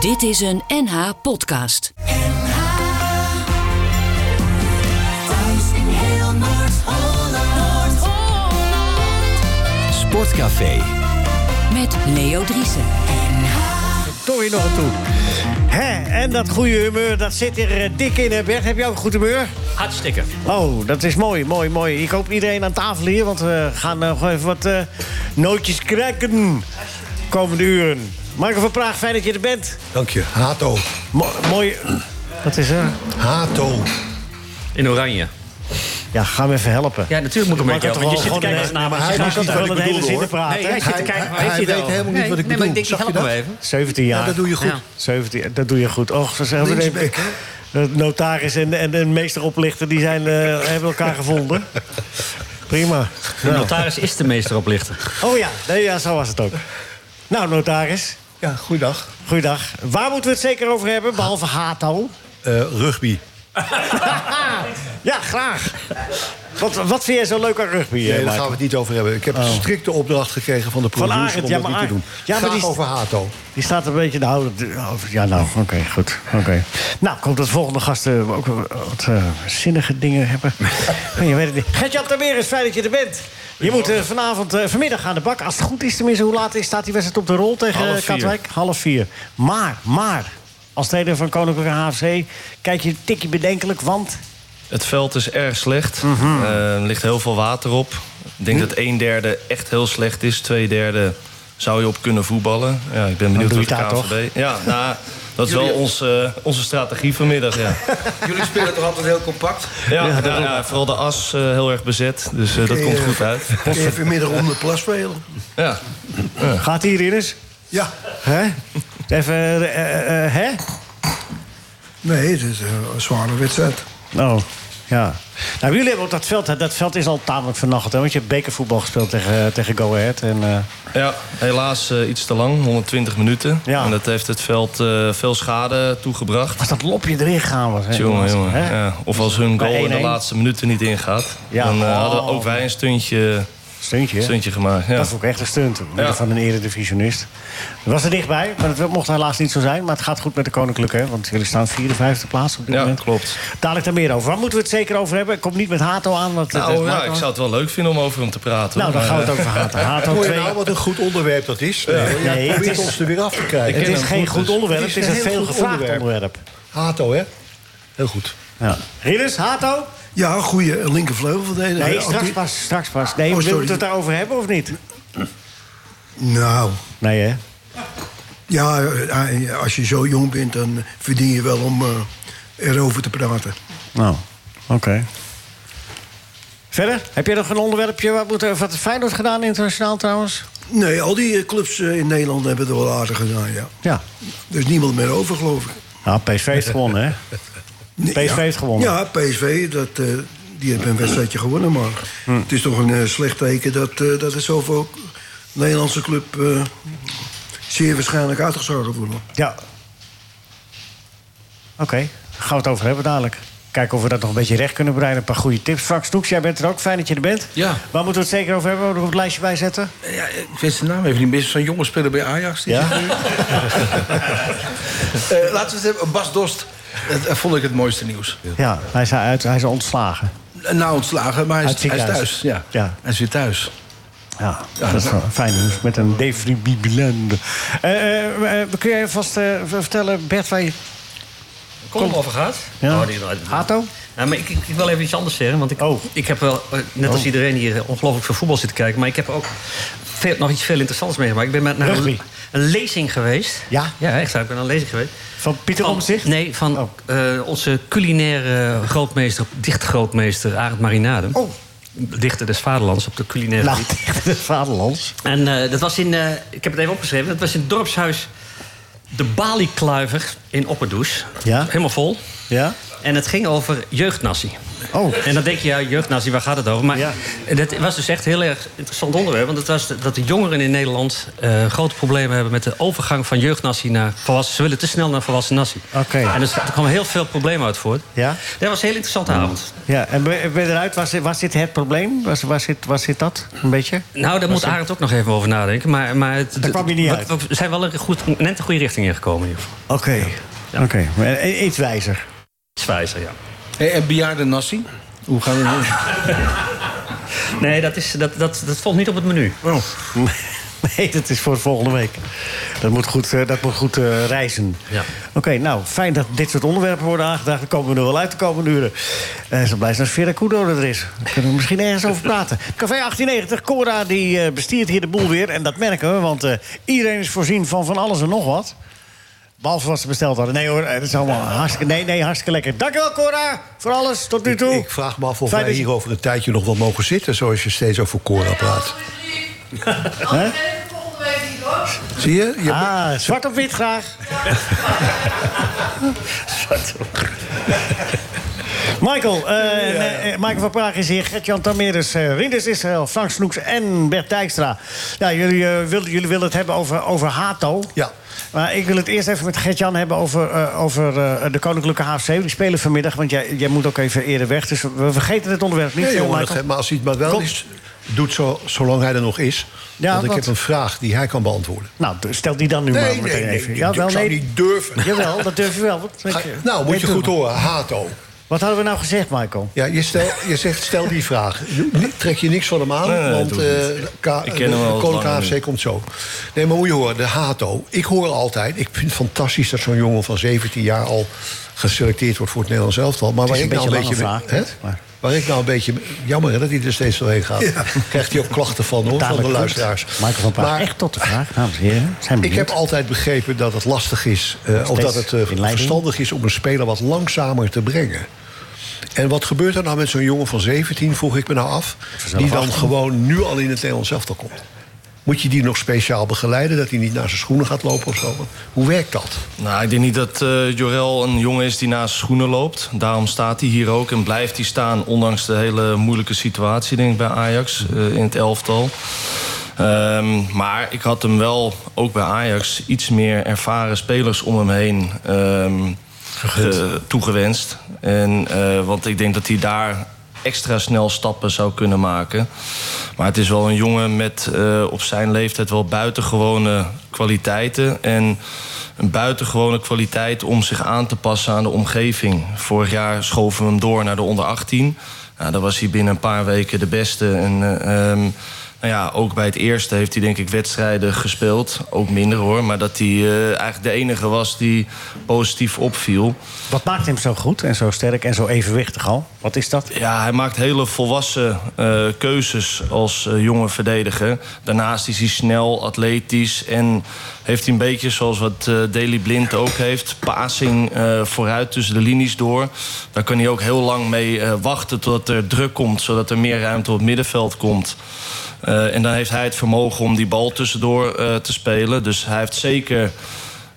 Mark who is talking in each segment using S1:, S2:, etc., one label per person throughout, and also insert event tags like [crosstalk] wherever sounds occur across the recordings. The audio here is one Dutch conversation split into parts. S1: Dit is een NH podcast.
S2: Thuis in heel Noord-Holland.
S3: Sportcafé.
S1: Met Leo Driessen.
S4: Kom je nog aan toe. Hè, en dat goede humeur, dat zit er eh, dik in, hè Bert? Heb je ook goed humeur?
S5: Hartstikke.
S4: Oh, dat is mooi, mooi, mooi. Ik hoop iedereen aan tafel hier, want we gaan nog even wat eh, nootjes kraken. Komende uren. Marco van Praag, fijn dat je er bent.
S3: Dank je. Hato.
S4: Mo mooi. Wat is er?
S3: Hato.
S5: In oranje.
S4: Ja, ga me even helpen.
S5: Ja, natuurlijk moet ik hem
S4: Marco,
S5: helpen. Want je zit te
S4: gewoon
S5: kijken
S4: een-
S5: naar me.
S3: maar hij
S4: Hij
S3: wist
S4: kan
S3: niet
S4: toch
S3: wat
S4: wel
S3: ik
S4: het hele
S3: bedoelde,
S4: zitten
S3: hoor.
S4: praten?
S5: Nee, jij
S4: hè?
S5: zit te
S3: Hij-
S5: kijken.
S3: hij-
S5: Heeft
S3: hij
S5: hij het
S3: weet helemaal niet wat ik
S5: nee,
S3: bedoel.
S5: Maar ik
S3: Zag
S5: denk,
S3: je
S5: help hem
S3: dat?
S5: even.
S4: Zeventien jaar.
S3: Ja, dat doe je goed.
S5: Ja.
S4: 17, dat doe je goed. Och, ze zeggen,
S3: Linksback, hè?
S4: de notaris en, en, en meesteroplichter die zijn, eh, hebben elkaar
S3: [laughs]
S4: gevonden. Prima.
S5: De notaris is de meester oplichter.
S4: Oh ja, nee, ja, zo was het ook. Nou, notaris,
S3: Ja, goeiedag.
S4: goeiedag. Waar moeten we het zeker over hebben, behalve Hato?
S3: Eh, rugby.
S4: [laughs] Ja, graag. Wat, wat vind jij zo leuk aan rugby? eh,
S3: Nee, daar
S4: Michael?
S3: gaan we het niet over hebben. Ik heb strikte opdracht gekregen van de producer
S4: Arend,
S3: om
S4: ja,
S3: dat
S4: maar
S3: niet te doen.
S4: Arend. Ja, maar
S3: Graag
S4: die-
S3: over [laughs] Hato.
S4: Die staat een beetje... Nou, dat- oh, ja, nou, oké, goed. Oké. Nou, komt dat volgende gasten ook wel wat eh, zinnige dingen hebben. Nee, je weet het niet. Gert-Jan Termeer is fijn dat je er bent. Je moet eh, vanavond, eh, vanmiddag aan de bak. Als het goed is tenminste, hoe laat is, staat die wedstrijd op de rol tegen
S5: Half
S4: Half
S5: vier.
S4: Katwijk? Half vier. Maar, maar, als trainer van Koninklijke HFC... kijk je een tikje bedenkelijk, want...
S6: Het veld is erg slecht. Eh, er ligt heel veel water op. Ik denk dat een derde echt heel slecht is. Twee derde zou je op kunnen voetballen. Ja, ik ben benieuwd
S4: doe
S6: hoe
S4: je
S6: de
S4: het daar,
S6: KNVB... Ja, nou, dat is wel onze, eh, onze strategie vanmiddag. Ja,
S7: [laughs] Jullie spelen toch altijd heel compact?
S6: ja, ja, ja, vooral de as eh, heel erg bezet. Dus eh, dat komt goed uit.
S3: Even vanmiddag om de plas spelen.
S6: Ja.
S4: Gaat hier in eens?
S3: Ja.
S4: Hè? Even, eh, eh, eh, hè?
S3: Nee, het is een zware wedstrijd.
S4: Oh, ja. Nou, jullie hebben op dat veld, hè, dat veld is al tamelijk vannacht, hè? Want je hebt bekervoetbal gespeeld tegen, eh, tegen Go Ahead. En, eh,
S6: ja, helaas eh, iets te lang. 120 minuten.
S4: Ja.
S6: En dat heeft het veld eh, veel schade toegebracht.
S4: was dat lopje erin gegaan was, hè?
S6: Jongen,
S4: jongens,
S6: jongen.
S4: hè?
S6: Ja. Of als hun
S4: Bij
S6: goal in de
S4: 1-1.
S6: laatste minuten niet ingaat...
S4: Ja.
S6: dan eh, hadden
S4: Oh.
S6: ook wij een stuntje,
S4: Stuntje, hè?
S6: stuntje gemaakt. Ja.
S4: Dat vond ik echt een stunt,
S6: Ja.
S4: van een eredivisionist. Dat was er dichtbij, maar dat mocht helaas niet zo zijn. Maar het gaat goed met de Koninklijke, hè? Want jullie staan vierde, vijfde plaats op dit
S6: Ja,
S4: moment.
S6: klopt.
S4: Dadelijk daar meer over. Waar moeten we het zeker over hebben? Ik kom niet met Hato aan, want... dat
S6: Nou,
S4: maakt
S6: ja,
S4: wel-
S6: ik eh, zou het wel leuk vinden om over hem te praten.
S4: Nou,
S6: hoor.
S4: dan gaan we het
S6: Maar, [laughs]
S4: over Hato. Hato
S3: Hoor je
S4: 2.
S3: nou wat een goed onderwerp dat is? Nee, hoor.
S4: Nee,
S3: Jij
S4: het
S3: probeert
S4: is-
S3: ons er weer af te krijgen.
S4: Het
S6: ken
S4: is
S6: hem
S4: geen
S6: goed,
S4: goed
S6: dus-
S4: onderwerp, het is een
S3: heel
S4: veel
S3: goed
S4: gevraagd
S3: onderwerp.
S4: onderwerp.
S3: Hato, hè? Heel goed.
S4: Ja. Ridders, Hato?
S8: Ja, goede linkervleugelverdediger.
S4: Nee,
S8: Ook
S4: straks
S8: die-
S4: pas. Straks pas. Nee,
S8: Oh,
S4: moeten we
S8: sorry.
S4: het daarover hebben of niet?
S8: Nou,
S4: Nee, hè?
S8: ja, eh, als je zo jong bent, dan verdien je wel om eh, erover te praten.
S4: Nou, oké. Verder? Heb jij nog een onderwerpje? Wat, moet er, wat Feyenoord gedaan internationaal trouwens?
S8: Nee, al die eh, clubs eh, in Nederland hebben het wel aardig gedaan, ja.
S4: Ja.
S8: Er is niemand meer over, geloof ik.
S4: Nou, PSV heeft gewonnen, hè?
S8: Nee,
S4: PSV
S8: ja.
S4: heeft gewonnen.
S8: Ja, PSV, dat, eh, die hebben een wedstrijdje gewonnen. Maar het is toch een eh, slecht teken dat, eh, dat er zoveel Nederlandse club... eh, zeer waarschijnlijk uitgeschakeld worden.
S4: Ja. Oké, gaan we het over hebben dadelijk. Kijken of we dat nog een beetje recht kunnen breiden. Een paar goede tips. Frank Snoeks, jij bent er ook. Fijn dat je er bent.
S7: Ja.
S4: Waar moeten we het zeker over hebben? Moeten we er op het lijstje bij zetten?
S7: Ja, ik weet zijn naam even niet meer. Is Zo'n jonge speler bij Ajax. Die
S4: Ja.
S9: [laughs]
S7: zit nu. Eh, laten we het hebben. Bas Dost. Dat, dat vond ik het mooiste nieuws.
S4: Ja, hij is, uit, hij is ontslagen.
S7: Nou ontslagen, maar hij
S4: Uit
S7: is, hij is
S4: ziekenhuis.
S7: thuis. Ja.
S4: Ja.
S7: Hij is weer thuis.
S4: Ja, dat is wel fijn nieuws met een defibrillator. Eh, eh, eh, kun jij vast eh, v- vertellen, Bert, waar je...
S5: Kom hem over gaat.
S4: Ja.
S5: Oh, die-
S4: Hato?
S5: Ja, maar ik, ik ik wil even iets anders zeggen. Want ik,
S4: Oh.
S5: ik heb wel, eh, net als iedereen hier, eh, ongelooflijk veel voetbal zitten kijken. Maar ik heb ook veel, nog iets veel interessants meegemaakt. Ik ben met naar een,
S4: Rugby.
S5: le- een lezing geweest.
S4: Ja?
S5: Ja, echt. waar, Ik ben naar een lezing geweest.
S4: Van Pieter
S5: Van-
S4: Omtzigt?
S5: Nee, van
S4: Oh.
S5: eh, onze culinaire grootmeester, dichtgrootmeester Arend Marinade.
S4: Oh.
S5: Dichter des Vaderlands op de culinaire
S4: [laughs] Nou,
S5: gebied.
S4: tegen de vaderlands.
S5: En eh, dat was in, eh, ik heb het even opgeschreven, dat was in het dorpshuis De Baliekluiver in Opperdoes.
S4: Ja.
S5: Helemaal vol.
S4: Ja?
S5: En het ging over jeugdnassie.
S4: Oh.
S5: En dan denk je, ja, jeugdnazi, waar gaat het over? Maar
S4: Ja.
S5: dat was dus echt een heel erg interessant onderwerp. Want het was de- dat de jongeren in Nederland eh, grote problemen hebben... met de overgang van jeugdnazi naar volwassen. Ze willen te snel naar volwassen nazi.
S4: Oké.
S5: En dus, er kwamen heel veel problemen uit voort.
S4: Ja?
S5: Dat was een heel interessante avond.
S4: Ja, en ben ben je eruit, was, dit- was dit het probleem? Was, was, dit, was dit dat, een beetje?
S5: Nou, daar moet Arend ook nog even over nadenken. Maar, maar het,
S4: Daar kwam je niet
S5: we-
S4: uit.
S5: We, we zijn wel een goed, net de goede richting ingekomen in ieder geval.
S4: Oké. Oké, maar, eh, iets wijzer.
S5: Zwijzer, ja.
S7: Hey, en bejaarde Nassi? Hoe gaan
S5: [laughs]
S7: we nou? doen?
S5: Nee, dat, is, dat, dat, dat volgt niet op het menu.
S4: [laughs] Nee, dat is voor volgende week. Dat moet goed, eh, dat moet goed eh, reizen.
S5: Ja.
S4: Oké, nou, fijn dat dit soort onderwerpen worden aangedacht. Daar komen we er wel uit de komende uren. Eh zo blij zijn als Vera Kudo er is. Daar kunnen we misschien ergens over
S9: [laughs]
S4: praten. Café 1890, Cora die eh, bestiert hier de boel weer. En dat merken we, want eh, iedereen is voorzien van van alles en nog wat. Behalve wat ze besteld hadden. Nee hoor, eh, dat is allemaal hartstikke, nee, nee, hartstikke lekker. Dankjewel Cora voor alles tot nu
S9: Ik,
S4: toe.
S9: ik vraag me af of
S4: Fijn
S9: wij
S4: dat je-
S9: hier over een tijdje nog wel mogen zitten... zoals je steeds over Cora praat. Zie je? je
S4: Ah, zwart op wit graag. Zwart op wit. Michael, eh, en, eh, Michael van Praag is hier, Gert-Jan Tameres, eh, Rinders Israël, Frank Snoeks en Bert Dijkstra. Ja, jullie, eh, wilden, jullie willen het hebben over, over Hato.
S9: Ja.
S4: Maar ik wil het eerst even met Gert-Jan hebben over, eh, over eh, de Koninklijke HFC. Die spelen vanmiddag, want jij, jij moet ook even eerder weg. Dus we vergeten het onderwerp niet.
S9: Nee,
S4: veel,
S9: jongen, dat
S4: Michael.
S9: geeft- maar als hij het maar wel
S4: Kom.
S9: is, doet zo, zolang hij er nog is.
S4: Ja,
S9: want ik
S4: wat?
S9: heb een vraag die hij kan beantwoorden.
S4: Nou, stel die dan nu maar meteen even. ja, wel,
S9: ik zou
S4: nee.
S9: niet durven.
S4: Jawel, dat durf je wel. Wat,
S9: Ga- nou, moet je goed horen, Hato.
S4: Wat hadden we nou gezegd, Michael?
S9: Ja, je, stel, je zegt, stel die vraag. Ni- Trek je niks van hem aan,
S6: Nee, nee,
S9: want
S6: doe ik
S9: eh, Ka-
S6: Ik
S9: de
S6: ken hem al
S9: Koninklijke
S6: lang
S9: AFC komt zo. Nee, maar moet je horen, de Hato. Ik hoor altijd, ik vind het fantastisch dat zo'n jongen van 17 jaar... al geselecteerd wordt voor het Nederlands elftal. Maar
S4: Het
S9: waar
S4: is
S9: ik
S4: een
S9: nou een
S4: beetje
S9: beetje...
S4: een lange
S9: mee-
S4: vraag,
S9: hè?
S4: maar-
S9: Waar ik nou een beetje... Jammer hè, dat hij er steeds doorheen gaat. Krijgt hij ook klachten van, hoor, van de
S4: Tamelijk goed.
S9: luisteraars.
S4: Michael van Praag,
S9: Maar-
S4: echt tot de vraag, dames en heren. Zijn we
S9: ik heb altijd begrepen dat het lastig is, eh, of dat het eh,
S4: Mhm. in leiding.
S9: verstandig is om een speler wat langzamer te brengen. En wat gebeurt er nou met zo'n jongen van 17, vroeg ik me nou af, die dan gewoon nu al in het Nederlands elftal komt? Moet je die nog speciaal begeleiden, dat hij niet naar zijn schoenen gaat lopen of zo? Hoe werkt dat?
S6: Nou, ik denk niet dat eh, Jorel een jongen is die naast schoenen loopt. Daarom staat hij hier ook en blijft hij staan... ondanks de hele moeilijke situatie denk ik, bij Ajax eh, in het elftal. Ehm, maar ik had hem wel, ook bij Ajax... iets meer ervaren spelers om hem heen ehm, ge- toegewenst. En, eh, want ik denk dat hij daar extra snel stappen zou kunnen maken. Maar het is wel een jongen met eh, op zijn leeftijd wel buitengewone kwaliteiten. En een buitengewone kwaliteit om zich aan te passen aan de omgeving. Vorig jaar schoven we hem door naar de onder 18. Nou, daar was hij binnen een paar weken de beste. En eh, ehm, nou ja, ook bij het eerste heeft hij denk ik wedstrijden gespeeld. Ook minder hoor. Maar dat hij eh, eigenlijk de enige was die positief opviel.
S4: Wat maakt hem zo goed en zo sterk en zo evenwichtig al? Wat is dat?
S6: Ja, hij maakt hele volwassen eh, keuzes als eh, jonge verdediger. Daarnaast is hij snel, atletisch en heeft hij een beetje zoals wat eh Daley Blind ook heeft: passing eh, vooruit tussen de linies door. Daar kan hij ook heel lang mee eh, wachten totdat er druk komt, zodat er meer ruimte op het middenveld komt. Eh, en dan heeft hij het vermogen om die bal tussendoor eh, te spelen. Dus hij heeft zeker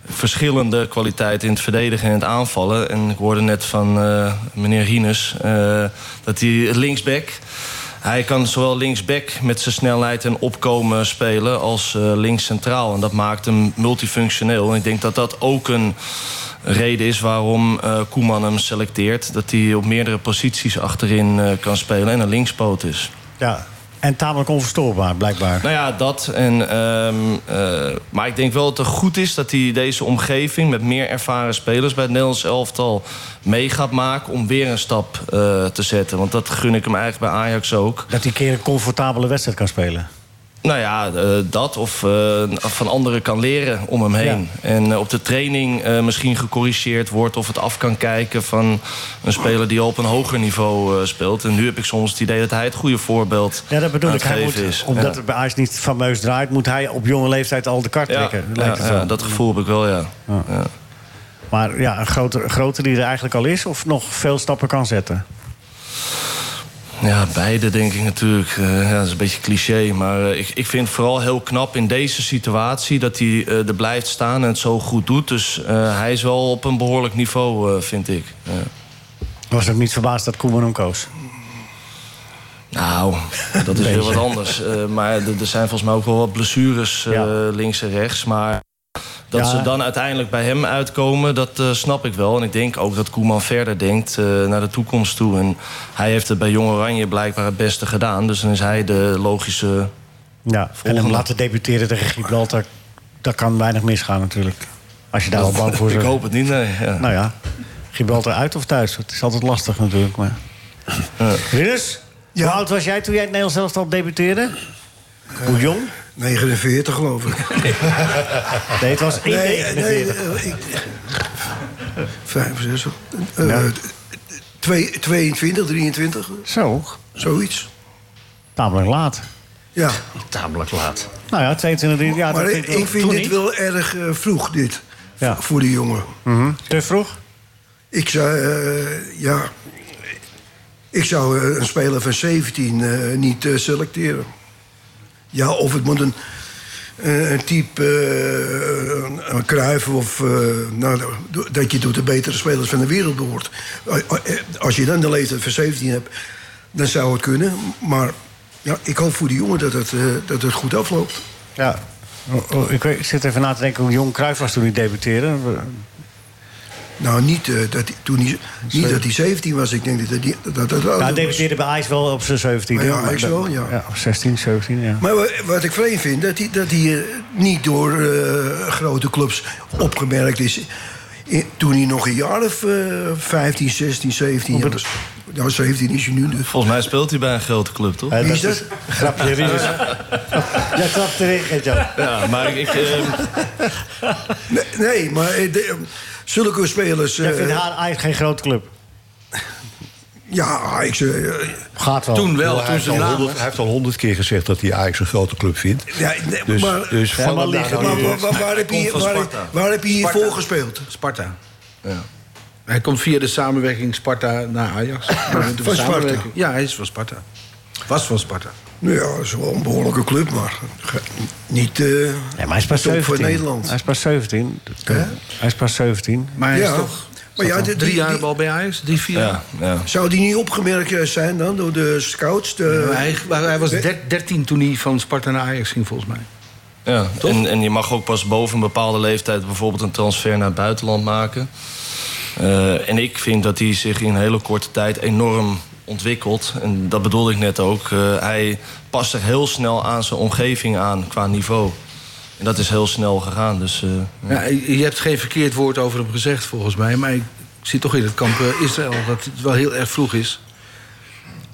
S6: verschillende kwaliteiten in het verdedigen en het aanvallen. En ik hoorde net van eh, meneer Hines eh, dat hij linksback. Hij kan zowel linksback met zijn snelheid en opkomen spelen als eh, linkscentraal. En dat maakt hem multifunctioneel. En ik denk dat dat ook een reden is waarom eh, Koeman hem selecteert. Dat hij op meerdere posities achterin eh, kan spelen en een linkspoot is.
S4: Ja. En tamelijk onverstoorbaar, blijkbaar.
S6: Nou ja, dat. En, ehm, eh, maar ik denk wel dat het goed is dat hij deze omgeving... met meer ervaren spelers bij het Nederlands elftal mee gaat maken... om weer een stap eh, te zetten. Want dat gun ik hem eigenlijk bij Ajax ook.
S4: Dat hij een keer een comfortabele wedstrijd kan spelen.
S6: Nou ja, eh, dat of eh, van anderen kan leren om hem heen. En eh, op de training eh, misschien gecorrigeerd wordt... of het af kan kijken van een speler die al op een hoger niveau eh, speelt. En nu heb ik soms het idee dat hij het goede voorbeeld
S4: Ja, dat bedoel
S6: aan
S4: ik.
S6: Nou, het
S4: Hij moet,
S6: geven is.
S4: Omdat
S6: Ja.
S4: het bij Ajax niet fameus draait... moet hij op jonge leeftijd al de kar
S6: Ja,
S4: trekken.
S6: ja,
S4: lijkt het
S6: ja,
S4: wel.
S6: dat gevoel heb ik wel, ja. ja.
S4: Maar ja, een grote, grote die er eigenlijk al is... of nog veel stappen kan zetten.
S6: Ja, beide denk ik natuurlijk. Eh, ja, dat is een beetje cliché. Maar eh, ik, ik vind het vooral heel knap in deze situatie dat hij eh, er blijft staan en het zo goed doet. Dus eh, hij is wel op een behoorlijk niveau, eh, vind ik. Ja.
S4: Oké, was ook niet verbaasd dat Koeman hem koos.
S6: Nou, dat is weer wat anders. Eh, maar er er zijn volgens mij ook wel wat blessures eh,
S4: Ja.
S6: links en rechts. Maar dat
S4: Ja.
S6: ze dan uiteindelijk bij hem uitkomen, dat eh, snap ik wel. En ik denk ook dat Koeman verder denkt eh, naar de toekomst toe. En hij heeft het bij Jong Oranje blijkbaar het beste gedaan. Dus dan is hij de logische...
S4: Ja. En hem
S6: Volgende.
S4: laten debuteren tegen Gibraltar, daar kan weinig misgaan natuurlijk. Als je daar al bang voor
S6: ik
S4: bent.
S6: hoop het niet, nee. Ja.
S4: Nou ja, Gibraltar uit of thuis, dat is altijd lastig natuurlijk. Maar... Rinus,
S8: Ja.
S4: hoe oud was jij toen jij in het Nederlands elftal debuteerde? Hoe jong?
S8: 49 geloof ik.
S4: Nee, het
S8: [laughs]
S4: was 1,49.
S8: eh, ik- Vijf, zes. eh,
S4: Ja.
S8: eh, twee- 22, 23,
S4: Zo,
S8: zoiets.
S4: tamelijk laat.
S8: Ja,
S5: Tamelijk laat.
S4: Nou ja, 22, 23 jaar.
S8: maar
S4: dat
S8: ik,
S4: klinkt
S8: ik vind
S4: toen
S8: dit
S4: niet.
S8: wel erg eh, vroeg, dit.
S4: Ja.
S8: v- Voor die jongen.
S4: Mhm. Te vroeg?
S8: Ik zou, eh, ja... Ik zou eh, een speler van 17 eh, niet eh, selecteren. Ja, of het moet een, eh, een type, eh, een, een Cruijff of... eh, nou, do- dat je tot de betere spelers van de wereld behoort. Eh, eh, Als je dan de leeftijd van 17 hebt, dan zou het kunnen. Maar ja, ik hoop voor die jongen dat het, eh, dat het goed afloopt.
S4: Ja. Oh, oh, Ik weet- ik zit even na te denken hoe jong Cruijff was toen hij debuteerde.
S8: Nou, niet, eh, dat, hij- toen hij, niet dat hij 17 was. Ik denk dat hij... Dat, dat, dat,
S4: Nou, hij debuteerde bij Ajax wel op zijn 17.
S8: Ja, Ajax wel, ja.
S4: op 16, 17, ja.
S8: Maar wa- wat ik vreemd vind, dat hij, dat hij eh, niet door eh, grote clubs opgemerkt is. I- toen hij nog een jaar of eh, 15, 16, 17 was. Nou, 17 is hij nu dus.
S6: Volgens mij speelt hij bij een grote club, toch?
S4: Eh,
S8: Wie is dat?
S4: Grapje,
S8: [laughs]
S4: Rinus. Jij trapt erin, Gert-Jan.
S6: Ja, maar ik... ik, eh,
S8: Nee, nee, maar eh, de, zulke spelers... eh,
S4: Jij vindt haar Ajax geen grote club.
S8: ja, ik, eh,
S4: Gaat wel.
S7: Toen wel,
S9: hij,
S7: toen
S9: heeft
S7: ze
S9: al
S7: namen.
S9: honderd, hij heeft al honderd keer gezegd dat hij Ajax een grote club vindt.
S8: ja, nee,
S9: Dus,
S8: maar,
S9: dus
S4: Ja,
S9: val
S4: maar
S9: hem daar
S4: liggen,
S9: nou
S8: maar
S9: niet
S8: waar,
S9: in.
S8: waar- waar heb je,
S6: komt van
S8: waar,
S6: Sparta.
S8: waar heb je
S7: Sparta.
S8: hiervoor gespeeld?
S7: Sparta. Hij komt via de samenwerking Sparta naar
S8: [laughs]
S7: Ajax.
S8: Van Sparta?
S7: Samenwerking. Ja, hij is van Sparta. Was van Sparta.
S8: Nou ja, dat is wel een behoorlijke club, maar ge- niet eh
S4: Nee, maar hij is pas
S8: top
S4: 17.
S8: voor Nederland.
S4: Hij is pas 17. Hij is pas 17.
S7: Maar hij is
S8: ja,
S7: toch
S8: maar ja, de-
S7: drie
S8: die-
S7: jaar
S8: die-
S7: al bij Ajax? Drie, vier jaar?
S6: ja, ja.
S8: Zou die niet opgemerkt eh, zijn dan door de scouts? De...
S7: Maar hij, maar hij was der- 13 toen hij van Sparta naar Ajax ging, volgens mij.
S6: Ja, en, en je mag ook pas boven een bepaalde leeftijd bijvoorbeeld een transfer naar het buitenland maken. Eh, en ik vind dat hij zich in een hele korte tijd enorm ontwikkelt. En dat bedoelde ik net ook. Eh, hij past zich heel snel aan zijn omgeving aan qua niveau. En dat is heel snel gegaan. Dus, eh,
S7: Ja, je je hebt geen verkeerd woord over hem gezegd, volgens mij. Maar ik zit toch in het kamp eh, Israël, dat het wel heel erg vroeg is.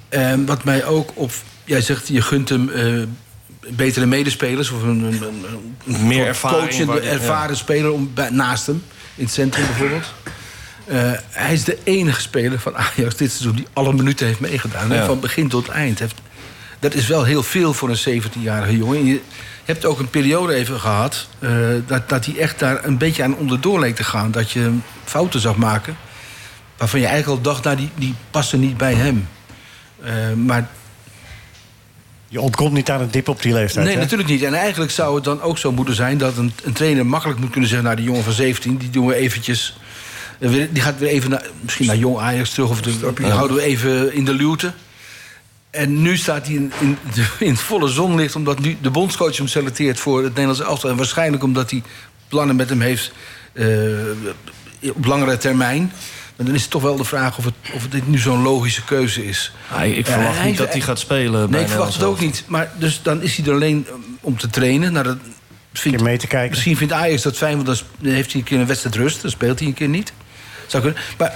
S7: En wat mij ook op... Jij zegt, je gunt hem eh, betere medespelers... of een, een, een- een
S6: Meer ervaring,
S7: coachende,
S6: waar die- ja.
S7: ervaren speler om, bij- naast hem. In het centrum bijvoorbeeld. Eh, hij is de enige speler van Ajax dit seizoen... die alle minuten heeft meegedaan. hè,
S6: Ja.
S7: Van begin tot eind. Heeft, dat is wel heel veel voor een 17-jarige jongen. En Je hebt ook een periode even gehad... eh, dat, dat hij echt daar een beetje aan onderdoor leek te gaan. Dat je hem fouten zag maken... waarvan je eigenlijk al dacht, nou, die, die passen niet bij hem. Eh, maar
S4: Je ontkomt niet aan het dip op die leeftijd.
S7: Nee,
S4: hè?
S7: natuurlijk niet. En eigenlijk zou het dan ook zo moeten zijn dat een, een trainer makkelijk moet kunnen zeggen: Nou, die jongen van 17, die doen we eventjes. eh, weer- Die gaat weer even naar, misschien naar jong Ajax terug. Of de, die houden we even in de luwte. En nu staat hij in, in, in het volle zonlicht, omdat nu de bondscoach hem selecteert voor het Nederlands elftal. En waarschijnlijk omdat hij plannen met hem heeft eh, op langere termijn. Maar dan is het toch wel de vraag of, het, of dit nu zo'n logische keuze is.
S6: ah, ik ik
S7: Ja,
S6: verwacht
S7: hij-
S6: niet dat hij gaat spelen. bij
S7: Nee, ik verwacht het ook
S6: Nederland zelf.
S7: niet. Maar dus dan is hij er alleen um, om te trainen. Nou, dat vindt,
S4: Om mee te kijken.
S7: Misschien vindt Ajax dat fijn, want dan sp- dan heeft hij een keer een wedstrijd rust. Dan speelt hij een keer niet. Zou kunnen. Maar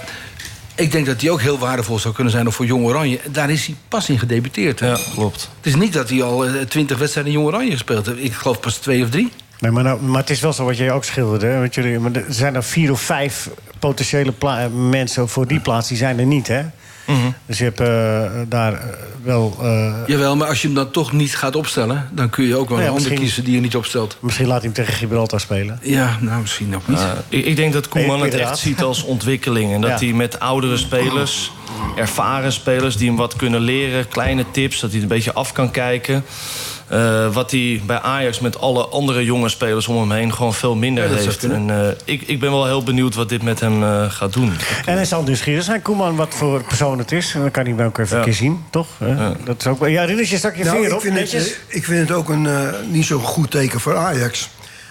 S7: ik denk dat hij ook heel waardevol zou kunnen zijn nog voor Jong Oranje. Daar is hij pas in gedebuteerd. hè.
S6: Ja, klopt.
S7: Het is niet dat hij al eh, twintig wedstrijden in Jong Oranje gespeeld heeft. Ik geloof pas twee of drie.
S4: Nee, maar, nou- maar het is wel zo wat jij ook schilderde. hè, Want jullie, maar er zijn er vier of vijf potentiële pla- mensen voor die plaats. Die zijn er niet, hè?
S8: Mhm.
S4: Dus je hebt eh, daar eh, wel... eh,
S7: Jawel, maar als je hem dan toch niet gaat opstellen... dan kun je ook wel
S4: Nou ja,
S7: een ander
S4: misschien-
S7: kiezen die je niet opstelt.
S4: misschien laat hij hem tegen Gibraltar spelen.
S7: Ja, nou, misschien ook niet.
S6: Eh, ik, ik denk dat Koeman
S4: Nee,
S6: het echt
S4: inderdaad.
S6: ziet
S7: [laughs]
S6: als ontwikkeling. En dat
S4: Ja.
S6: hij met oudere spelers, ervaren spelers... die hem wat kunnen leren, kleine tips, dat hij het een beetje af kan kijken. eh, wat hij bij Ajax met alle andere jonge spelers om hem heen gewoon veel minder
S7: Ja, dat zou
S6: heeft. En
S7: kunnen.
S6: eh, ik, ik ben wel heel benieuwd wat dit met hem eh, gaat doen.
S4: En hij zal nieuwsgierig zijn, Koeman, wat voor persoon het is. En dan kan hij hem ook even een keer zien, toch? Hè? Dat is ook... Ja, Rinus, je stak je
S8: Nou,
S4: vinger
S8: ik,
S4: op,
S8: vind het,
S4: netjes.
S8: eh, ik vind het ook een, eh, niet zo'n goed teken voor Ajax.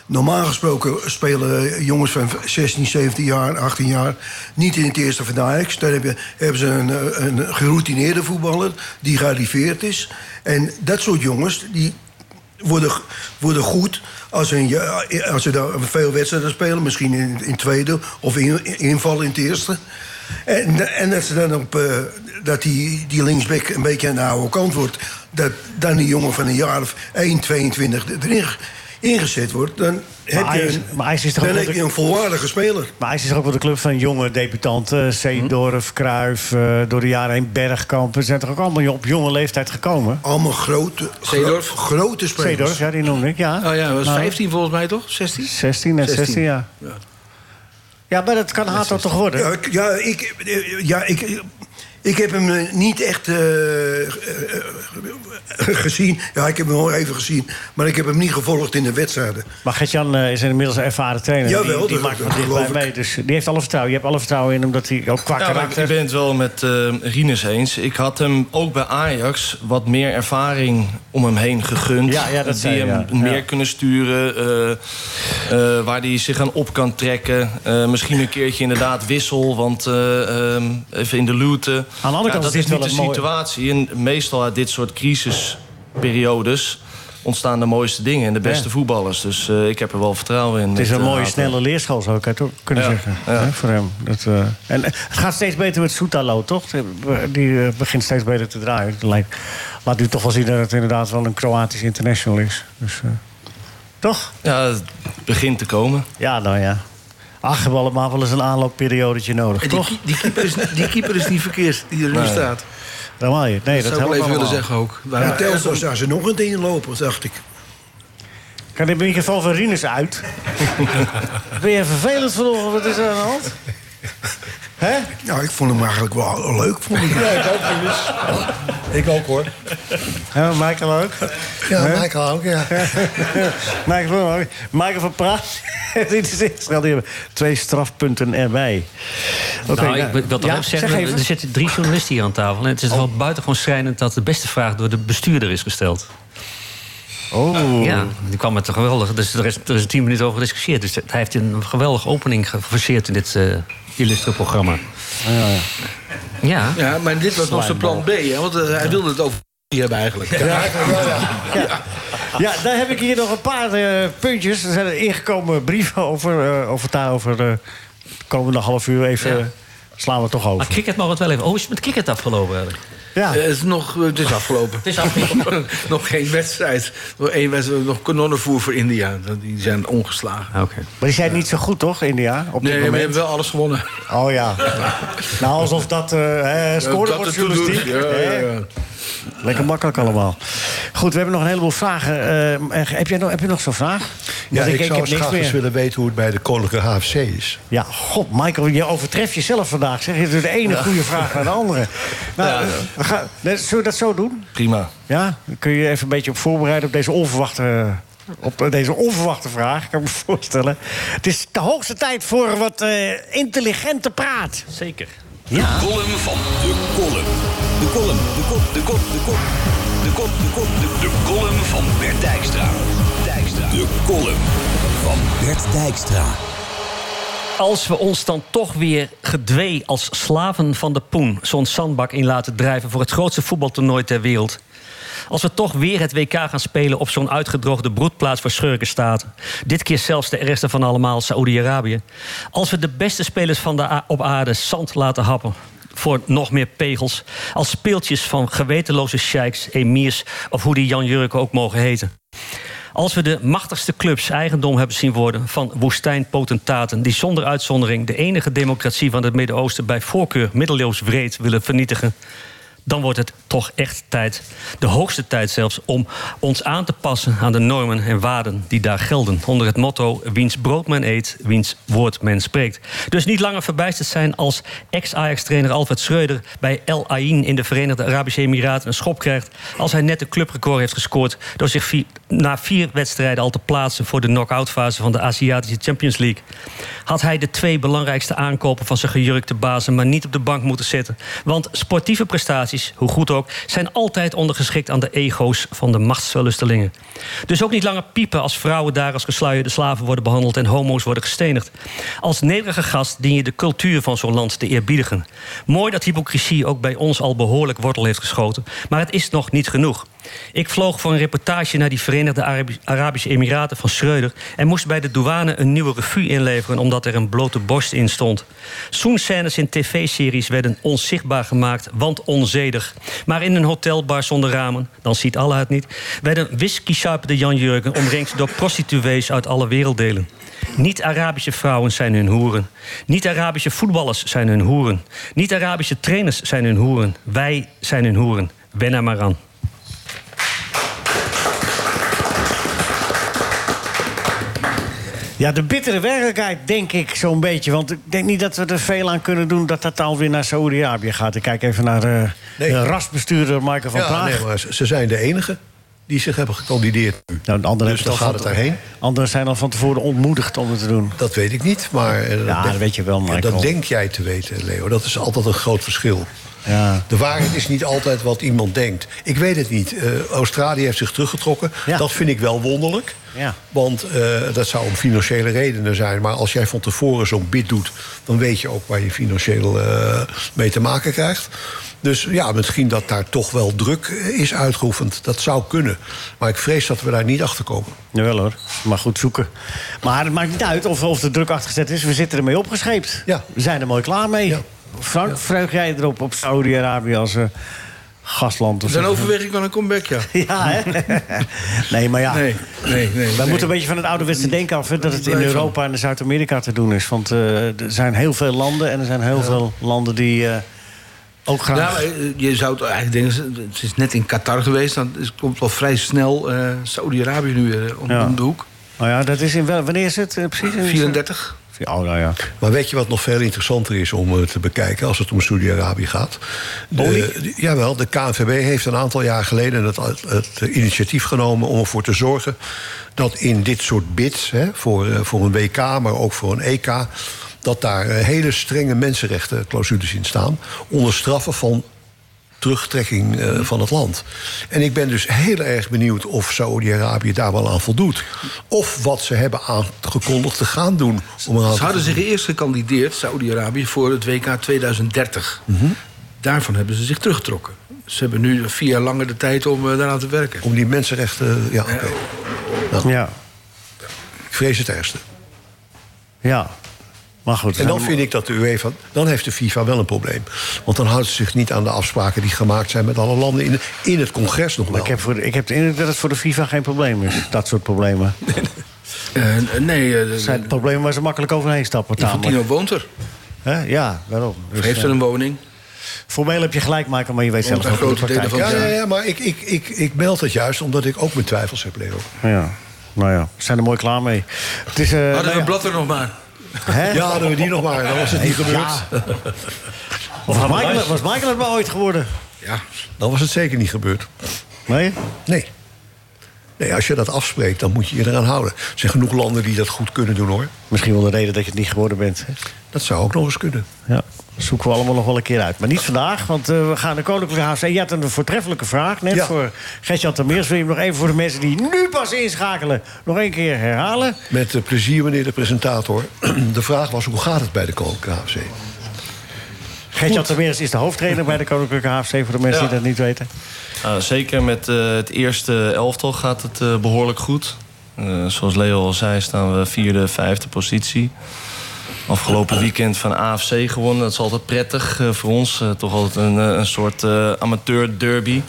S8: Normaal gesproken spelen jongens van 16, 17 jaar, 18 jaar niet in het eerste van Ajax. Dan heb je, hebben ze een, eh, een geroutineerde voetballer die gearriveerd is. En dat soort jongens die worden, worden goed als, hun, ja- als ze daar veel wedstrijden spelen. Misschien in, in tweede of in, inval in het eerste. En, en dat ze dan op eh, dat die, die linksback een beetje aan de oude kant wordt. Dat dan die jongen van een jaar of 1, 22 erin ge- ingezet wordt. Dan heb je
S4: Ajax-
S8: een,
S4: maar Ajax is toch
S8: dan
S4: ook
S8: heb
S4: wel
S8: je een volwaardige speler.
S4: Maar hij is dus ook wel de club van jonge debutanten. Seedorf, Kruijf, eh, door de jaren heen Bergkamp. Ze zijn toch ook allemaal op jonge leeftijd gekomen?
S8: Allemaal grote, gro-
S7: Seedorf?
S8: grote spelers.
S4: Seedorf, ja, die noemde ik, ja.
S7: Oh ja, dat was
S4: Nou,
S7: 15 volgens mij toch? 16?
S4: 16, net 16,
S7: 16,
S4: ja. Ja, maar dat kan Hato toch worden?
S8: Ja, ik- ja, ik, eh, ja ik, ik heb hem eh, niet echt eh, eh, gezien. Ja, ik heb hem wel even gezien. Maar ik heb hem niet gevolgd in de wedstrijden.
S4: Maar Gert-Jan eh, is inmiddels een ervaren trainer.
S8: Jawel,
S4: die, die
S8: dat-
S4: maakt
S8: dat
S4: wat dichtbij
S8: geloof ik.
S4: mee. Dus die heeft alle vertrouwen. Je hebt alle vertrouwen in hem dat hij ook qua
S6: Ja, maar ik
S4: karakter...
S6: ben het wel met eh Rinus eens. Ik had hem ook bij Ajax wat meer ervaring om hem heen gegund.
S4: Ja, ja, dat
S6: die
S4: zei je,
S6: hem
S4: ja.
S6: meer
S4: Ja.
S6: kunnen sturen. eh, eh, waar hij zich aan op kan trekken. Eh, misschien een keertje inderdaad wissel, want eh, ehm, even in de looten. Aan
S4: de andere kant
S6: dat
S4: is dit
S6: is niet
S4: wel
S6: de
S4: een mooie-
S6: situatie. En meestal uit dit soort crisisperiodes ontstaan de mooiste dingen en de beste
S4: Ja.
S6: voetballers. Dus eh, ik heb er wel vertrouwen in. eh,
S4: Het is een mooie,
S6: snelle.
S4: snelle leerschool, zou ik het ook kunnen
S6: Ja,
S4: zeggen.
S6: ja.
S4: hè, voor hem. Dat, eh, en eh, het gaat steeds beter met Soetalo, toch? Die eh, begint steeds beter te draaien. Het lijkt- laat nu toch wel zien dat het inderdaad wel een Kroatisch international is. Dus, eh, toch?
S6: Ja, het begint te komen.
S4: Ja, nou ja. Ach, we hebben allemaal wel eens een aanloopperiodetje nodig,
S7: En die,
S4: toch?
S7: ki- die, keeper is, die keeper is niet verkeerd, die er nu staat.
S4: Dan haal je het. Nee,
S7: Dat
S4: dat
S7: zou ik wel
S4: helpt
S7: even willen
S4: allemaal.
S7: zeggen
S10: Ah,
S7: ook. Waar-
S8: Ja, Telstra zou ze nog een inlopen, dacht ik.
S4: Kan de microfoon van Rinus
S7: [laughs]
S4: uit? ben je vervelend vanochtend? Wat is er aan de hand? Hè?
S8: Nou, ik vond hem eigenlijk wel leuk. Vond ik.
S9: Ja, ik ook, Rinus. Ik ook, hoor.
S4: Ja, Michael ook?
S9: Ja, Michael ook, ja.
S4: [laughs] Michael van, Michael van Praag. [laughs] Dit is Israël. Die hebben twee strafpunten erbij. Oké,
S5: nou, ik wil toch
S4: ja,
S5: even zeggen,
S4: zeg
S5: er-
S4: even. Oh.
S5: er zitten drie journalisten hier aan tafel. En het is wel buitengewoon schrijnend dat de beste vraag door de bestuurder is gesteld.
S4: Oh.
S5: Ja, die kwam met een geweldige. Dus er is, er is tien minuten over gediscussieerd. Dus hij heeft een geweldige opening geforceerd in dit eh illustre programma. ja, ja.
S7: Ja, maar dit was nog zijn plan B, hè, want eh, hij wilde het over hebben eigenlijk.
S4: Ja, daar heb ik hier nog een paar eh, puntjes. Er zijn ingekomen brieven over, eh, over daarover. eh, de komende half uur even
S5: Ja.
S4: slaan we het toch
S5: Maar
S4: over.
S5: cricket mag het wel even. Oh, is het met cricket afgelopen eigenlijk?
S4: Ja.
S7: Eh, het, is nog, eh, het is afgelopen.
S5: Het is afgelopen.
S7: [laughs] nog geen wedstrijd. Nog één wedstrijd, nog kanonnenvoer voor India. Die zijn ongeslagen.
S5: Oké.
S4: Maar die zijn niet zo goed, toch, India? Op dit
S7: Nee, maar we
S4: moment.
S7: hebben wel alles gewonnen.
S4: Oh ja. nou, alsof dat eh eh, scorebordjournalistiek.
S7: Ja, ja,
S4: hè?
S7: ja.
S4: Lekker makkelijk allemaal. Goed, we hebben nog een heleboel vragen. Eh, eh, heb, jij nog, heb je nog zo'n vraag?
S9: Ja,
S4: Want
S9: ik, zou
S4: heb
S9: eens graag eens willen weten hoe het bij de Koninklijke HFC is.
S4: Ja, god, Michael, je overtreft jezelf vandaag. Zeg, je doet de ene goede vraag naar de
S9: [laughs]
S4: andere. Nou, eh, we gaan, nee, zullen we dat zo doen?
S6: Prima.
S4: Ja? Dan kun je je even een beetje op voorbereiden op deze onverwachte, op eh, deze onverwachte vraag, kan ik me voorstellen. Het is de hoogste tijd voor wat eh, intelligente praat.
S5: Zeker.
S4: Ja.
S10: Column van de column. De column, de kop, de kop, de kop. De kop, de kop, de De column van Bert Dijkstra. Dijkstra. De column van Bert Dijkstra.
S5: Als we ons dan toch weer gedwee als slaven van de poen zo'n zandbak in laten drijven voor het grootste voetbaltoernooi ter wereld. Als we toch weer het WK gaan spelen op zo'n uitgedroogde broedplaats voor schurkenstaten. Dit keer zelfs de ergste van allemaal, Saoedi-Arabië. Als we de beste spelers van de a- op aarde zand laten happen voor nog meer pegels. Als speeltjes van gewetenloze sheiks, emirs of hoe die Jan Jurken ook mogen heten. Als we de machtigste clubs eigendom hebben zien worden van woestijnpotentaten die zonder uitzondering de enige democratie van het Midden-Oosten bij voorkeur middeleeuws wreed willen vernietigen, dan wordt het toch echt tijd, de hoogste tijd zelfs, om ons aan te passen aan de normen en waarden die daar gelden. Onder het motto: wiens brood men eet, wiens woord men spreekt. Dus niet langer verbijsterd zijn als ex-Ajax-trainer Alfred Schreuder bij El Ain in de Verenigde Arabische Emiraten een schop krijgt. als hij net een clubrecord heeft gescoord. door zich vi- na vier wedstrijden al te plaatsen voor de knock-outfase van de Aziatische Champions League. Had hij de twee belangrijkste aankopen van zijn gejurkte bazen maar niet op de bank moeten zetten. Want sportieve prestaties, hoe goed ook, zijn altijd ondergeschikt aan de ego's van de machtsverlustelingen. Dus ook niet langer piepen als vrouwen daar als gesluierde slaven worden behandeld en homo's worden gestenigd. Als nederige gast dien je de cultuur van zo'n land te eerbiedigen. Mooi dat hypocrisie ook bij ons al behoorlijk wortel heeft geschoten, maar het is nog niet genoeg. Ik vloog voor een reportage naar die Verenigde Arabi- Arabische Emiraten van Schreuder... en moest bij de douane een nieuwe revue inleveren... omdat er een blote borst in stond. Zoenscènes in tv-series werden onzichtbaar gemaakt, want onzedig. Maar in een hotelbar zonder ramen, dan ziet Allah het niet... werden whisky-sharpende Jan-Jurgen omringd door prostituees uit alle werelddelen. Niet-Arabische vrouwen zijn hun hoeren. Niet-Arabische voetballers zijn hun hoeren. Niet-Arabische trainers zijn hun hoeren. Wij zijn hun hoeren. Ben er maar aan.
S4: Ja, de bittere werkelijkheid, denk ik zo'n beetje. Want ik denk niet dat we er veel aan kunnen doen dat dat dan weer naar Saoedi-Arabië gaat. Ik kijk even naar eh, de rasbestuurder Michael van
S9: Ja,
S4: Praag.
S9: nee, maar ze ze zijn de enige die zich hebben gekandideerd.
S4: Nou, de anderen
S9: dus
S4: hebben
S9: dan
S4: het al
S9: gaat het
S4: van-
S9: daarheen.
S4: Anderen zijn al van tevoren ontmoedigd om het te doen.
S9: Dat weet ik niet, maar... eh,
S4: Ja, dat weet je wel,
S9: Ja,
S4: Michael.
S9: dat denk jij te weten, Leo. Dat is altijd een groot verschil.
S4: Ja.
S9: De waarheid is niet altijd wat iemand denkt. Ik weet het niet. Eh, Australië heeft zich teruggetrokken.
S4: Ja.
S9: Dat vind ik wel wonderlijk.
S4: Ja.
S9: Want eh, dat zou om financiële redenen zijn. Maar als jij van tevoren zo'n bid doet... dan weet je ook waar je financieel eh, mee te maken krijgt. Dus ja, misschien dat daar toch wel druk eh, is uitgeoefend. Dat zou kunnen. Maar ik vrees dat we daar niet achter komen.
S4: Jawel hoor, maar goed zoeken. Maar het maakt niet uit of, of de druk achtergezet is. We zitten ermee opgescheept.
S9: Ja.
S4: We zijn er mooi klaar mee.
S9: Ja.
S4: Frank, vreug jij erop op Saudi-Arabië als eh, gastland? Of
S7: Dan
S4: zo?
S7: overweeg ik wel een comeback, ja.
S4: [laughs] Ja, hè? [laughs] nee, maar ja.
S7: Nee, nee, nee.
S4: Wij moeten een beetje van het ouderwetse denken af... Hè, dat het in Europa en in Zuid-Amerika te doen is. Want eh, er zijn heel veel landen en er zijn heel veel landen die eh, ook graag...
S7: Ja, maar, eh, je zou het eigenlijk denken, het is net in Qatar geweest... dan is- komt wel vrij snel eh, Saudi-Arabië nu weer om,
S4: Ja.
S7: om de hoek.
S4: Nou ja, dat is in wel... Wanneer is het eh, precies?
S7: 34.
S4: Oh, nou ja.
S9: Maar weet je wat nog veel interessanter is om eh, te bekijken als het om Saudi-Arabië gaat? De, de- jawel, de KNVB heeft een aantal jaar geleden het, het initiatief genomen om ervoor te zorgen dat in dit soort bids, hè, voor, eh, voor een WK, maar ook voor een EK, dat daar eh, hele strenge mensenrechtenclausules in staan. Onder straffen van terugtrekking eh, van het land. En ik ben dus heel erg benieuwd of Saudi-Arabië daar wel aan voldoet. Of wat ze hebben aangekondigd te gaan doen. Om eraan
S7: Ze
S9: te voldoen.
S7: hadden zich eerst gekandideerd, Saudi-Arabië, voor het WK 2030. Daarvan hebben ze zich teruggetrokken. Ze hebben nu vier jaar langer de tijd om eh, daaraan te werken.
S9: Om die mensenrechten. eh, Ja, oké. Nou,
S4: Ja,
S9: Ik vrees het ergste.
S4: ja. Maar goed.
S9: En dan vind ik dat de UEFA. Dan heeft de FIFA wel een probleem. Want dan houdt ze zich niet aan de afspraken die gemaakt zijn met alle landen. In, in het congres nog wel.
S4: Ik heb, voor, ik heb de indruk dat het voor de FIFA geen probleem is. Dat soort problemen.
S7: Eh, eh, nee, eh,
S4: Dat zijn de problemen waar ze makkelijk overheen stappen. Tamelijk.
S7: Infantino woont er.
S4: Hè? Ja, daarom. Dus,
S7: Of heeft er
S4: eh,
S7: een woning.
S4: Formeel heb je gelijk, Michael, maar je weet zelf
S7: een
S4: ook hoe de
S7: grote delen
S4: praktijk
S7: van-
S9: ja, ja, ja, maar ik, ik, ik, ik meld het juist omdat ik ook mijn twijfels heb, Leo.
S4: Ja, nou ja, we zijn er mooi klaar mee. Het is, eh,
S7: Hadden we
S4: nou
S7: een
S4: ja,
S7: blad er nog maar.
S4: hè?
S9: Ja, hadden we die nog maar, dan was het niet gebeurd.
S4: Ja. Of had Michael, [laughs] was Michael het maar ooit geworden?
S7: Ja.
S9: Dan was het zeker niet gebeurd.
S4: Nee?
S9: Nee. Nee, als je dat afspreekt, dan moet je je eraan houden. Er zijn genoeg landen die dat goed kunnen doen, hoor.
S4: Misschien wel de reden dat je het niet geworden bent. hè?
S9: Dat zou ook nog eens kunnen.
S4: Ja, dat zoeken we allemaal nog wel een keer uit. Maar niet vandaag, want eh, we gaan de Koninklijke HFC. Je had een voortreffelijke vraag net
S9: Ja.
S4: voor Gertjan Termeers. Wil je hem nog even voor de mensen die nu pas inschakelen... nog één keer herhalen?
S9: Met eh, plezier, meneer de presentator. [clears throat] De vraag was, hoe gaat het bij de Koninklijke AFC?
S4: Gertjan Termeers is de hoofdtrainer bij de Koninklijke HFC... voor de mensen
S6: Ja.
S4: die dat niet weten.
S6: Nou, zeker met eh, het eerste elftal gaat het eh, behoorlijk goed. Eh, zoals Leo al zei, staan we vierde, vijfde positie. Afgelopen weekend van AFC gewonnen. Dat is altijd prettig eh, voor ons. Eh, toch altijd een, eh, een soort eh, amateur derby.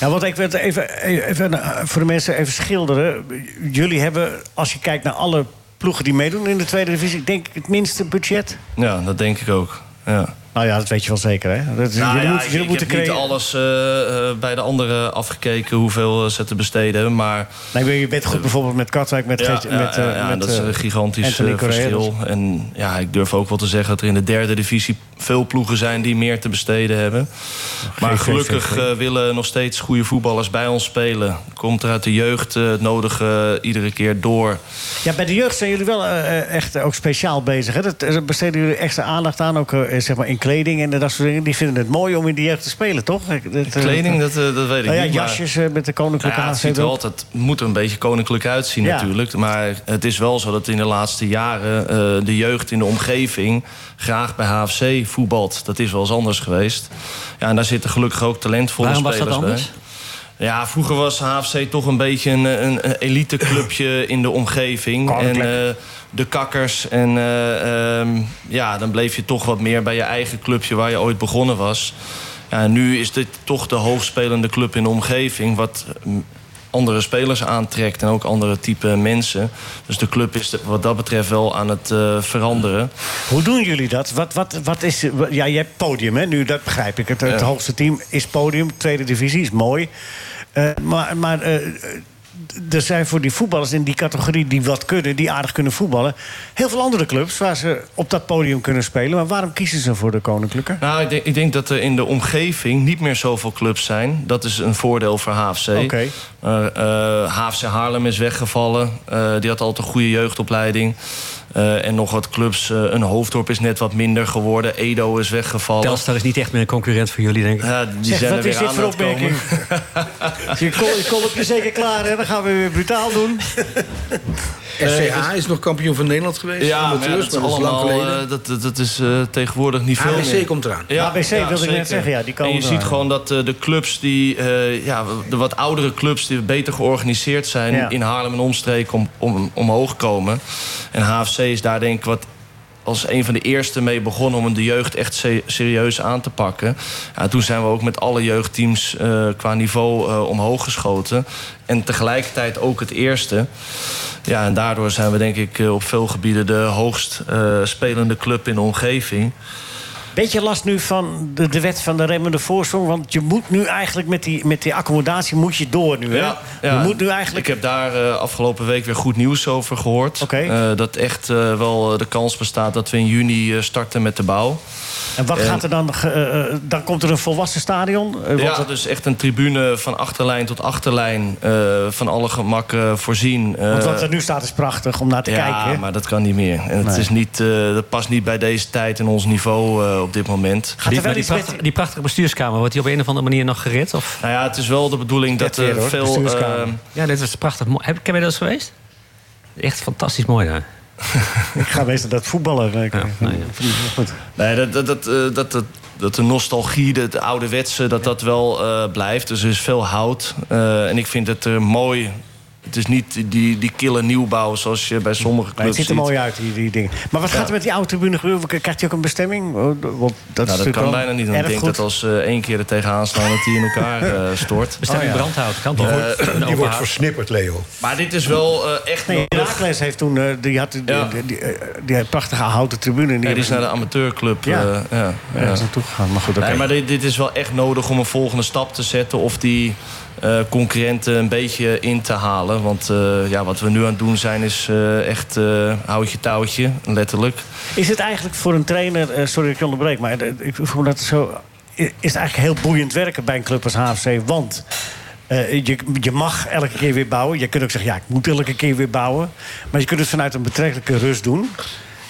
S4: Ja, want ik wil het even, even eh, voor de mensen even schilderen. Jullie hebben, als je kijkt naar alle ploegen die meedoen in de tweede divisie... denk ik het minste budget.
S6: Ja, dat denk ik ook. Ja.
S4: Nou ja, dat weet je wel zeker, hè? Dat,
S6: Nou
S4: jullie
S6: ja,
S4: moeten,
S6: ik-
S4: jullie
S6: ik
S4: moeten
S6: heb niet
S4: creë-
S6: alles eh, eh, bij de anderen afgekeken hoeveel eh, ze te besteden hebben, maar...
S4: Nee, maar je bent goed bijvoorbeeld met Katwijk, met...
S6: Ja,
S4: Geert-
S6: ja,
S4: met, eh,
S6: ja, ja,
S4: met,
S6: dat is
S4: eh,
S6: een gigantisch
S4: Anthony
S6: eh,
S4: Correa.
S6: verschil. En ja, ik durf ook wel te zeggen dat er in de derde divisie veel ploegen zijn die meer te besteden hebben. Maar
S4: GVV.
S6: gelukkig eh, willen nog steeds goede voetballers bij ons spelen. Komt er uit de jeugd eh, het nodige eh, iedere keer door.
S4: Ja, bij de jeugd zijn jullie wel eh, eh, echt eh, ook speciaal bezig. Hè? Dat, eh, besteden jullie extra aandacht aan, ook eh, zeg maar in kleding en dat soort dingen. Die vinden het mooi om in de jeugd te spelen, toch? Ik- dat, eh,
S6: Kleding, dat, eh, dat weet ik
S4: Nou ja,
S6: niet. maar-
S4: jasjes eh, met de koninklijke
S6: Nou ja, het, ziet
S4: AFC.
S6: er altijd, het moet er een beetje koninklijk uitzien
S4: Ja.
S6: natuurlijk. Maar het is wel zo dat in de laatste jaren... eh, de jeugd in de omgeving graag bij HFC voetbalt. Dat is wel eens anders geweest. Ja, en daar zitten gelukkig ook talentvolle
S5: Waarom was
S6: spelers
S5: dat anders?
S6: bij. Ja, vroeger was HFC toch een beetje een, een, een elite
S5: [clears throat]
S6: clubje in de omgeving. En eh, de kakkers. En eh, ehm, ja, dan bleef je toch wat meer bij je eigen clubje waar je ooit begonnen was. Ja, en nu is dit toch de hoogspelende club in de omgeving. Wat mm, andere spelers aantrekt en ook andere type mensen. Dus de club is de- wat dat betreft wel aan het eh, veranderen.
S4: Hoe doen jullie dat? Wat, wat, wat is, ja, je hebt podium, hè? Nu, dat begrijp ik. Het, het
S6: Ja.
S4: hoogste team is podium. Tweede divisie is mooi. Eh, maar maar eh, d- er zijn voor die voetballers in die categorie die wat kunnen... die aardig kunnen voetballen... heel veel andere clubs waar ze op dat podium kunnen spelen. Maar waarom kiezen ze voor de Koninklijke?
S6: Nou, ik denk, ik denk dat er in de omgeving niet meer zoveel clubs zijn. Dat is een voordeel voor HFC.
S4: Oké.
S6: Eh, eh, HFC Haarlem is weggevallen. Eh, die had altijd een goede jeugdopleiding. Eh, en nog wat clubs. Eh, een Hoofddorp is net wat minder geworden. Edo is weggevallen.
S5: Telstar is niet echt meer een concurrent voor jullie, denk ik.
S6: Ja, die
S4: Zeg,
S6: zijn er
S4: wat
S6: weer
S4: is dit
S6: aan
S4: voor
S6: aan het komen.
S4: opmerking? [laughs] je kol- je kolopje zeker klaar, hè? Dan gaan we weer brutaal doen.
S7: SCH is nog kampioen van Nederland geweest.
S6: Ja, maar ja,
S7: amateurs,
S6: dat is
S7: maar dat is lang
S6: allemaal,
S7: geleden.
S6: eh, dat, dat, dat is eh, tegenwoordig niet veel
S7: AMC
S6: meer.
S7: komt eraan.
S4: Ja, ABC wilde ik net zeggen, ja, die komen
S6: en je
S4: eraan.
S6: ziet gewoon dat eh, de clubs die, eh, ja, de wat oudere clubs die beter georganiseerd zijn
S4: Ja.
S6: in Haarlem en omstreken om, om, omhoog komen. En HFC is daar denk ik wat als een van de eerste mee begonnen om de jeugd echt se- serieus aan te pakken. Ja, toen zijn we ook met alle jeugdteams eh, qua niveau eh, omhoog geschoten. En tegelijkertijd ook het eerste. Ja, en daardoor zijn we denk ik eh, op veel gebieden de hoogst eh, spelende club in de omgeving.
S4: Beetje last nu van de, de wet van de remmende voorsprong. Want je moet nu eigenlijk met die, met die accommodatie moet je door nu. Hè? Je moet nu eigenlijk.
S6: Ik heb daar eh, afgelopen week weer goed nieuws over gehoord.
S4: Oké.
S6: Eh, dat echt eh, wel eh, de kans bestaat dat we in juni eh, starten met de bouw.
S4: En wat gaat er dan? ge- eh, eh, dan komt er een volwassen stadion. eh, want
S6: Ja,
S4: dat-
S6: dus echt een tribune van achterlijn tot achterlijn eh, van alle gemakken voorzien. Eh,
S4: want wat er nu staat is prachtig om naar te
S6: ja,
S4: kijken. hè?
S6: maar dat kan niet meer. En het
S4: Nee.
S6: is niet, eh, dat past niet bij deze tijd en ons niveau eh, op dit moment.
S4: Gaat er
S5: Maar
S4: wel
S5: die,
S4: iets met...
S5: prachtige, die prachtige bestuurskamer, wordt die op een of andere manier nog gered? Of?
S6: Nou ja, het is wel de bedoeling dat
S4: Vet weer,
S6: er
S4: hoor,
S6: veel...
S4: bestuurskamer.
S6: eh,
S5: Ja, dit was prachtig mooi. Heb, ken je dat eens geweest? Echt fantastisch mooi daar.
S4: Ik ga meestal dat voetballen. eh,
S5: Ja, nou ja.
S4: Goed.
S6: Nee, dat, dat, dat, eh, dat, dat, dat de nostalgie, de, de ouderwetse, dat dat wel eh, blijft. Dus er is veel hout. Eh, en ik vind het er mooi. Het is niet die, die kille nieuwbouw zoals je bij sommige
S4: Nee, het
S6: clubs
S4: ziet er
S6: ziet.
S4: mooi uit, die, die dingen. Maar wat gaat er met die oude tribune gebeuren? Krijgt hij ook een bestemming? Oh, Want dat, is
S6: Nou, dat
S4: natuurlijk
S6: kan
S4: wel
S6: bijna niet. Want ik denk
S4: erfgoed.
S6: dat als eh, één keer er tegenaan slaan, dat die in
S4: [laughs]
S6: elkaar eh, stort.
S5: Bestemming
S4: Oh, ja.
S5: brandhout, kan toch?
S4: [clears throat]
S5: Een
S9: Die wordt
S5: openhaard.
S9: versnipperd, Leo.
S6: Maar dit is wel eh, echt
S4: Nee,
S6: nodig.
S4: Herakles heeft toen. eh, die, had, die,
S6: Ja.
S4: die, die, eh, die had prachtige houten tribune. en
S6: Ja, die
S4: hebben
S6: is
S4: ze-
S6: naar de amateurclub.
S4: Ja.
S6: eh, ja, ja.
S4: ergens naartoe gegaan. Maar goed, oké.
S6: Nee, maar dit, dit is wel echt nodig om een volgende stap te zetten. Of die eh, concurrenten een beetje in te halen. Want eh, ja, wat we nu aan het doen zijn is eh, echt eh, houtje touwtje, letterlijk.
S4: Is het eigenlijk voor een trainer, eh, sorry dat ik je onderbreek, maar eh, ik voel me dat zo. Is het eigenlijk heel boeiend werken bij een club als HFC? Want eh, je, je mag elke keer weer bouwen. Je kunt ook zeggen, ja, ik moet elke keer weer bouwen. Maar je kunt het vanuit een betrekkelijke rust doen.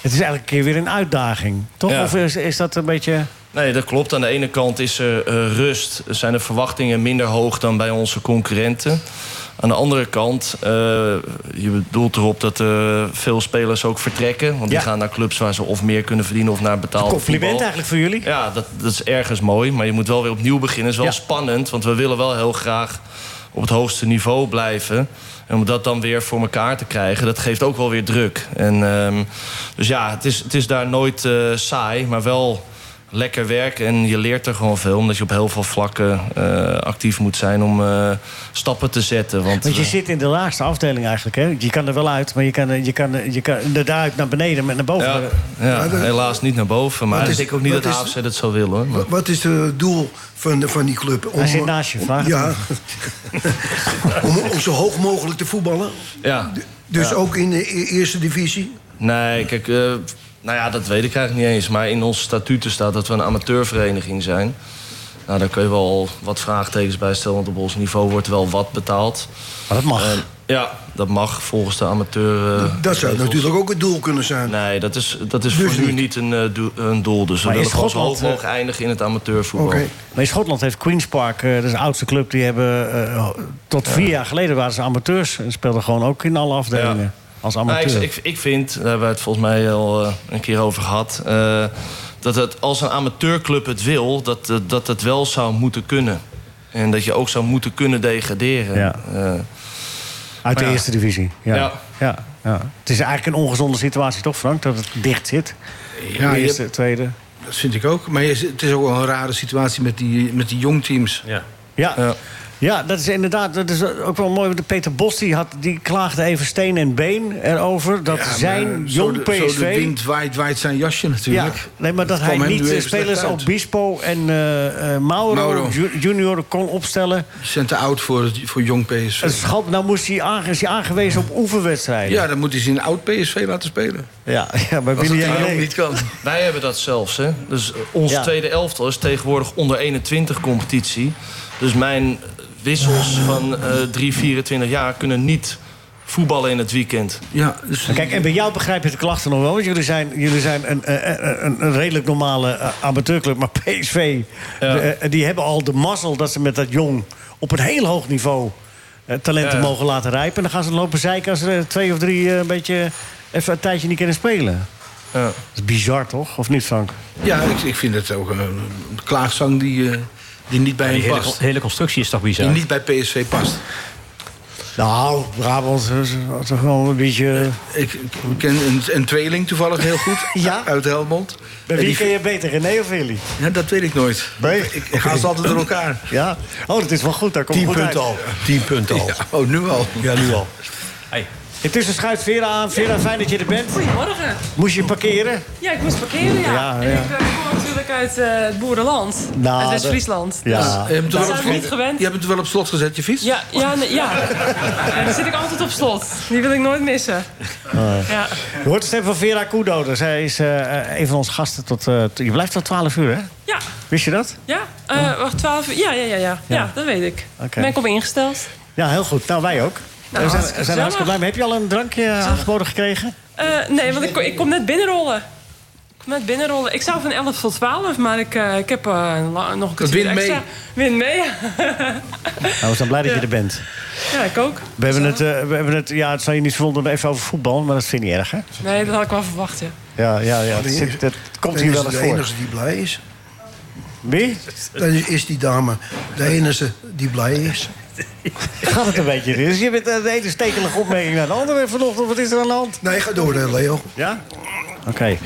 S4: Het is elke keer weer een uitdaging, toch?
S6: Ja.
S4: Of is, is dat een beetje.
S6: Nee, dat klopt. Aan de ene kant is er eh, rust. Zijn de verwachtingen minder hoog dan bij onze concurrenten. Aan de andere kant, eh, je bedoelt erop dat eh, veel spelers ook vertrekken. Want
S4: Ja.
S6: die gaan naar clubs waar ze of meer kunnen verdienen of naar betaald
S4: Compliment
S6: voetbal.
S4: eigenlijk voor jullie?
S6: Ja, dat, dat is ergens mooi. Maar je moet wel weer opnieuw beginnen. is wel
S4: Ja.
S6: spannend, want we willen wel heel graag op het hoogste niveau blijven. En om dat dan weer voor elkaar te krijgen, dat geeft ook wel weer druk. En, ehm, dus ja, het is, het is daar nooit eh, saai, maar wel lekker werk en je leert er gewoon veel. Omdat je op heel veel vlakken eh, actief moet zijn om eh, stappen te zetten. Want,
S4: Want je
S6: eh,
S4: zit in de laagste afdeling eigenlijk. Hè? Je kan er wel uit, maar je kan, je kan, je kan er daaruit naar beneden, maar naar boven.
S6: ja, ja, helaas niet naar boven. Maar
S4: Wat
S6: ik
S4: is-
S6: denk ook niet
S4: wat
S6: dat
S4: is-
S6: AFC dat zou willen. Hoor. Maar-
S8: Wat is het doel van, de- van die club?
S6: Hij zit naast je,
S8: om-
S6: vraag het
S8: Ja. [laughs] om, om zo hoog mogelijk te voetballen.
S6: ja.
S8: Dus
S6: Ja.
S8: ook in de e- eerste divisie.
S6: Nee, kijk, eh, nou ja, dat weet ik eigenlijk niet eens. Maar in onze statuten staat dat we een amateurvereniging zijn. Nou, daar kun je wel wat vraagtekens bij stellen, want op ons niveau wordt wel wat betaald.
S4: Maar dat mag.
S6: ja, dat mag volgens de amateur. eh,
S8: Dat zou
S6: regels.
S8: natuurlijk ook het doel kunnen zijn.
S6: Nee, dat is, dat is
S8: Dus
S6: voor nu
S8: niet.
S6: niet een, eh, doel- een doel. Dus we
S4: Maar
S6: willen
S4: is
S6: gewoon zo hoog
S4: Schotland,
S6: mogelijk eindigen in het amateurvoetbal.
S4: Maar in Schotland heeft Queen's Park, eh, dat is de oudste club, die hebben eh, tot vier jaar geleden waren ze amateurs en speelden gewoon ook in alle afdelingen als
S6: Nou,
S4: amateur.
S6: ik, ik, ik vind, daar hebben we het volgens mij al eh, een keer over gehad... eh, dat het, als een amateurclub het wil, dat, dat- dat het wel zou moeten kunnen. En dat je ook zou moeten kunnen degraderen.
S4: Ja.
S6: Eh,
S4: Uit de
S6: maar ja.
S4: eerste divisie. Ja. Ja.
S6: Ja.
S4: Ja, Het is eigenlijk een ongezonde situatie, toch, Frank? Dat het dicht zit.
S7: Ja,
S4: de
S7: je
S4: eerste,
S7: hebt-
S4: tweede.
S7: Dat vind ik ook. Maar je- het is ook wel een rare situatie met die, met die jongteams.
S5: Ja.
S4: Ja. ja. dat is inderdaad dat is ook wel mooi. want de Peter Bos die, had, die klaagde even steen en been erover. Dat
S7: maar
S4: zijn
S7: zo
S4: jong
S7: de,
S4: PSV...
S7: Zo de wind waait, waait zijn jasje natuurlijk.
S4: Ja, nee, maar dat
S7: Het kwam
S4: hij
S7: hem
S4: niet
S7: nu
S4: de
S7: even slecht
S4: spelers
S7: uit.
S4: Obispo en eh, eh, Mauro,
S7: Mauro.
S4: Ju- junior kon opstellen.
S7: Die zijn te oud voor, het- voor jong PSV.
S4: Het schat, nou moest hij aange- is hij aangewezen op oefenwedstrijden.
S7: Ja, dan moet hij ze in oud PSV laten spelen.
S4: ja, ja maar Willy
S7: Als het tegen
S4: Jannee-
S7: jong niet kan.
S6: Wij hebben dat zelfs, hè. Dus eh, ons
S4: Ja.
S6: tweede elftal is tegenwoordig onder 21 competitie. Dus mijn wissels van eh 3, 24 jaar kunnen niet voetballen in het weekend.
S7: Ja, dus
S4: Nou, Kijk, en bij jou begrijp je de klachten nog wel. Want jullie zijn, jullie zijn een, eh, eh, een, een redelijk normale eh, amateurclub. Maar PSV, de, eh, die hebben al de mazzel dat ze met dat jong... op een heel hoog niveau eh, talenten
S6: Ja.
S4: mogen laten rijpen. En dan gaan ze lopen zeiken als er eh, twee of drie eh, een beetje... even een tijdje niet kunnen spelen.
S6: Ja.
S4: Dat is bizar, toch? Of niet, Frank?
S7: ja ik, ik vind het ook een, een klaagzang die, eh, die niet bij
S5: Die
S7: hem
S5: hele,
S7: past.
S5: hele constructie is toch
S7: Die
S5: bizar?
S7: niet bij PSV past.
S4: Nou, Brabant is toch wel een beetje...
S7: Ik, ik ken een, een tweeling toevallig heel goed.
S4: Ja?
S7: Uit Helmond.
S4: Bij
S7: En
S4: wie
S7: die-
S4: ken je beter, René of Willy?
S7: Ja, dat weet ik nooit.
S4: Nee?
S7: Ik, ik haal ze altijd door elkaar.
S4: Ja? Oh, dat is wel goed. Daar komt
S9: 10
S4: goed uit.
S9: punten al. 10 punten al.
S7: [laughs] Ja, oh, nu al.
S9: Ja, nu al.
S5: Hey.
S4: Intussen schuift Vera aan. Vera, fijn dat je er bent.
S11: Goedemorgen.
S4: Moest je parkeren?
S11: Ja, ik moest parkeren, ja.
S4: Ja,
S11: En
S4: ja.
S11: ik eh, kom natuurlijk uit eh, het boerenland.
S4: Nou,
S11: uit
S4: dat-
S11: West-Friesland.
S4: Ja.
S7: Je
S11: Ah.
S7: hebt, het
S11: Dat
S7: wel op
S11: zijn we niet
S7: slot,
S11: gewend.
S7: je hebt het wel op slot gezet, je fiets?
S11: Ja, ja, nee, ja. En dan zit ik altijd op slot. Die wil ik nooit missen. Ja.
S4: Je hoort de stem van Vera Kudo. Dus zij is eh, een van onze gasten tot... eh, t- je blijft tot 12 uur, hè?
S11: Ja,
S4: Wist je dat?
S11: ja. Eh, wacht, 12 uur. Ja, ja, ja, ja. Ja, dat weet ik.
S4: Oké.
S11: Ben ik op ingesteld.
S4: Ja, heel goed. Nou, wij ook. we zijn, we
S11: hartstikke
S4: zijn hartstikke
S11: gezellig.
S4: blij. mee. Heb je al een drankje aangeboden gekregen?
S11: Eh, nee, want ik, ko- ik kom net binnenrollen. Ik kom net binnenrollen. Ik zou van 11 tot 12, maar ik, eh, ik heb eh, een la- nog een
S7: Dat
S11: kwartier
S7: wint mee.
S11: extra. Win mee. [laughs]
S4: Nou, we zijn blij dat je er bent.
S11: ja, ik ook.
S4: We hebben, het, eh, we hebben het... Ja, het zal je niet verwonderen even over voetbal. Maar dat vind je niet erg, hè?
S11: Nee, dat had ik wel verwacht, ja.
S4: Ja, ja, ja. Dat, zit- dat komt
S8: Dan
S4: hier
S8: is
S4: wel
S8: het
S4: eens
S8: de
S4: voor.
S8: enige die blij is.
S4: Wie?
S8: Dan is- is die dame de enige die blij is.
S4: Gaat het een beetje? Dus je bent eh, de ene stekelige opmerking naar de andere vanochtend. Wat is er aan de hand?
S8: Nee, ga door, hè, Leo.
S4: Ja? Oké. Eh,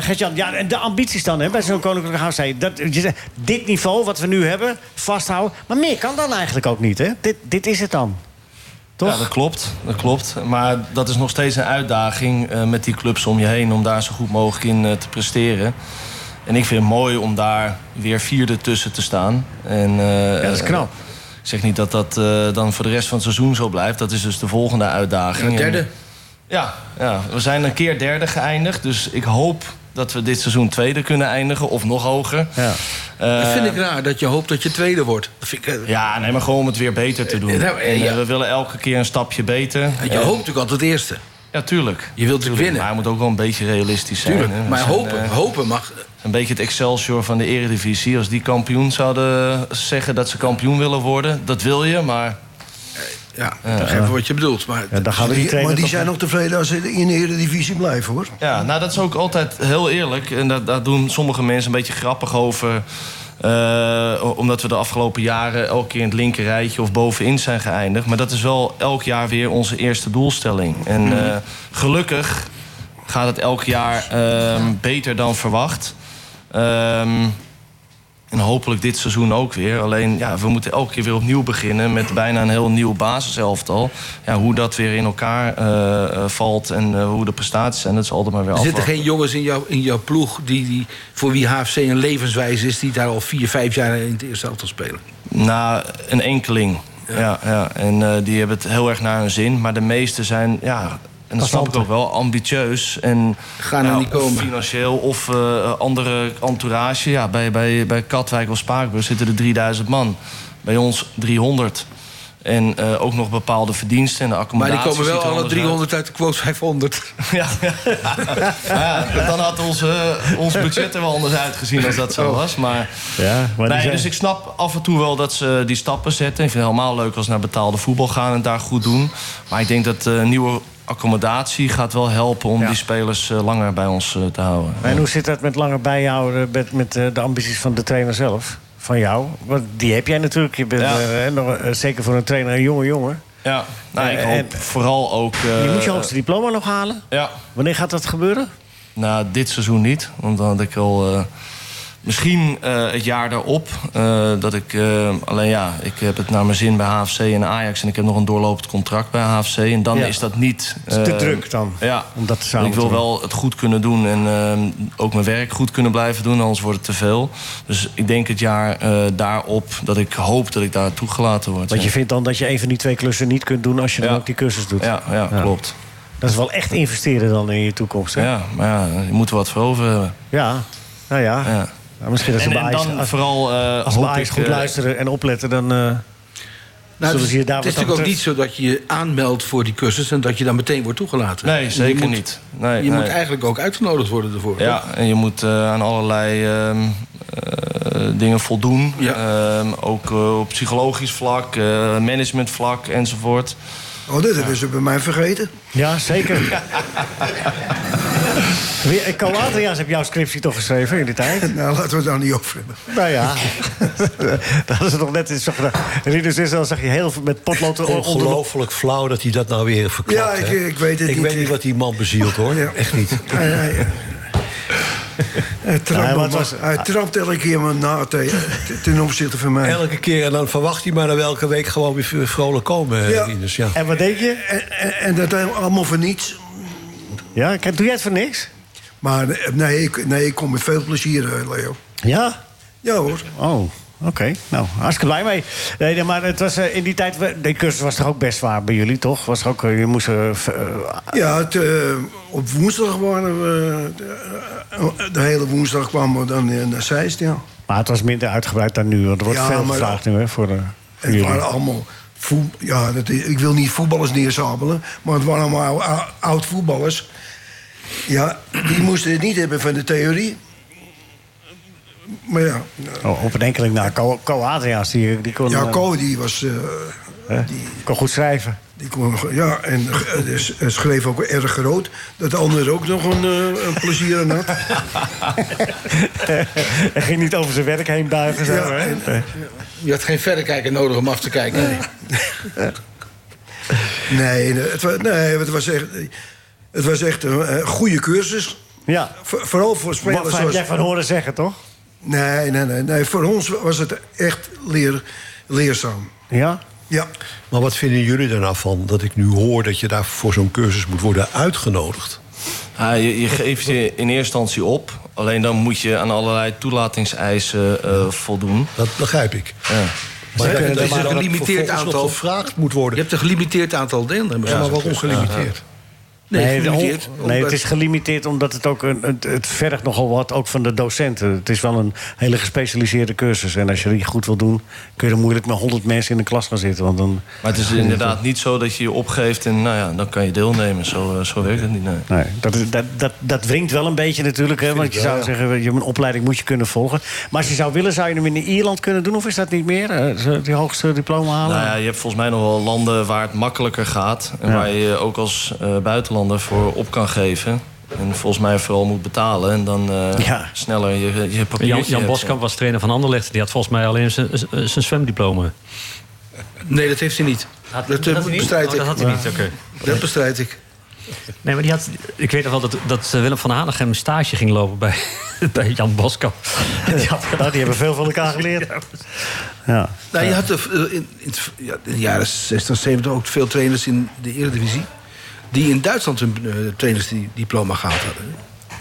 S4: Gert-Jan, ja, en de ambities dan hè, bij zo'n Koninklijk Huis. Hey, dat, je zegt, dit niveau wat we nu hebben, vasthouden. Maar meer kan dan eigenlijk ook niet. Hè? Dit, dit is het dan. Toch?
S6: Ja, dat klopt, dat klopt. Maar dat is nog steeds een uitdaging eh, met die clubs om je heen... om daar zo goed mogelijk in eh, te presteren. En ik vind het mooi om daar weer vierde tussen te staan. En, eh,
S4: Ja, dat is knap.
S6: Ik zeg niet dat dat eh, dan voor de rest van het seizoen zo blijft. Dat is dus de volgende uitdaging.
S7: Ja, derde.
S6: En- ja, ja, we zijn een keer derde geëindigd. Dus ik hoop dat we dit seizoen tweede kunnen eindigen of nog hoger.
S4: Ja.
S6: Eh,
S7: Dat vind ik raar, dat je hoopt dat je tweede wordt. Dat vind ik, eh,
S6: ja, nee, maar gewoon om het weer beter te doen.
S7: Eh, nou, eh,
S6: En, eh,
S7: ja.
S6: we willen elke keer een stapje beter.
S7: Je hoopt natuurlijk altijd eerste.
S6: Ja, tuurlijk.
S7: Je wilt natuurlijk
S6: Maar
S7: winnen.
S6: hij moet ook wel een beetje realistisch zijn. hè.
S7: Tuurlijk,
S6: We
S7: maar
S6: zijn,
S7: hopen,
S6: eh,
S7: hopen mag.
S6: een beetje het Excelsior van de Eredivisie. Als die kampioen zouden zeggen dat ze kampioen willen worden, dat wil je, maar.
S7: Ja, ik begrijp wel wat je bedoelt. Maar
S4: Ja, daar gaan we die
S8: Die,
S4: trainer
S8: maar die
S4: toch-
S8: zijn nog tevreden als ze in de Eredivisie blijven, hoor.
S6: Ja, nou, dat is ook altijd heel eerlijk. En daar, daar doen sommige mensen een beetje grappig over. eh, omdat we de afgelopen jaren elke keer in het linker rijtje of bovenin zijn geëindigd. Maar dat is wel elk jaar weer onze eerste doelstelling. En
S7: Mhm.
S6: eh, gelukkig gaat het elk jaar eh, beter dan ehm, verwacht. Eh, Ehm, en hopelijk dit seizoen ook weer. Alleen ja, we moeten elke keer weer opnieuw beginnen met bijna een heel nieuw basiselftal. Ja, hoe dat weer in elkaar eh, eh, valt en eh, hoe de prestaties zijn, dat is altijd maar weer
S7: Er zitten
S6: afwachten.
S7: geen jongens in jouw, in jouw ploeg die, die, voor wie HFC een levenswijze is... die daar al vier, vijf jaar in het eerste elftal spelen.
S6: Na een enkeling. Ja. Ja, En eh, die hebben het heel erg naar hun zin. Maar de meesten zijn, ja, en dat snap ik ook wel, ambitieus. En
S7: Gaan er
S6: ja,
S7: niet
S6: of
S7: komen.
S6: Financieel of eh, andere entourage. Ja, bij, bij, bij Katwijk of Spaakbus zitten er 3000 man. Bij ons 300. En eh, ook nog bepaalde verdiensten en de
S7: Maar die
S6: accommodatie.
S7: komen wel
S6: ziet er
S7: alle
S6: anders uit.
S7: 300 uit de quote 500.
S6: Ja, [laughs] Ja, dan had ons, eh, ons budget er wel anders uitgezien als dat
S7: Oh.
S6: zo was. Maar,
S4: Ja, maar die
S6: nee,
S4: zijn-
S6: dus ik snap af en toe wel dat ze die stappen zetten. Ik vind het helemaal leuk als ze naar betaalde voetbal gaan en daar goed doen. Maar ik denk dat eh, nieuwe accommodatie gaat wel helpen om die spelers eh, langer bij ons eh, te houden.
S4: En hoe zit dat met langer bijhouden met, met eh, de ambities van de trainer zelf? Van jou? Want die heb jij natuurlijk. Je bent
S6: Ja.
S4: eh, nog, eh, zeker voor een trainer een jonge jongen.
S6: Ja, nou, ik
S4: Eh,
S6: hoop
S4: en-
S6: vooral ook... eh,
S4: je moet je hoogste diploma nog halen.
S6: Ja.
S4: Wanneer gaat dat gebeuren?
S6: Nou, dit seizoen niet. Want dan had ik al. eh, misschien eh, het jaar daarop. eh, dat ik, eh, alleen ja, ik heb het naar mijn zin bij HFC en Ajax. En ik heb nog een doorlopend contract bij HFC. En dan
S4: Ja.
S6: is dat niet.
S4: Het is te
S6: eh,
S4: druk dan,
S6: Ja.
S4: om dat samen
S6: ik wil
S4: te doen.
S6: wel het goed kunnen doen. En eh, ook mijn werk goed kunnen blijven doen. Anders wordt het te veel. Dus ik denk het jaar eh, daarop dat ik hoop dat ik daar toegelaten word.
S4: Want
S6: ja.
S4: je vindt dan dat je een van die twee klussen niet kunt doen als je dan ook die cursus doet.
S6: Ja, ja, klopt.
S4: Dat is wel echt investeren dan in je toekomst. Hè?
S6: Ja, maar ja, je moet er wat voor over hebben.
S4: Ja, nou ja. Nou, misschien dat ze
S6: En-
S4: bij
S6: en
S4: Ajax-
S6: dan
S4: als-
S6: vooral, eh,
S4: als ze bij
S6: hoop
S4: Ajax
S6: ik,
S4: goed
S6: eh,
S4: luisteren en opletten, dan eh,
S7: [laughs] Nou,
S4: zullen ze
S7: het is,
S4: je daar wat
S7: het is natuurlijk
S4: aan
S7: ook niet zo dat je je aanmeldt voor die cursus... en dat je dan meteen wordt toegelaten.
S6: Nee,
S7: Je
S6: zeker
S7: moet-
S6: niet. Nee,
S7: je
S6: nee.
S7: moet eigenlijk ook uitgenodigd worden ervoor.
S6: Ja,
S7: toch?
S6: en je moet eh, aan allerlei ehm, eh, dingen voldoen. Ehm, ook eh, op psychologisch vlak, eh, managementvlak enzovoort.
S8: Oh, dit hebben ze bij mij vergeten.
S4: Ja,
S6: [laughs]
S4: zeker. [laughs] Wie- eh, Ko Adriaans heb jouw scriptie toch geschreven in die
S6: [laughs]
S4: tijd?
S8: Nou, laten we het daar niet over hebben.
S4: Nou ja, [laughs] dat is nog net in zo'n Rinus dus is, dan zag je heel veel met potlood onder de
S9: Ongelooflijk flauw dat hij dat nou weer verklapt.
S8: Ja, ik-
S9: hè?
S8: ik weet het
S9: Ik
S8: niet.
S9: weet niet wat die man bezielt, hoor.
S8: Ja.
S9: Echt niet.
S8: Hij, hij, hij
S4: Ja,
S8: trapt,
S4: maar
S8: me
S4: het was-
S8: maar- hij trapt elke keer me na tegen- ten opzichte van mij.
S9: Elke keer. En dan verwacht hij maar dan welke week gewoon weer vrolijk komen.
S8: Ja.
S9: Ja. ja.
S4: En wat denk je?
S8: En, en, en dat allemaal voor niets.
S4: Ja, ik heb- doe jij het voor niks?
S8: Maar eh, nee ik, nee, ik kom met veel plezier, eh, Leo.
S4: Ja?
S8: Ja hoor.
S4: Oh, oké. Nou, hartstikke blij mee. Nee, nee, maar het was eh, in die tijd... we- De cursus was toch ook best zwaar bij jullie, toch? Was er ook, eh, je moest... eh, v- eh,
S8: Ja, het, eh, op woensdag waren we... eh, De hele woensdag kwamen we dan eh, naar Zeist, ja.
S4: maar het was minder uitgebreid dan nu. Want er wordt
S8: Ja,
S4: veel
S8: maar-
S4: gevraagd nu, hè, voor, eh, voor
S8: En het
S4: jullie.
S8: waren allemaal... voet- Ja, dat, is- ik wil niet voetballers neerzabelen, maar het waren allemaal ou- oud voetballers. Ja, die moesten het niet hebben van de theorie. Maar ja,
S4: Oh, op een enkeling na. Ko, Ko Adriaans, die, die kon,
S8: ja
S4: eh,
S8: Ko, die was... eh,
S4: kon goed schrijven. [laughs]
S8: die kon, ja, en eh, s- schreef ook erg groot. Dat de ander ook nog een, eh, een plezier aan
S4: [laughs]
S8: had.
S4: Hij ging niet over zijn werk heen buigen. Zo,
S8: Ja,
S4: hè?
S7: Je had geen verrekijker nodig om af te kijken.
S8: Nee, nee, het was, nee, het was echt, het was echt een eh, goede cursus.
S4: ja.
S8: Vo- vooral voor
S4: Wat
S8: spelers
S4: heb jij van
S8: zoals...
S4: horen zeggen, toch?
S8: Nee, nee, nee, nee. Voor ons was het echt leer, leerzaam.
S4: Ja?
S8: Ja.
S9: Maar wat vinden jullie er nou van dat ik nu hoor dat je daar voor zo'n cursus moet worden uitgenodigd?
S6: Ja, je, je geeft je in eerste instantie op. Alleen dan moet je aan allerlei toelatingseisen eh, voldoen.
S9: Dat begrijp ik. Maar
S7: kunnen
S9: dat,
S7: er
S9: dat
S7: maar
S9: je
S7: een
S9: dan
S7: gelimiteerd
S9: vervolgens nog
S7: aantal-
S9: gevraagd moet
S7: Je
S9: worden.
S7: hebt een gelimiteerd aantal deelnemers.
S9: Ja, maar waarom gelimiteerd?
S7: Nee,
S4: de-
S7: gelimiteerd.
S4: nee,
S7: omdat-
S4: het is gelimiteerd omdat het ook een, het, het vergt nogal wat ook van de docenten. Het is wel een hele gespecialiseerde cursus. En als je die goed wil doen, kun je er moeilijk met 100 mensen in de klas gaan zitten. Want dan,
S6: Maar het is inderdaad niet zo dat je je opgeeft en nou ja, dan kan je deelnemen. Zo, eh, zo werkt het niet. nee.
S4: nee, dat, is- dat, dat, dat wringt wel een beetje natuurlijk. Hè, want je zou zeggen, je, een opleiding moet je kunnen volgen. Maar als je zou willen, zou je hem in Ierland kunnen doen? Of is dat niet meer? Eh, zo- Die hoogste diploma halen? [laughs]
S6: Nou ja, je hebt volgens mij nog wel landen waar het makkelijker gaat. En
S4: Ja.
S6: waar je je ook als eh, buitenlander voor op kan geven. En volgens mij vooral moet betalen. En dan eh,
S4: Ja.
S6: sneller je, je papiertje
S5: Jan, Jan
S6: hebt.
S5: Boskamp was trainer van Anderlecht. Die had volgens mij alleen zijn- eh, zijn zijn zwemdiploma.
S7: Nee, dat heeft hij niet. dat eh, bestrijd ik.
S5: dat had hij niet, oké.
S7: Dat bestrijd ik.
S5: Nee, maar die had, ik weet nog wel dat, dat eh, Willem van Hanegem een stage ging lopen bij, [laughs] bij Jan Boskamp. Dus Die, had
S4: Nou, die hebben veel van elkaar geleerd. Ja.
S7: Nou, je had er, eh, in, in het- ja, in de jaren 60, 70 ook veel trainers in de Eredivisie... die in Duitsland hun eh, trainersdiploma gehaald hadden.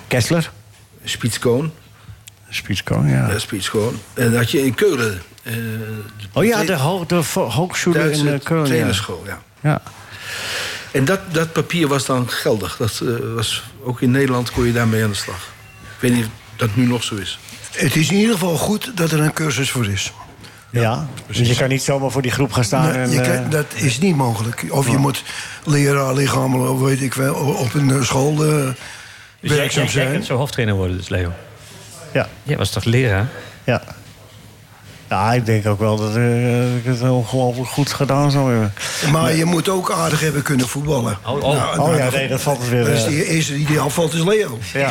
S4: Kessler?
S7: Spitskoon.
S4: Spitskoon, ja.
S7: Ja, Spitskoon. eh, En dan had je in Keulen... eh,
S4: Oh ja, de,
S7: tra-
S4: ho de vo- hogeschool in eh,
S7: Duitse
S4: Keulen. ja.
S7: trainerschool, ja.
S4: Ja.
S7: En dat, dat papier was dan geldig. Dat, eh, was, ook in Nederland kon je daarmee aan de slag. Ik weet niet of dat nu nog zo is.
S8: Het is in ieder geval goed dat er een cursus voor is.
S4: Ja, dus je kan niet zomaar voor die groep gaan staan.
S8: Nee,
S4: en,
S8: je
S4: eh,
S8: kan- dat is niet mogelijk. Of je moet leraar lichamelijk, of weet ik wel, op een eh, school eh,
S5: Dus jij,
S8: werkzaam
S5: jij, jij
S8: zijn.
S5: kunt zo hoofdtrainer worden, dus Leo.
S4: Ja.
S5: Jij was toch leraar?
S4: Ja. Ja, ik denk ook wel dat eh, ik het ongelooflijk goed gedaan zou hebben.
S8: Maar je moet ook aardig hebben kunnen voetballen.
S4: Oh, oh. Oh ja, nee, dat valt dus weer,
S8: nou, Dat is
S4: eh.
S8: de eerste die afvalt is Leo. [laughs]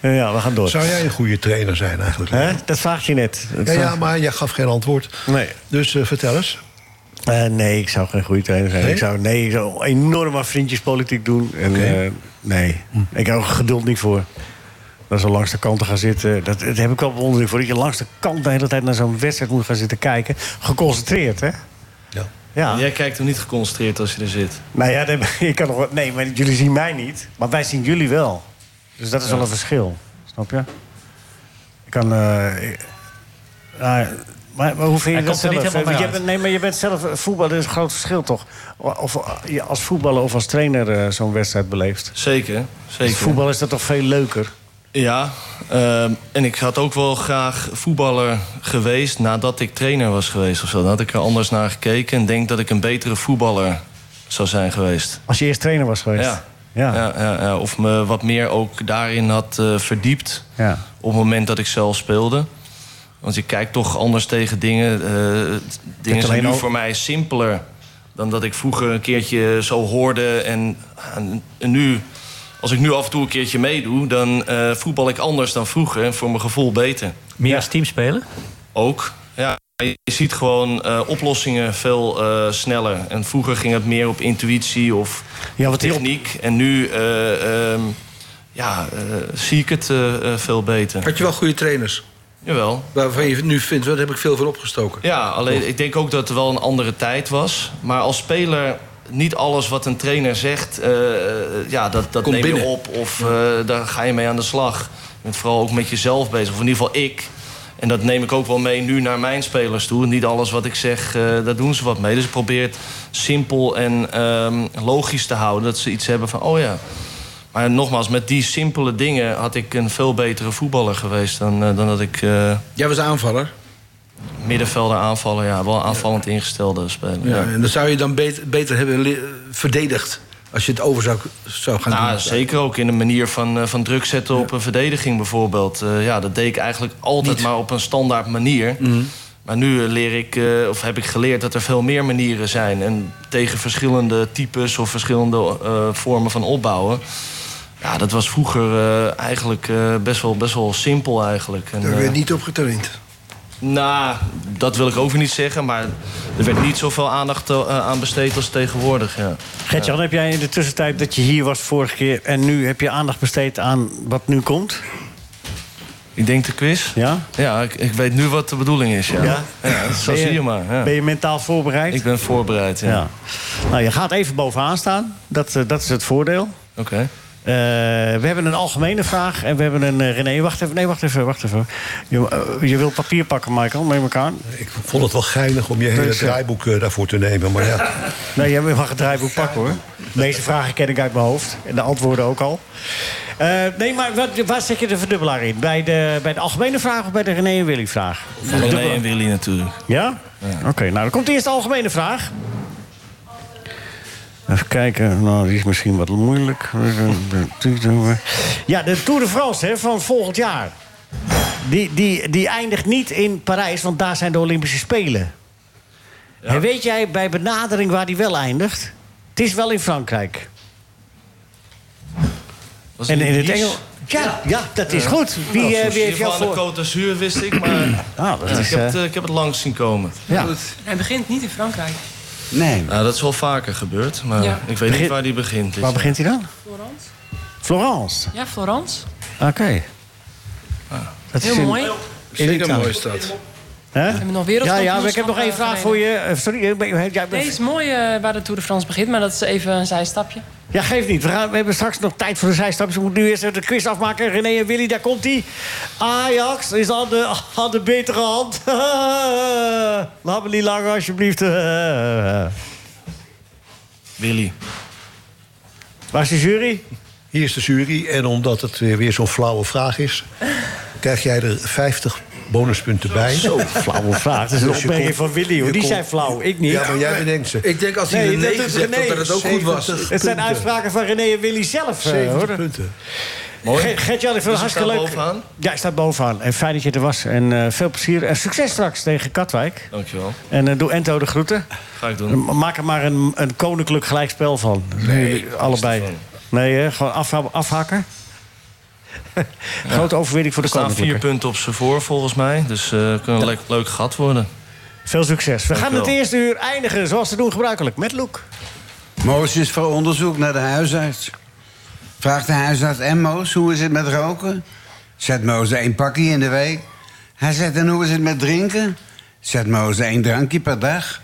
S4: Ja. Ja, we gaan door.
S9: Zou jij een goede trainer zijn eigenlijk? Hè?
S4: Dat vraagt je net.
S9: Ja, ja, maar jij gaf geen antwoord.
S4: Nee.
S9: Dus eh, vertel eens.
S4: Eh, nee, ik zou geen goede trainer zijn.
S9: Nee?
S4: Ik zou, nee, ik zou enorm aan vriendjespolitiek doen. En, eh, nee, ik heb er geduld niet voor. Dat zo langs de kant te gaan zitten. Dat, dat heb ik wel bewondering voor. Dat je langs de kant de hele tijd naar zo'n wedstrijd moet gaan zitten kijken. Geconcentreerd, hè? Ja.
S6: Jij kijkt hem niet geconcentreerd als je er zit.
S4: Nou ja, dat- [laughs] ik kan nog, wat- nee, maar jullie zien mij niet. Maar wij zien jullie wel. Dus dat is
S6: Ja.
S4: wel een verschil. Snap je? Ik kan... eh, ik- ah, maar, maar hoe vind je
S5: Hij
S4: dat
S5: komt er
S4: zelf?
S5: niet helemaal
S4: Want
S5: mee
S4: je
S5: uit.
S4: bent, nee, maar je bent zelf... Voetbal is een groot verschil, toch? Of je als voetballer of als trainer eh, zo'n wedstrijd beleeft.
S6: Zeker, zeker.
S4: Voetbal is dat toch veel leuker?
S6: Ja, ehm, en ik had ook wel graag voetballer geweest nadat ik trainer was geweest of zo. Dan had ik er anders naar gekeken en denk dat ik een betere voetballer zou zijn geweest.
S4: Als je eerst trainer was geweest.
S6: Ja.
S4: Ja.
S6: Ja, ja, ja. Of me wat meer ook daarin had eh, verdiept
S4: Ja.
S6: op het moment dat ik zelf speelde. Want je kijkt toch anders tegen dingen. Eh, dingen zijn
S4: alleen
S6: nu
S4: al-
S6: voor mij simpeler dan dat ik vroeger een keertje zo hoorde. En, en, en nu, als ik nu af en toe een keertje meedoe, dan eh, voetbal ik anders dan vroeger. En voor mijn gevoel beter.
S5: Meer als team spelen?
S6: Ook. Ja, je ziet gewoon eh, oplossingen veel eh, sneller. En vroeger ging het meer op intuïtie of
S4: Ja, want die op-
S6: techniek. En nu eh, ehm, ja, eh, zie ik het eh, eh, veel beter.
S7: Had je wel goede trainers?
S6: Jawel.
S7: Waarvan je nu vindt, daar heb ik veel van opgestoken.
S6: Ja, alleen ik denk ook dat het wel een andere tijd was. Maar als speler, niet alles wat een trainer zegt, eh, ja, dat, dat
S7: Komt
S6: neem
S7: binnen.
S6: je op. Of eh, daar ga je mee aan de slag. Je bent vooral ook met jezelf bezig. Of in ieder geval ik. En dat neem ik ook wel mee nu naar mijn spelers toe. Niet alles wat ik zeg, eh, daar doen ze wat mee. Dus ik probeer het simpel en ehm, logisch te houden. Dat ze iets hebben van, oh ja. Maar nogmaals, met die simpele dingen had ik een veel betere voetballer geweest dan, eh, dan dat ik... eh,
S7: Jij was aanvaller.
S6: Middenvelder aanvallen, ja, wel aanvallend ingestelde speler.
S7: Ja.
S6: Ja.
S7: Eh, En dan zou je dan beter, beter hebben le- verdedigd. Als je het over zou, zou gaan
S6: Nou,
S7: doen.
S6: zeker ook in de manier van, eh, van druk zetten op een verdediging bijvoorbeeld. Eh, ja, dat deed ik eigenlijk altijd
S7: Niet. Mhm.
S6: maar op een standaard manier. Maar nu eh, leer ik, eh, of heb ik geleerd dat er veel meer manieren zijn. En tegen verschillende types of verschillende eh, vormen van opbouwen. Ja, dat was vroeger eh, eigenlijk eh, best, wel, best wel simpel eigenlijk. En,
S8: Daar
S6: eh,
S8: werd niet op getraind.
S6: Nou, dat wil ik ook weer niet zeggen. Maar er werd niet zoveel aandacht eh, aan besteed als tegenwoordig. Ja.
S4: Gert-Jan, heb jij in de tussentijd dat je hier was vorige keer... en nu heb je aandacht besteed aan wat nu komt?
S6: Ik denk de quiz.
S4: Ja?
S6: Ja, ik, ik weet nu wat de bedoeling is. Ja,
S4: Ja?
S6: ja? zo
S4: Ben
S6: zie je maar. Ja.
S4: Ben je mentaal voorbereid?
S6: Ik ben voorbereid. Ja.
S4: Ja. Nou, je gaat even bovenaan staan. Dat, eh, dat is het voordeel.
S6: Oké.
S4: Eh, we hebben een algemene vraag en we hebben een... eh, René, wacht even. Nee, wacht even. Wacht even. Je, eh, je wilt papier pakken, Michael, neem elkaar.
S9: Ik vond het wel geinig om je hele
S4: Dus, eh,
S9: draaiboek eh, daarvoor te nemen. Maar ja,
S4: Nee, jij mag het draaiboek pakken, hoor. Deze vragen ken ik uit mijn hoofd. En de antwoorden ook al. Eh, nee, maar wat, waar zet je de verdubbelaar in? Bij de, bij de algemene vraag of bij de René en Willy vraag?
S6: Van René en Willy natuurlijk.
S4: Ja? Oké, nou dan komt eerst de algemene vraag. Even kijken, nou die is misschien wat moeilijk. Ja, de Tour de France hè, van volgend jaar. Die, die, die eindigt niet in Parijs, want daar zijn de Olympische Spelen. En weet jij bij benadering waar die wel eindigt? Het is wel in Frankrijk.
S6: Was
S4: En
S6: het
S4: in het
S6: Nice?
S4: Engels. Ja, ja, dat is goed. Wie,
S6: Nou,
S4: eh,
S6: soms
S4: wie
S6: in
S4: heeft
S6: ieder geval
S4: jou
S6: aan de
S4: voor?
S6: Côte d'Azur wist ik, maar
S4: Ah, dat
S6: ja,
S4: is,
S6: ik, heb
S4: eh,
S6: het, eh, ik heb het langs zien komen.
S4: ja.
S11: Hij begint niet in Frankrijk.
S4: Nee.
S6: Nou, dat is wel vaker gebeurd, maar
S11: Ja.
S6: ik weet
S4: Begin-
S6: niet waar die begint.
S4: Waar begint hij dan?
S11: Florence?
S4: Florence.
S11: Ja, Florence.
S4: Oké. Dat is
S11: Heel
S4: in-
S11: mooi.
S4: in Italië.
S7: stad.
S4: Hè?
S11: hebben nog wereldkampioenschap,
S4: Ja, ja, maar ik heb nog één
S11: eh,
S4: vraag voor je.
S11: gereden.
S4: Eh, Sorry, ik ben- ja, ik ben-
S11: Deze is mooi eh, waar de Tour de France begint, maar dat is even een zijstapje.
S4: Ja, geeft niet. We, gaan, we hebben straks nog tijd voor de zijstapjes. We moeten nu eerst even de quiz afmaken. René en Willy, daar komt hij. Ajax is aan de, aan de betere hand. [laughs] Laat me niet langer, alsjeblieft. [laughs]
S6: Willy.
S4: Waar is de jury?
S9: Hier is de jury. En omdat het weer, weer zo'n flauwe vraag is... krijg jij er 50 bonuspunten bij.
S7: Oh,
S4: Zo, [laughs] flauwe vraag. Dat is een opmerking van Willy, hoor. Die zijn flauw, ik niet.
S9: Ja, maar jij bedenkt ze.
S7: Ik denk als hij een
S4: dat
S7: nee
S4: doet
S7: gezegd had,
S4: René.
S7: dat het ook goed was.
S9: 70
S4: Het zijn
S9: punten.
S4: uitspraken van René en Willy zelf. eh,
S9: 70
S4: hoor.
S9: punten.
S6: Mooi.
S4: Gert-Jan, ik vind het
S6: Dus we
S4: hartstikke leuk.
S6: staan bovenaan?
S4: Ja, hij staat bovenaan. En fijn dat je er was. En eh, veel plezier. En succes straks tegen Katwijk.
S6: Dankjewel.
S4: En eh, doe Ento de groeten.
S6: Ga ik doen.
S4: En Maak er maar een, een koninklijk gelijkspel van. Nee, allebei. Nee, hè? gewoon afha- afhakken.
S6: [laughs]
S4: Grote overwinning voor
S6: Er
S4: de
S6: staan vier
S4: koninklijke.
S6: punten op ze voor volgens mij. Dus eh kunnen leuk, leuk gehad worden.
S4: Veel succes. We gaan
S6: Dankjewel.
S4: het eerste uur eindigen, zoals we doen gebruikelijk, met Loek.
S12: Moos is voor onderzoek naar de huisarts. Vraagt de huisarts en Moos, hoe is het met roken? Zet Moos één pakje in de week. Hij zegt, en hoe is het met drinken? Zet Moos één drankje per dag.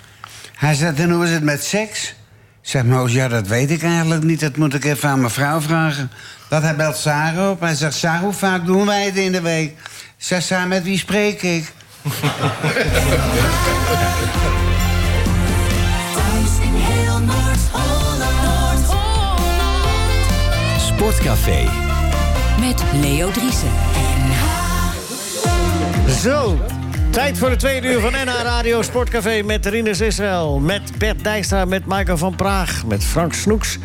S12: Hij zegt, en hoe is het met seks? Zegt Moos, ja, dat weet ik eigenlijk niet. Dat moet ik even aan mijn vrouw vragen. Dat hij belt Sarah op. Hij zegt, Sarah, hoe vaak doen wij het in de week? Zegt Sarah, met wie spreek ik?
S2: Thuis in heel Noord-Holland.
S10: Sportcafé.
S1: Met Leo Driessen.
S4: Zo, tijd voor de tweede uur van NH Radio Sportcafé met Rinus Israël. Met Bert Dijkstra, met Michael van Praag, met Frank Snoeks.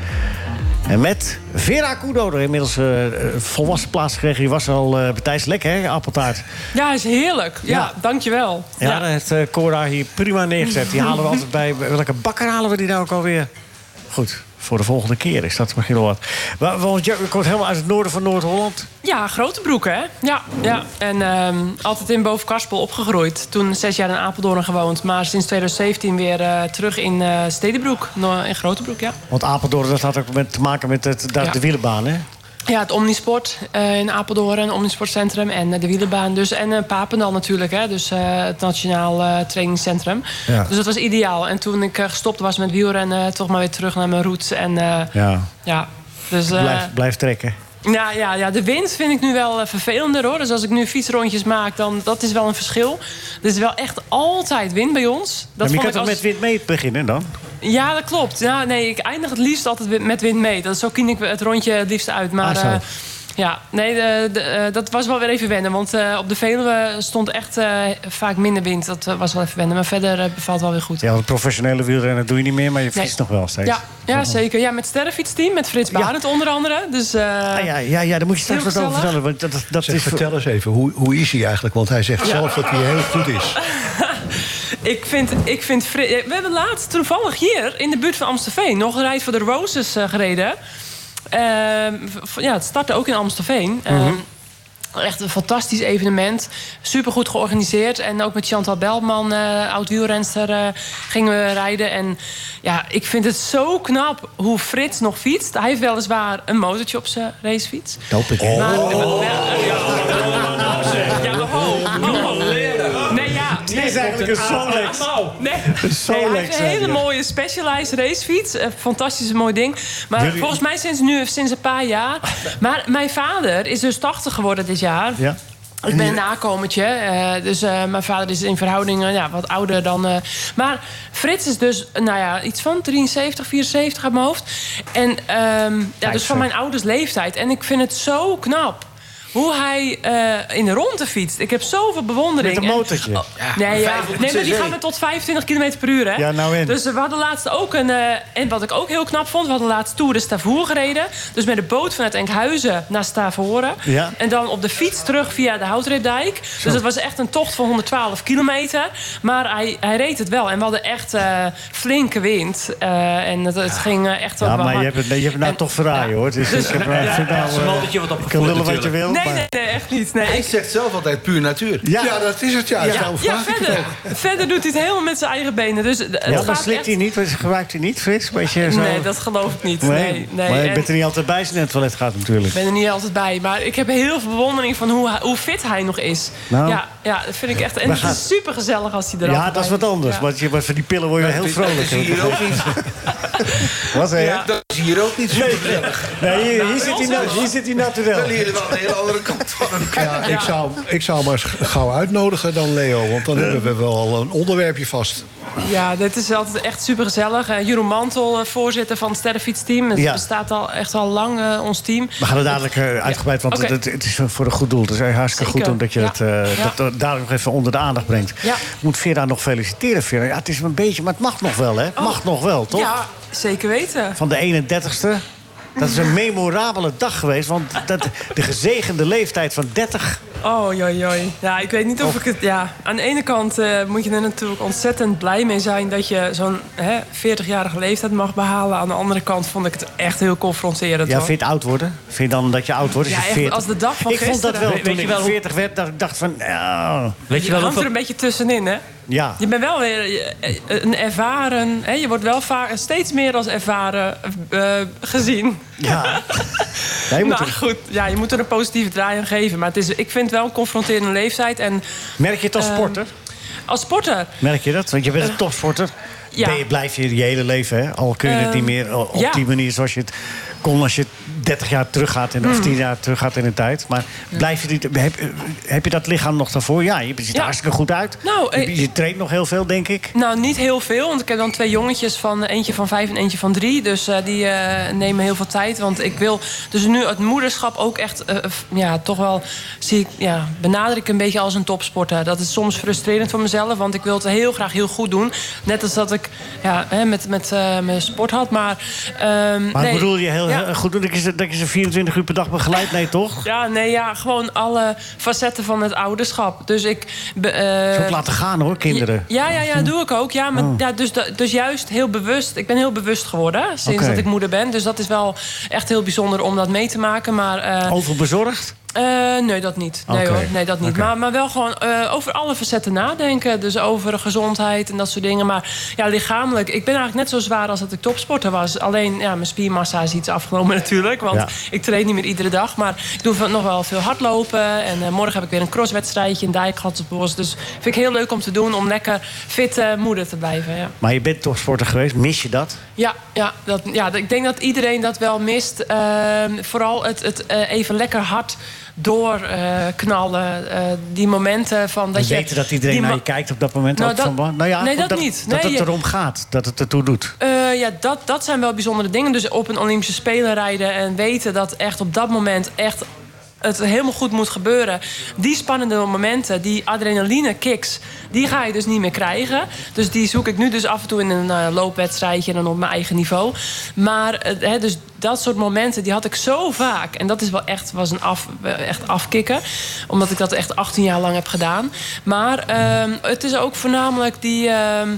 S4: En met Vera Kudo, er inmiddels eh, eh, volwassen plaats gekregen. Die was al eh betijds lekker, hè, appeltaart.
S11: Ja, is heerlijk. Ja,
S4: Ja.
S11: dankjewel.
S4: Ja, dat heeft eh, Cora hier prima neergezet. Die halen we altijd bij. bij Welke bakker halen we die nou ook alweer? Goed, voor de volgende keer is dat misschien wel wat. Wa- Want je komt helemaal uit het noorden van Noord-Holland.
S11: Ja, grote broeken, hè? Ja, ja. en ehm, altijd in Bovenkarspel opgegroeid. Toen zes jaar in Apeldoorn gewoond, maar sinds 2017 weer eh, terug in eh Stedenbroek, no- in Grotebroek, ja.
S4: Want Apeldoorn, dat had ook met, te maken met het, daar
S11: Ja.
S4: de wielenbaan, hè?
S11: Ja, het Omnisport eh, in Apeldoorn, Omnisportcentrum en eh, de wielerbaan. Dus, en eh, Papendal natuurlijk, hè, dus eh, het Nationaal eh, Trainingscentrum.
S4: Ja.
S11: Dus dat was ideaal. En toen ik eh, gestopt was met wielrennen, toch maar weer terug naar mijn roots. En eh,
S4: Ja,
S11: ja, dus... eh,
S4: blijf, blijf trekken.
S11: Nou ja, ja, de wind vind ik nu wel eh, vervelender hoor. Dus als ik nu fietsrondjes maak, dan dat is wel een verschil. Er is wel echt altijd wind bij ons.
S4: Dat
S11: Dat
S4: maar je
S11: vond
S4: kan
S11: ik
S4: toch
S11: als-
S4: met wind mee beginnen dan?
S11: Ja, dat klopt. Ja, nee, ik eindig het liefst altijd wi- met wind mee. Dat, zo kien ik het rondje het liefst uit. Maar
S4: Ah, zo.
S11: eh, ja, nee, de- de- eh, dat was wel weer even wennen. Want eh, op de Veluwe stond echt eh, vaak minder wind. Dat eh, was wel even wennen. Maar verder eh, bevalt wel weer goed.
S4: Ja, want professionele wielrennen doe je niet meer, maar je
S11: Nee.
S4: fietst nog wel steeds.
S11: Ja, ja, zeker. Ja, met Sterrenfietsteam, met Frits Barend onder andere. Dus, eh,
S4: Ah, ja, ja, ja, daar moet je straks
S11: Heel
S4: wat over
S11: gezellig.
S4: vertellen. Want dat, dat, dat
S9: Zeg,
S4: is
S9: vertel eens even, hoe, hoe is hij eigenlijk? Want hij zegt zelf dat hij heel goed is.
S11: Ik vind, ik vind Fri- We hebben laatst toevallig hier in de buurt van Amstelveen nog een rijd voor de Roses eh, gereden. Ehm, v- ja, het startte ook in Amstelveen. Ehm, Echt een fantastisch evenement. Supergoed georganiseerd. En ook met Chantal Belman, eh oud wielrenster, eh, gingen we rijden. En ja, ik vind het zo knap hoe Frits nog fietst. Hij heeft weliswaar een motortje op zijn racefiets.
S9: Doop ik.
S4: Oh.
S11: Maar, ja, maar ho, ho. Nee, ja.
S4: Dit is eigenlijk een Solex.
S11: Nee, nee, hij heeft een
S4: zijn
S11: hele
S4: die.
S11: mooie Specialized racefiets. Een fantastisch mooi ding. Maar
S4: Jullie-
S11: volgens mij sinds nu, sinds een paar jaar. Maar mijn vader is dus 80 geworden dit jaar.
S4: Ja.
S11: Ik ben een nakomertje. eh, dus eh, mijn vader is in verhouding eh, ja, wat ouder dan. eh, maar Frits is dus eh, nou ja, iets van 73, 74 uit mijn hoofd. En ehm, ja, dus van mijn ouders leeftijd. En ik vind het zo knap. Hoe hij eh, in de ronde fietst. Ik heb zoveel bewondering.
S4: Met een
S11: En- Oh,
S4: motortje.
S11: nee, ja.
S7: 500
S11: nee, maar die
S7: cc.
S11: gaan met tot 25 km per uur. Hè?
S4: Ja, nou en?
S11: Dus we hadden laatst ook een... eh, en wat ik ook heel knap vond, we hadden laatst Tour de Stavoren gereden. Dus met de boot vanuit Enkhuizen naar Stavoren.
S4: Ja.
S11: En dan op de fiets terug via de Houtreddijk. Dus dat was echt een tocht van 112 kilometer. Maar hij, hij reed het wel. En we hadden echt eh, flinke wind. Eh, en het, het ging eh, echt wel
S4: Ja, maar
S11: hard.
S4: je hebt het, je hebt het nou
S11: En-
S4: toch verraaien, hoor. Het is, ik heb, eh, vind nou, eh,
S5: Ze motortje wat
S4: ik kan
S5: opgevoerd
S4: lullen wat je
S5: natuurlijk.
S4: wil.
S11: Nee, Nee, nee, nee, echt niet. Nee,
S7: Hij zegt zelf altijd puur natuur. Dus Ja, dat is het. Ja, daarom vraag ik het
S11: verder,
S7: ook.
S11: verder doet hij het helemaal met zijn eigen benen. Dus het
S4: Ja, maar
S11: gaat
S4: slikt
S11: echt...
S4: hij niet? Dus gebruikt hij niet, Frits? Beetje zo...
S11: Nee, dat geloof ik niet. Nee, nee.
S4: Maar je
S11: En-
S4: bent er niet altijd bij als je naar het toilet gaat natuurlijk.
S11: Ik ben er niet altijd bij, maar ik heb heel veel bewondering van hoe, hij- hoe fit hij nog is.
S4: Nou.
S11: ja, ja, dat vind ik echt. En
S4: We
S11: het
S4: gaan-
S11: is super gezellig als hij er
S4: Ja,
S11: altijd
S4: dat is
S11: bij
S4: wat anders.
S11: Ja.
S4: Want je, maar van die pillen word je wel heel vrolijk.
S7: Dat is hier ook niet.
S4: Wat hè?
S7: Dat is hier ook niet zo gezellig.
S4: Nee, hier, hier zit hij nou, hier zit hij natuurlijk.
S7: Dan leer je wel een hele andere kant van hem
S9: Ja,
S7: kennen.
S9: ik zou, ik zou maar eens gauw uitnodigen dan Leo. Want
S4: Eh.
S9: dan hebben we wel een onderwerpje vast.
S11: Ja, dit is altijd echt super gezellig. Jeroen Mantel, eh, voorzitter van het Sterrenfietsteam. Het
S4: Ja.
S11: bestaat al echt al lang, eh, ons team.
S4: We gaan er dadelijk eh, uitgebreid, want
S11: Oké.
S4: het, het is voor een goed doel. Het is eigenlijk hartstikke
S11: Zeker.
S4: goed omdat je
S11: Ja.
S4: het eh,
S11: Ja.
S4: dat, dat daar nog even onder de aandacht brengt.
S11: Ja.
S4: Ik moet Vera nog feliciteren, Vera. Ja, het is een beetje, maar het mag nog wel, hè? Het mag nog wel, toch?
S11: Oh. Ja, zeker weten.
S4: Van de 31ste. Dat is een memorabele dag geweest, want dat, de gezegende leeftijd van 30.
S11: Oh, joi, joi. Ja, ik weet niet of ik het... Ja, aan de ene kant eh, moet je er natuurlijk ontzettend blij mee zijn... dat je zo'n hè, 40-jarige leeftijd mag behalen. Aan de andere kant vond ik het echt heel confronterend.
S4: Ja,
S11: hoor.
S4: vind je het oud worden? Vind je dan dat je oud wordt?
S11: Ja,
S4: je
S11: echt,
S4: 40?
S11: als de dag van
S4: Ik vond dat
S11: gisteren.
S4: wel,
S11: Weet- weet
S4: toen ik
S11: je wel hoe-
S4: 40 werd, dat ik dacht van... nou,
S5: Weet
S11: Je hangt er een beetje tussenin, hè? [laughs]
S4: Ja.
S11: Je bent wel weer eh, een ervaren... Hè? Je wordt wel vaak steeds meer als ervaren eh, gezien.
S4: Ja. Ja, je moet
S11: [laughs] nou,
S4: er-
S11: goed. Ja, je moet er een positieve draai aan geven. Maar het is, ik vind het wel een confronterende leeftijd. En,
S4: Merk je het als
S11: ehm,
S4: sporter?
S11: Als sporter?
S4: Merk je dat? Want je bent een topsporter.
S11: ja.
S4: Ben je, blijf je je hele leven, hè? Al kun je het
S11: Ehm,
S4: niet meer o- op
S11: ja.
S4: die manier zoals je het kon als je 30 jaar teruggaat in, of
S11: Mm.
S4: 10 jaar teruggaat in de tijd. Maar blijf je die, heb, heb je dat lichaam nog daarvoor? Ja, je ziet er
S11: Ja.
S4: hartstikke goed uit.
S11: Nou, eh,
S4: je, je traint nog heel veel, denk ik.
S11: Nou, niet heel veel, want ik heb dan twee jongetjes van eh, eentje van vijf en eentje van drie. Dus eh, die eh, nemen heel veel tijd. Want ik wil dus nu het moederschap ook echt, eh, f- ja, toch wel zie ik, ja, benader ik een beetje als een topsporter. Dat is soms frustrerend voor mezelf, want ik wil het heel graag heel goed doen. Net als dat ik ja, hè, met, met eh, mijn sport had. Maar, ehm,
S4: Maar
S11: nee.
S4: bedoel je heel,
S11: Ja. Eh,
S4: heel goed dat je, ze- dat je ze 24 uur per dag begeleidt? Nee, toch?
S11: Ja, nee, ja, gewoon alle facetten van het ouderschap. Dus ik. be-
S4: Zo
S11: eh,
S4: laten gaan hoor, kinderen.
S11: Ja, ja, ja, doe ik ook. Ja, maar,
S4: Oh.
S11: ja, dus, da- dus juist heel bewust. Ik ben heel bewust geworden hè, sinds
S4: Oké.
S11: dat ik moeder ben. Dus dat is wel echt heel bijzonder om dat mee te maken. Maar, eh,
S4: Overbezorgd?
S11: eh, nee, dat niet. Nee
S4: Oké.
S11: hoor, nee, dat niet.
S4: Oké.
S11: Maar, maar wel gewoon eh, over alle facetten nadenken. Dus over gezondheid en dat soort dingen. Maar ja, lichamelijk. Ik ben eigenlijk net zo zwaar als dat ik topsporter was. Alleen, ja, mijn spiermassa is iets afgenomen [laughs] natuurlijk. Want
S4: Ja.
S11: ik train niet meer iedere dag. Maar ik doe van- nog wel veel hardlopen. En eh, morgen heb ik weer een crosswedstrijdje in Dijkgatsbos. Dus vind ik heel leuk om te doen. Om lekker fit eh, moeder te blijven, ja.
S4: Maar je bent toch sporter geweest? Mis je dat?
S11: Ja, ja, dat, ja, ik denk dat iedereen dat wel mist. Ehm, vooral het, het eh, even lekker hard doorknallen. knallen Eh, die momenten van dat
S4: Dat
S11: je...
S4: weten dat iedereen
S11: die
S4: naar je
S11: ma-
S4: kijkt op dat moment
S11: Nou,
S4: ook
S11: dat-
S4: van... belang? Nou ja,
S11: nee,
S4: goed,
S11: dat niet.
S4: Dat
S11: Nee,
S4: het
S11: je-
S4: erom gaat, dat het ertoe doet.
S11: Eh, ja, dat, dat zijn wel bijzondere dingen. Dus op een Olympische Spelen rijden en weten dat echt op dat moment echt het helemaal goed moet gebeuren. Die spannende momenten, die adrenaline kicks, die ga je dus niet meer krijgen. Dus die zoek ik nu dus af en toe in een eh, loopwedstrijdje en dan op mijn eigen niveau. Maar eh, hè, dus dat soort momenten, die had ik zo vaak. En dat is wel echt, was een af, eh, echt afkicken. Omdat ik dat echt 18 jaar lang heb gedaan. Maar ehm, het is ook voornamelijk die, ehm,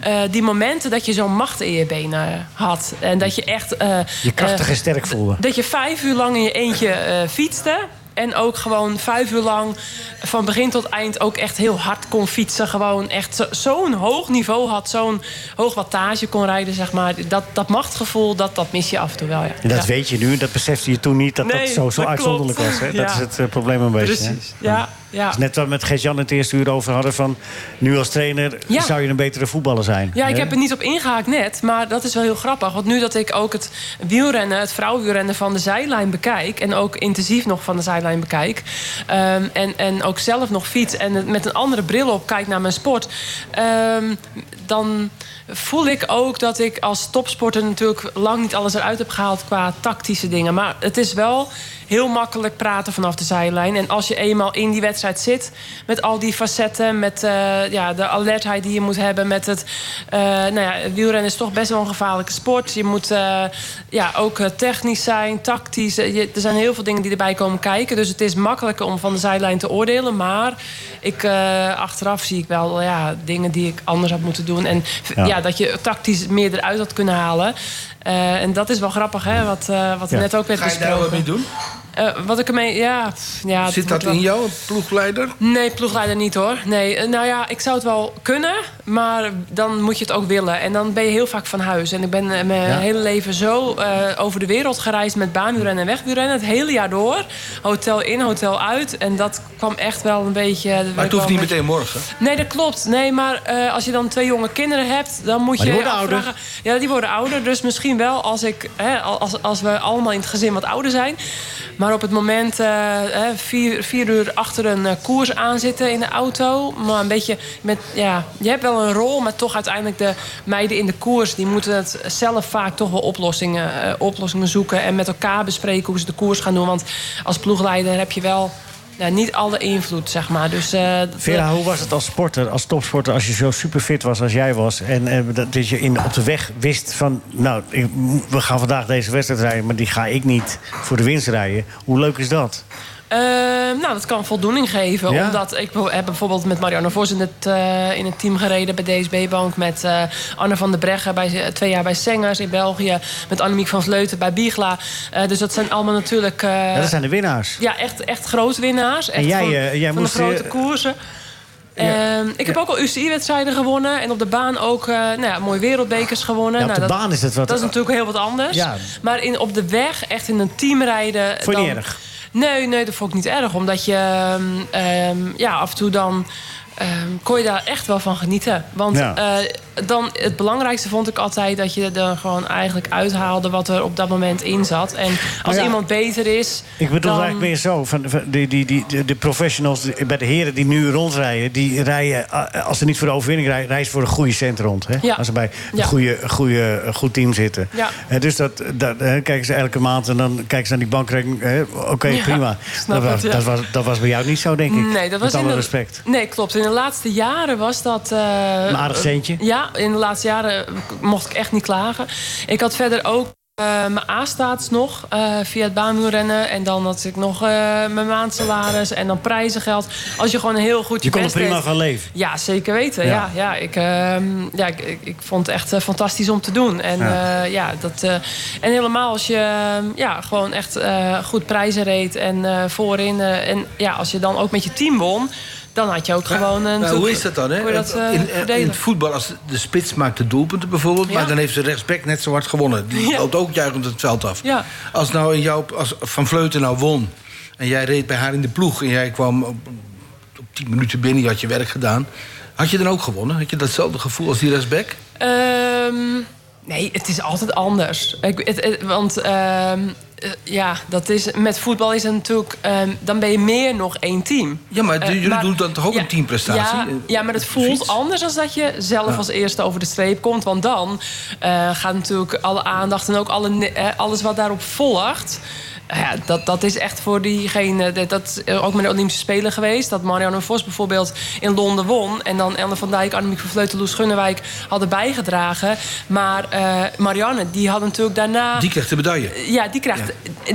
S11: eh, die momenten dat je zo'n macht in je benen had. En dat je echt... eh,
S4: Je krachtig
S11: eh,
S4: en sterk voelen.
S11: dat je vijf uur lang in je eentje eh, fietste. En ook gewoon vijf uur lang van begin tot eind ook echt heel hard kon fietsen. Gewoon echt zo- zo'n hoog niveau had, zo'n hoog wattage kon rijden, zeg maar. Dat, dat machtgevoel, dat, dat mis je af en toe wel, ja.
S4: En dat
S11: Ja.
S4: weet je nu, dat besefte je toen niet dat
S11: Nee,
S4: dat zo, zo
S11: dat
S4: uitzonderlijk
S11: klopt.
S4: was. Hè? Dat
S11: Ja.
S4: is het eh, probleem een beetje. hè?
S11: Precies, ja. ja.
S4: Dat is net wat we met Gert-Jan het eerste uur over hadden van... nu als trainer
S11: Ja.
S4: zou je een betere voetballer zijn.
S11: Ja, ik
S4: hè?
S11: heb er niet op ingehaakt net, maar dat is wel heel grappig. Want nu dat ik ook het wielrennen, het vrouwenwielrennen van de zijlijn bekijk... en ook intensief nog van de zijlijn bekijk... ehm, en, en ook zelf nog fiets en het met een andere bril op kijk naar mijn sport... ehm, dan voel ik ook dat ik als topsporter natuurlijk lang niet alles eruit heb gehaald... qua tactische dingen. Maar het is wel heel makkelijk praten vanaf de zijlijn. En als je eenmaal in die wedstrijd zit, met al die facetten, met eh, ja, de alertheid die je moet hebben, met het. eh, nou ja, wielrennen is toch best wel een gevaarlijke sport. Je moet eh, ja, ook eh, technisch zijn, tactisch. Eh, je- er zijn heel veel dingen die erbij komen kijken. Dus het is makkelijker om van de zijlijn te oordelen. Maar ik, eh, achteraf zie ik wel ja, dingen die ik anders had moeten doen. En v-
S4: Ja.
S11: ja. dat je tactisch meer eruit had kunnen halen. Eh, en dat is wel grappig, hè? Wat, eh, wat er
S4: Ja.
S11: net ook werd
S7: Ga je daar
S11: besproken.
S7: wat mee doen?
S11: Eh, Eh, wat ik ermee... Ja, pff, ja, het
S7: Zit
S11: wordt
S7: dat
S11: wel-
S7: in jou, een ploegleider?
S11: Nee, ploegleider niet hoor. Nee, eh, nou ja, ik zou het wel kunnen, maar dan moet je het ook willen. En dan ben je heel vaak van huis. En ik ben eh, mijn
S13: Ja.
S11: hele leven zo eh, over de wereld gereisd met baanwielrennen en wegwielrennen. Het hele jaar door. Hotel in, hotel uit. En dat kwam echt wel een beetje... daar werd
S7: Maar
S11: ik
S7: het
S11: wel
S7: hoeft
S11: een
S7: niet
S11: beetje-
S7: meteen morgen.
S11: Nee, dat klopt. Nee, maar eh, als je dan twee jonge kinderen hebt, dan moet
S7: Maar
S11: je
S7: die worden
S11: je afvragen-
S7: ouder.
S11: Ja, die worden ouder. Dus misschien wel als, ik, hè, als, als we allemaal in het gezin wat ouder zijn. Maar op het moment eh, hè, vier, vier uur achter een eh, koers aanzitten in de auto. Maar een beetje met, ja, je hebt wel een rol, maar toch uiteindelijk de meiden in de koers, die moeten het zelf vaak toch wel oplossingen, eh, oplossingen zoeken. En met elkaar bespreken hoe ze de koers gaan doen. Want als ploegleider heb je wel. nou, niet alle invloed, zeg maar. Dus, eh, dat-
S4: Vera, hoe was het als sporter, als topsporter, als je zo superfit was als jij was... en eh, dat, dat je in, op de weg wist van, nou, ik- we gaan vandaag deze wedstrijd rijden... maar die ga ik niet voor de winst rijden. Hoe leuk is dat?
S11: Eh, nou, dat kan voldoening geven.
S4: Ja?
S11: Omdat ik be- heb bijvoorbeeld met Marianne Vos in het, eh, in het team gereden bij DSB Bank. Met eh, Anne van der Breggen bij, eh, twee jaar bij Sengers in België. Met Annemiek van Vleuten bij Biegla. Eh, dus dat zijn allemaal natuurlijk. eh,
S4: Ja, dat zijn de winnaars.
S11: ja, echt, echt grote winnaars. Echt
S4: En jij,
S11: van,
S4: eh, jij
S11: van
S4: moest,
S11: de grote
S4: eh,
S11: koersen. Ehm, ik heb ook al UCI-wedstrijden gewonnen. En op de baan ook eh nou ja, mooie wereldbekers gewonnen.
S4: Ja, op
S11: nou,
S4: de
S11: dat,
S4: baan is het wat-
S11: Dat is natuurlijk heel wat anders.
S4: Ja.
S11: Maar in, op de weg, echt in een team rijden...
S4: Vond je niet
S11: dan-
S4: erg?
S11: Nee, nee, dat vond ik niet erg. Omdat je ehm, ehm, ja, af en toe dan... ehm, kon je daar echt wel van genieten. Want
S4: Ja.
S11: eh, dan, het belangrijkste vond ik altijd... dat je er gewoon eigenlijk uithaalde wat er op dat moment in zat. En als
S4: ja.
S11: iemand beter is...
S4: Ik bedoel
S11: dan-
S4: eigenlijk meer zo, van, van die, die, die, de- de professionals die- bij de heren die nu rondrijden... die rijden, eh, als ze niet voor de overwinning rijden... rijden ze voor een goede cent rond. Hè?
S11: Ja.
S4: Als ze bij een
S11: Ja.
S4: goede, goede, een goed team zitten.
S11: Ja.
S4: Eh, dus dat, dat hè, kijken ze elke maand en dan kijken ze naar die bankrekening. hè, Oké,
S11: Ja,
S4: prima.
S11: snap
S4: Dat,
S11: het,
S4: was,
S11: ja.
S4: dat, was, dat was bij jou niet zo, denk ik.
S11: Nee, dat was
S4: Met
S11: in
S4: alle
S11: de-
S4: respect.
S11: Nee, klopt. In de laatste jaren was dat... eh,
S4: Een aardig centje.
S11: Ja, in de laatste jaren mocht ik echt niet klagen. Ik had verder ook eh, mijn A-staats nog eh, via het baanwielrennen. En dan had ik nog eh, mijn maandsalaris en dan prijzengeld. Als je gewoon heel goed je,
S4: Je kon er
S11: best
S4: prima
S11: deed-
S4: van leven.
S11: Ja, zeker weten.
S4: Ja.
S11: Ja, ja, ik, ehm, ja ik, ik, ik vond het echt eh, fantastisch om te doen. En,
S4: Ja.
S11: ja. ja, dat, eh, en helemaal als je ehm, ja, gewoon echt eh, goed prijzen reed en eh, voorin. eh, en ja, als je dan ook met je team won, dan had je ook gewoon... een
S7: Nou, hoe is dat dan? Hè?
S11: Kon je dat, eh,
S7: in, in
S11: verdelen.
S7: het voetbal, als de spits maakt de doelpunten bijvoorbeeld... maar dan heeft de rechtsback net zo hard gewonnen. Die loopt ook juichend het veld af.
S11: Ja.
S7: Als, nou in jou, als Van Vleuten nou won en jij reed bij haar in de ploeg... en jij kwam op, op 10 minuten binnen, je had je werk gedaan... had je dan ook gewonnen? Had je datzelfde gevoel als die rechtsback?
S11: Ehm, nee, het is altijd anders. Ik, het, het- want ehm, eh, ja, dat is, met voetbal is het natuurlijk... ehm, dan ben je meer nog één team.
S7: Ja, maar
S11: Eh,
S7: jullie doen dan toch ook
S11: ja,
S7: een teamprestatie?
S11: Ja,
S7: Eh,
S11: ja, maar het voelt anders dan dat je zelf
S7: Ja.
S11: als eerste over de streep komt. Want dan eh, gaat natuurlijk alle aandacht en ook alle, ne- eh, alles wat daarop volgt... eh, ja, dat, dat is echt voor diegene. Dat, dat is eh, ook met de Olympische Spelen geweest. Dat Marianne Vos bijvoorbeeld in Londen won. En dan Ellen van Dijk, Annemiek van Vleuten, Loes Gunnewijk hadden bijgedragen. Maar eh, Marianne, die had natuurlijk daarna.
S7: Die krijgt de medaille.
S11: Ah. Ja, die krijgt.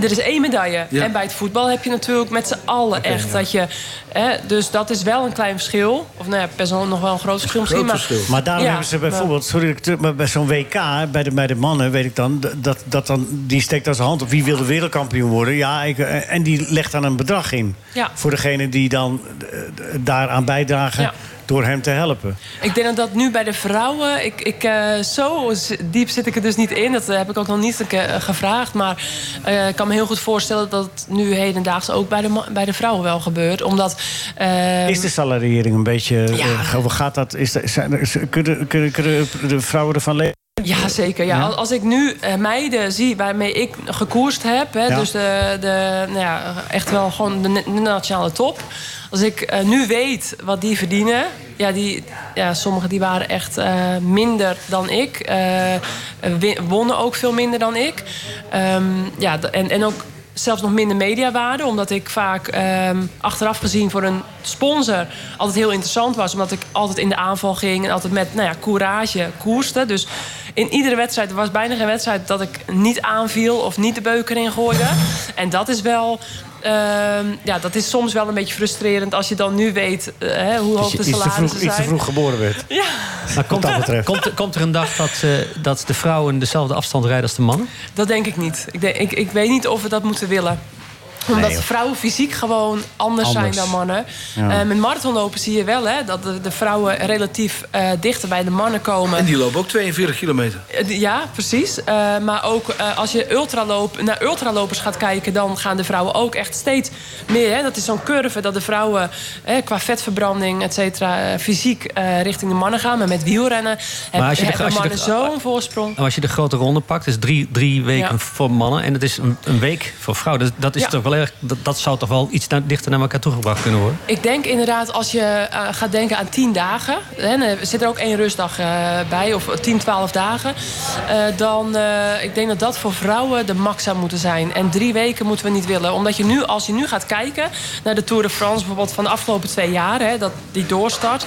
S11: Er is één medaille.
S7: Ja.
S11: En bij het voetbal heb je natuurlijk met z'n allen echt dat je. Hè, dus dat is wel een klein verschil. Of nou ja, best wel nog wel een groot verschil misschien. maar,
S4: Maar daarom
S11: Ja,
S4: hebben ze
S11: maar-
S4: bijvoorbeeld, sorry dat ik terug- maar bij zo'n WK, bij de, bij de mannen, weet ik dan, d- dat, dat dan, die steekt dan zijn hand op wie wil de wereldkampioen worden. Ja, ik, eh, en die legt dan een bedrag in.
S11: Ja.
S4: Voor degene die dan eh, d- daaraan bijdragen
S11: Ja.
S4: door hem te helpen.
S11: Ik denk dat dat nu bij de vrouwen... Ik, ik, eh, zo z- diep zit ik er dus niet in. Dat eh, heb ik ook nog niet eh, gevraagd. Maar eh, ik kan me heel goed voorstellen dat het nu hedendaags ook bij de, ma- bij de vrouwen wel gebeurt. Omdat... eh,
S4: Is de salariering een beetje. eh,
S11: Ja.
S4: ge- hoe gaat dat? Is er- zijn er- z- kunnen, kunnen, kunnen de vrouwen ervan leven?
S11: Ja, zeker. Ja.
S4: Ja?
S11: Als- Als ik nu eh, meiden zie waarmee ik gekoerst heb... Hè,
S4: Ja.
S11: dus de, de, nou ja, echt wel gewoon de, na- de nationale top... als ik eh, nu weet wat die verdienen... Ja, die, ja, sommigen die waren echt eh, minder dan ik. eh, wi- wonnen ook veel minder dan ik. Ehm, ja, d- en, en ook zelfs nog minder mediawaarde. Omdat ik vaak ehm, achteraf gezien voor een sponsor altijd heel interessant was. Omdat ik altijd in de aanval ging en altijd met nou ja, courage koerste. Dus in iedere wedstrijd, er was bijna geen wedstrijd dat ik niet aanviel of niet de beuker in gooide. En dat is wel. ehm, ja, dat is soms wel een beetje frustrerend als je dan nu weet eh, hè, hoe hoog
S4: je
S11: de
S4: iets te
S11: salarissen
S4: vroeg-
S11: zijn.
S4: iets te vroeg geboren
S11: [laughs]
S4: werd.
S11: Ja.
S4: Maar komt dat betreft.
S5: Nou, Komt, komt er een dag dat, eh, dat de vrouwen dezelfde afstand rijden als de mannen?
S11: Dat denk ik niet. Ik, denk, ik, ik weet niet of we dat moeten willen. Omdat
S4: Nee, joh.
S11: vrouwen fysiek gewoon anders, zijn
S4: Anders.
S11: dan mannen.
S4: Ja.
S11: Eh, met marathonlopen zie je wel hè, dat de, de vrouwen relatief eh, dichter bij de mannen komen.
S7: En die lopen ook 42 kilometer.
S11: Eh, d- Ja, precies. Eh, maar ook eh, als je ultraloop, naar ultralopers gaat kijken... dan gaan de vrouwen ook echt steeds meer. Hè? Dat is zo'n curve dat de vrouwen eh, qua vetverbranding, et cetera... eh, fysiek eh, richting de mannen gaan. Maar met wielrennen heb-
S5: als je de-
S11: hebben
S5: als je de-
S11: mannen zo'n voorsprong.
S5: Nou, als je de grote ronde pakt, is drie, drie weken
S11: Ja.
S5: voor mannen en het is een, een week voor vrouwen. Dus dat, is
S11: Ja.
S5: toch wel erg, dat, dat zou toch wel iets naar- dichter naar elkaar toegebracht kunnen worden?
S11: Ik denk inderdaad, als je eh, gaat denken aan 10 dagen, hè, dan zit er ook één rustdag eh, bij, of 10, 12 dagen. eh, dan eh, ik denk dat dat voor vrouwen de max zou moeten zijn. En drie weken moeten we niet willen. Omdat je nu, als je nu gaat kijken naar de Tour de France, bijvoorbeeld van de afgelopen twee jaar, hè, dat die doorstart.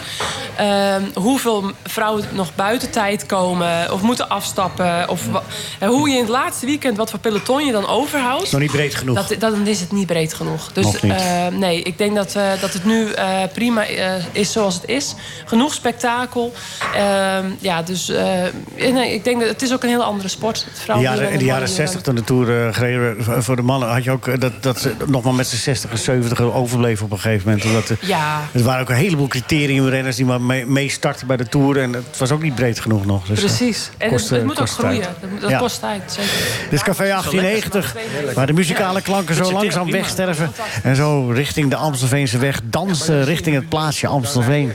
S11: eh, hoeveel vrouwen nog buiten tijd komen of moeten afstappen. Of wa- en hoe je in het laatste weekend wat voor peloton je dan overhoudt.
S4: Is nog niet breed genoeg.
S11: Dat, dat- dan is het niet breed genoeg. Dus
S4: Nog niet.
S11: eh, nee, ik denk dat, eh, dat het nu eh, prima eh, is zoals het is. Genoeg spektakel. Ehm, ja, dus eh, nee, ik denk dat het is ook een hele andere sport. Het
S4: In de
S11: vrouwen-
S4: jaren, in de jaren 60, toen de Tour eh, gereden werd voor- voor de mannen... had je ook eh, dat, dat ze nog maar met z'n 60 en 70 overbleven op een gegeven moment. Omdat, eh,
S11: Ja.
S4: Er waren ook een heleboel criteriumrenners die maar mee- meestarten bij de Tour. En het was ook niet breed genoeg nog. Dus, eh,
S11: Precies. En
S4: kost,
S11: het, het
S4: eh,
S11: moet ook
S4: kost tijd.
S11: groeien. Dat, moet- dat
S4: Ja.
S11: kost tijd, zeker.
S4: Dit is Café 1890, waar de muzikale klanken zo langzaam wegsterven. En zo richting de Amstelveense weg dansen richting het plaatsje Amstelveen.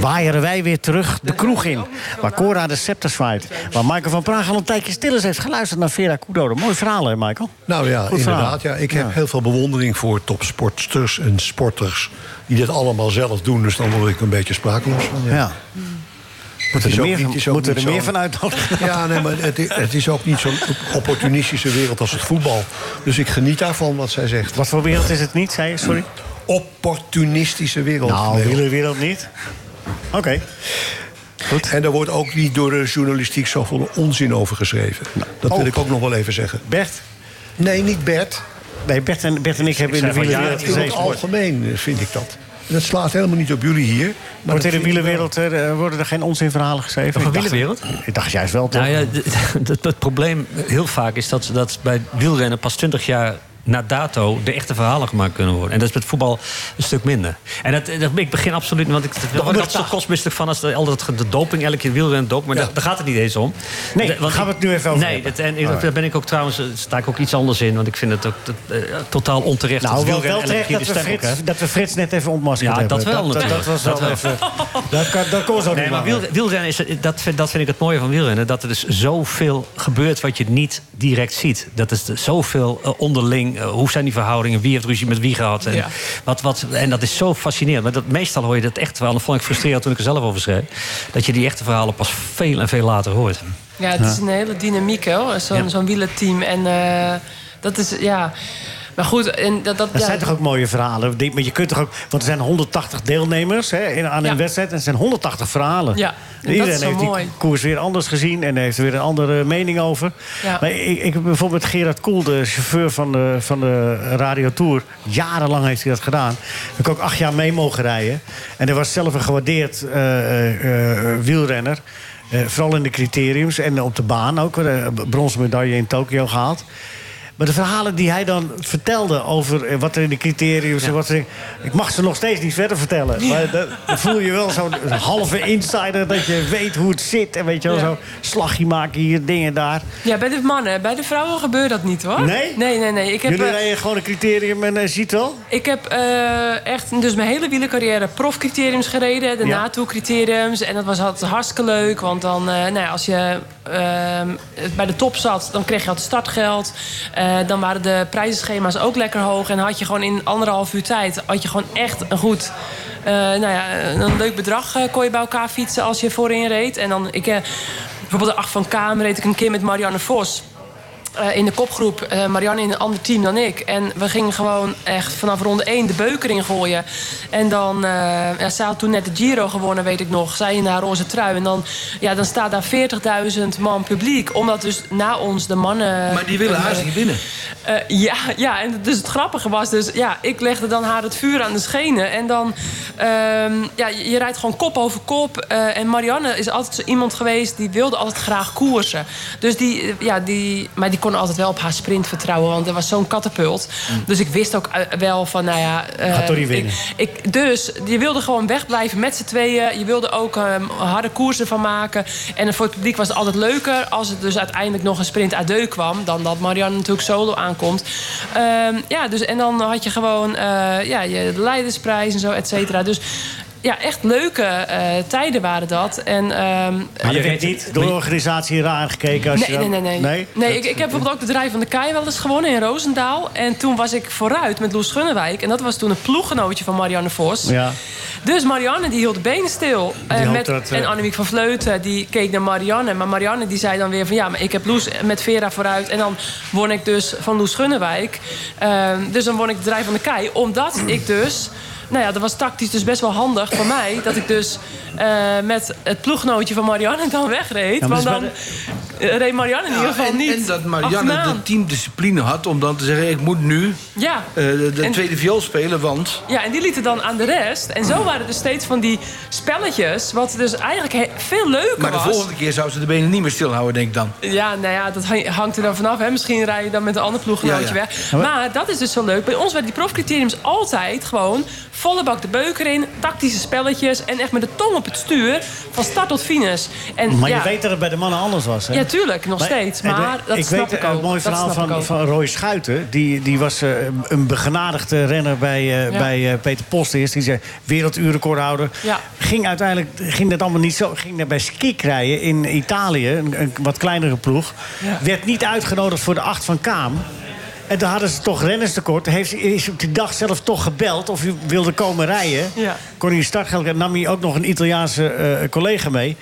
S4: Waaieren wij weer terug de kroeg in, waar Cora de scepter zwaait. Waar Michael van Praag al een tijdje stil eens heeft geluisterd naar Vera Kudo. Mooi verhaal, hè, Michael?
S9: Nou ja,
S4: Goed verhaal.
S9: inderdaad. Ja, ik heb heel veel bewondering voor topsportsters en sporters... die dit allemaal zelf doen, dus dan word ik een beetje sprakeloos van. Ja.
S4: Moeten
S9: Het
S4: er
S9: is ook
S4: meer
S9: niet-
S4: van-
S9: het is ook
S4: moeten
S9: niet
S4: er meer
S9: zo'n-
S4: van uitnodigen.
S9: Ja, nee, maar het, i- het is ook niet zo'n opportunistische wereld als het voetbal. Dus ik geniet daarvan wat zij zegt.
S4: [laughs] Wat voor wereld is het niet, zei je? Sorry.
S9: Opportunistische wereld.
S4: Nou,
S9: Leo.
S4: hele wereld niet. Oké.
S9: Goed. En daar wordt ook niet door de journalistiek zoveel onzin over geschreven. Dat
S4: Oh.
S9: wil ik ook nog wel even zeggen.
S4: Bert?
S9: Nee, niet Bert.
S4: Nee, Bert en, Bert en ik hebben in de wielerwereld
S9: In het
S4: gezeten.
S9: algemeen eh, vind ik dat. En dat slaat helemaal niet op jullie hier. Maar
S4: Wordt in
S9: dat
S4: de
S9: vind ik
S4: wielerwereld eh, worden er geen onzinverhalen geschreven?
S5: Van
S4: Ik dacht-
S5: wielerwereld?
S4: Ik dacht juist wel, toch?
S5: Nou ja, d- [laughs] d- het, het probleem heel vaak is dat, dat bij wielrennen pas 20 jaar na dato de echte verhalen gemaakt kunnen worden. En dat is met voetbal een stuk minder. En dat, dat, ik begin absoluut, want ik daar word ik altijd zo kostmisselijk van als de, al dat ge- de doping, elke keer wielrennen doping, maar daar, daar gaat het niet eens om.
S4: Nee,
S5: want
S4: gaan we
S5: ik-
S4: het nu even over
S5: Nee,
S4: hebben.
S5: dat, en ik-
S4: Alright.
S5: daar ben ik ook trouwens, eh, sta ik ook iets anders in, want ik vind het ook dat, eh, totaal onterecht.
S4: Nou,
S5: dat
S4: wel,
S5: wielrennen
S4: wel
S5: elke
S4: terecht
S5: keer
S4: dat
S5: de
S4: we,
S5: stem
S4: Frits,
S5: elkaar-
S4: dat we Frits net even ontmaskerd
S5: Ja,
S4: hebben.
S5: dat wel
S4: dat,
S5: natuurlijk.
S4: was
S5: Dat
S4: wel
S5: wel.
S4: even... Dat, kan, dat kon zo
S5: Nee,
S4: niet
S5: maar
S4: langer.
S5: wiel- wielrennen is, dat, vind, dat vind ik het mooie van wielrennen. Dat er dus zoveel gebeurt wat je niet direct ziet. Dat is de- zoveel eh, onderling. eh, hoe zijn die verhoudingen? Wie heeft ruzie met wie gehad? En,
S11: Ja.
S5: wat, wat, en dat is zo fascinerend. Maar dat, meestal hoor je dat echt wel. En dat vond ik frustrerend toen ik er zelf over schreef. Dat je die echte verhalen pas veel en veel later hoort.
S11: Ja, het is een hele dynamiek, hoor. Zo'n
S5: Ja.
S11: zo'n wielerteam. En eh, dat is, ja... Maar goed, en dat... dat
S4: Dat
S11: ja,
S4: zijn toch ook mooie verhalen? Dit- Maar je kunt toch ook, want er zijn 180 deelnemers hè, in- aan een
S11: Ja.
S4: wedstrijd. En er zijn 180 verhalen.
S11: Ja, en dat
S4: Iedereen
S11: is zo
S4: heeft
S11: mooi.
S4: die koers weer anders gezien. En heeft er weer een andere mening over.
S11: Ja.
S4: Maar ik, ik heb bijvoorbeeld Gerard Koel, de chauffeur van de, van de Radio Tour. Jarenlang heeft hij dat gedaan. Heb ik ook acht jaar mee mogen rijden. En hij was zelf een gewaardeerd eh, eh, eh, wielrenner. Eh, vooral in de criteriums en op de baan ook. eh, bronzen medaille in Tokio gehaald. Maar de verhalen die hij dan vertelde over eh, wat er in de criteriums... en Wat er, ik mag ze nog steeds niet verder vertellen. Maar dat- dan voel je wel zo'n halve insider dat je weet hoe het zit. En weet je wel,
S11: Ja.
S4: zo slagje maken hier, dingen daar.
S11: ja, bij de mannen. Bij de vrouwen gebeurt dat niet, hoor.
S4: Nee?
S11: Nee, nee, nee. Ik heb,
S4: Jullie
S11: eh,
S4: rijden gewoon een criterium en eh, ziet wel?
S11: Ik heb eh, echt dus mijn hele wielercarrière profcriteriums gereden. De
S4: Ja.
S11: NATO-criteriums. En dat was altijd hartstikke leuk. Want dan, eh, nou ja, als je ehm, bij de top zat, dan kreeg je altijd startgeld. Eh, dan waren de prijzenschema's ook lekker hoog. En had je gewoon in anderhalf uur tijd... had je gewoon echt een goed... eh, nou ja, een leuk bedrag eh, kon je bij elkaar fietsen als je voorin reed. En dan, ik, eh, bijvoorbeeld de 8 van Kamer reed ik een keer met Marianne Vos. Eh, in de kopgroep, eh, Marianne in een ander team dan ik. En we gingen gewoon echt vanaf ronde 1 de beuker in gooien. En dan, eh ja, zij had toen net de Giro gewonnen, weet ik nog. Zij in haar roze trui. En dan, ja, dan staat daar 40.000 man publiek. Omdat dus na ons de mannen...
S7: Maar die willen
S11: eh,
S7: haast niet binnen.
S11: eh, ja, ja, en dus het grappige was dus... Ja, ik legde dan haar het vuur aan de schenen. En dan... ehm, ja, je, je rijdt gewoon kop over kop. eh, en Marianne is altijd zo iemand geweest... die wilde altijd graag koersen. Dus die... eh, Ja, die maar die kon altijd wel op haar sprint vertrouwen, want er was zo'n katapult. Dus ik wist ook eh, wel van, nou ja... eh,
S4: Gaat Mm. Tori winnen.
S11: Ik, ik- dus je wilde gewoon wegblijven met z'n tweeën. Je wilde ook ehm, harde koersen van maken. En voor het publiek was het altijd leuker... als het dus uiteindelijk nog een sprint adieu kwam... dan dat Marianne natuurlijk solo aankomt. Ehm, ja, dus, en dan had je gewoon eh, ja, je leidersprijs en zo, et cetera. Dus... Ja, echt leuke eh, tijden waren dat. En, ehm,
S4: Maar je werd niet door de organisatie raar gekeken als
S11: Nee,
S4: je dan-
S11: nee, nee, nee.
S4: Nee?
S11: ik, ik heb bijvoorbeeld ook de Draai van de Kei wel eens gewonnen in Roosendaal. En toen was ik vooruit met Loes Gunnewijk. En dat was toen een ploeggenootje van Marianne Vos.
S4: Ja.
S11: Dus Marianne die hield de benen stil.
S4: Die
S11: Eh,
S4: hoopt
S11: met,
S4: dat, eh,
S11: En Annemiek van Vleuten die keek naar Marianne. Maar Marianne die zei dan weer van ja, maar ik heb Loes met Vera vooruit. En dan won ik dus van Loes Gunnewijk. Eh, dus dan won ik de Draai van de Kei. Omdat ik dus... Nou ja, dat was tactisch dus best wel handig voor mij. Dat ik dus eh, met het ploeggenootje van Marianne dan wegreed.
S7: Ja, maar
S11: want
S7: dat is
S11: dan
S7: bij
S11: eh, reed Marianne in ieder geval
S7: en,
S11: niet.
S7: en dat Marianne
S11: achteraan.
S7: de teamdiscipline had om dan te zeggen... ik moet nu
S11: Ja.
S7: eh, de, de
S11: En-
S7: tweede viool spelen, want...
S11: Ja, en die lieten dan aan de rest. En zo waren er dus steeds van die spelletjes, wat dus eigenlijk he- veel leuker
S7: Maar de
S11: was.
S7: volgende keer zou ze de benen niet meer stilhouden, denk ik dan.
S11: Ja, nou ja, dat hang- hangt er dan vanaf. Hè. Misschien rij je dan met een ander ploeggenootje
S7: Ja, ja.
S11: weg. Maar dat is dus zo leuk. Bij ons werden die profcriteriums altijd gewoon volle bak de beuker in, tactische spelletjes en echt met de tong op het stuur van start tot finish. En,
S4: Maar
S11: ja,
S4: je weet dat het bij de mannen anders was, hè?
S11: Ja, tuurlijk, nog steeds.
S4: en, eh,
S11: Maar dat
S4: ik
S11: snap
S4: weet
S11: ik
S4: een
S11: ook.
S4: mooi
S11: Dat
S4: verhaal
S11: snap ik
S4: van,
S11: ook.
S4: van Roy Schuiten. Die, die was eh, een begenadigde renner bij, eh,
S11: Ja.
S4: bij eh, Peter Post eerst. Die zei werelduurrecordhouder.
S11: Ja.
S4: Ging uiteindelijk ging dat allemaal niet zo. Ging daar bij skikrijden in Italië, een, een wat kleinere ploeg.
S11: Ja.
S4: Werd niet uitgenodigd voor de acht van Kaam. En toen hadden ze toch rennerstekort. Heeft, ze- is op die dag zelf toch gebeld of hij wilde komen rijden.
S11: Ja.
S4: Kon hij een startgeld krijgen. Nam hij ook nog een Italiaanse eh, collega mee.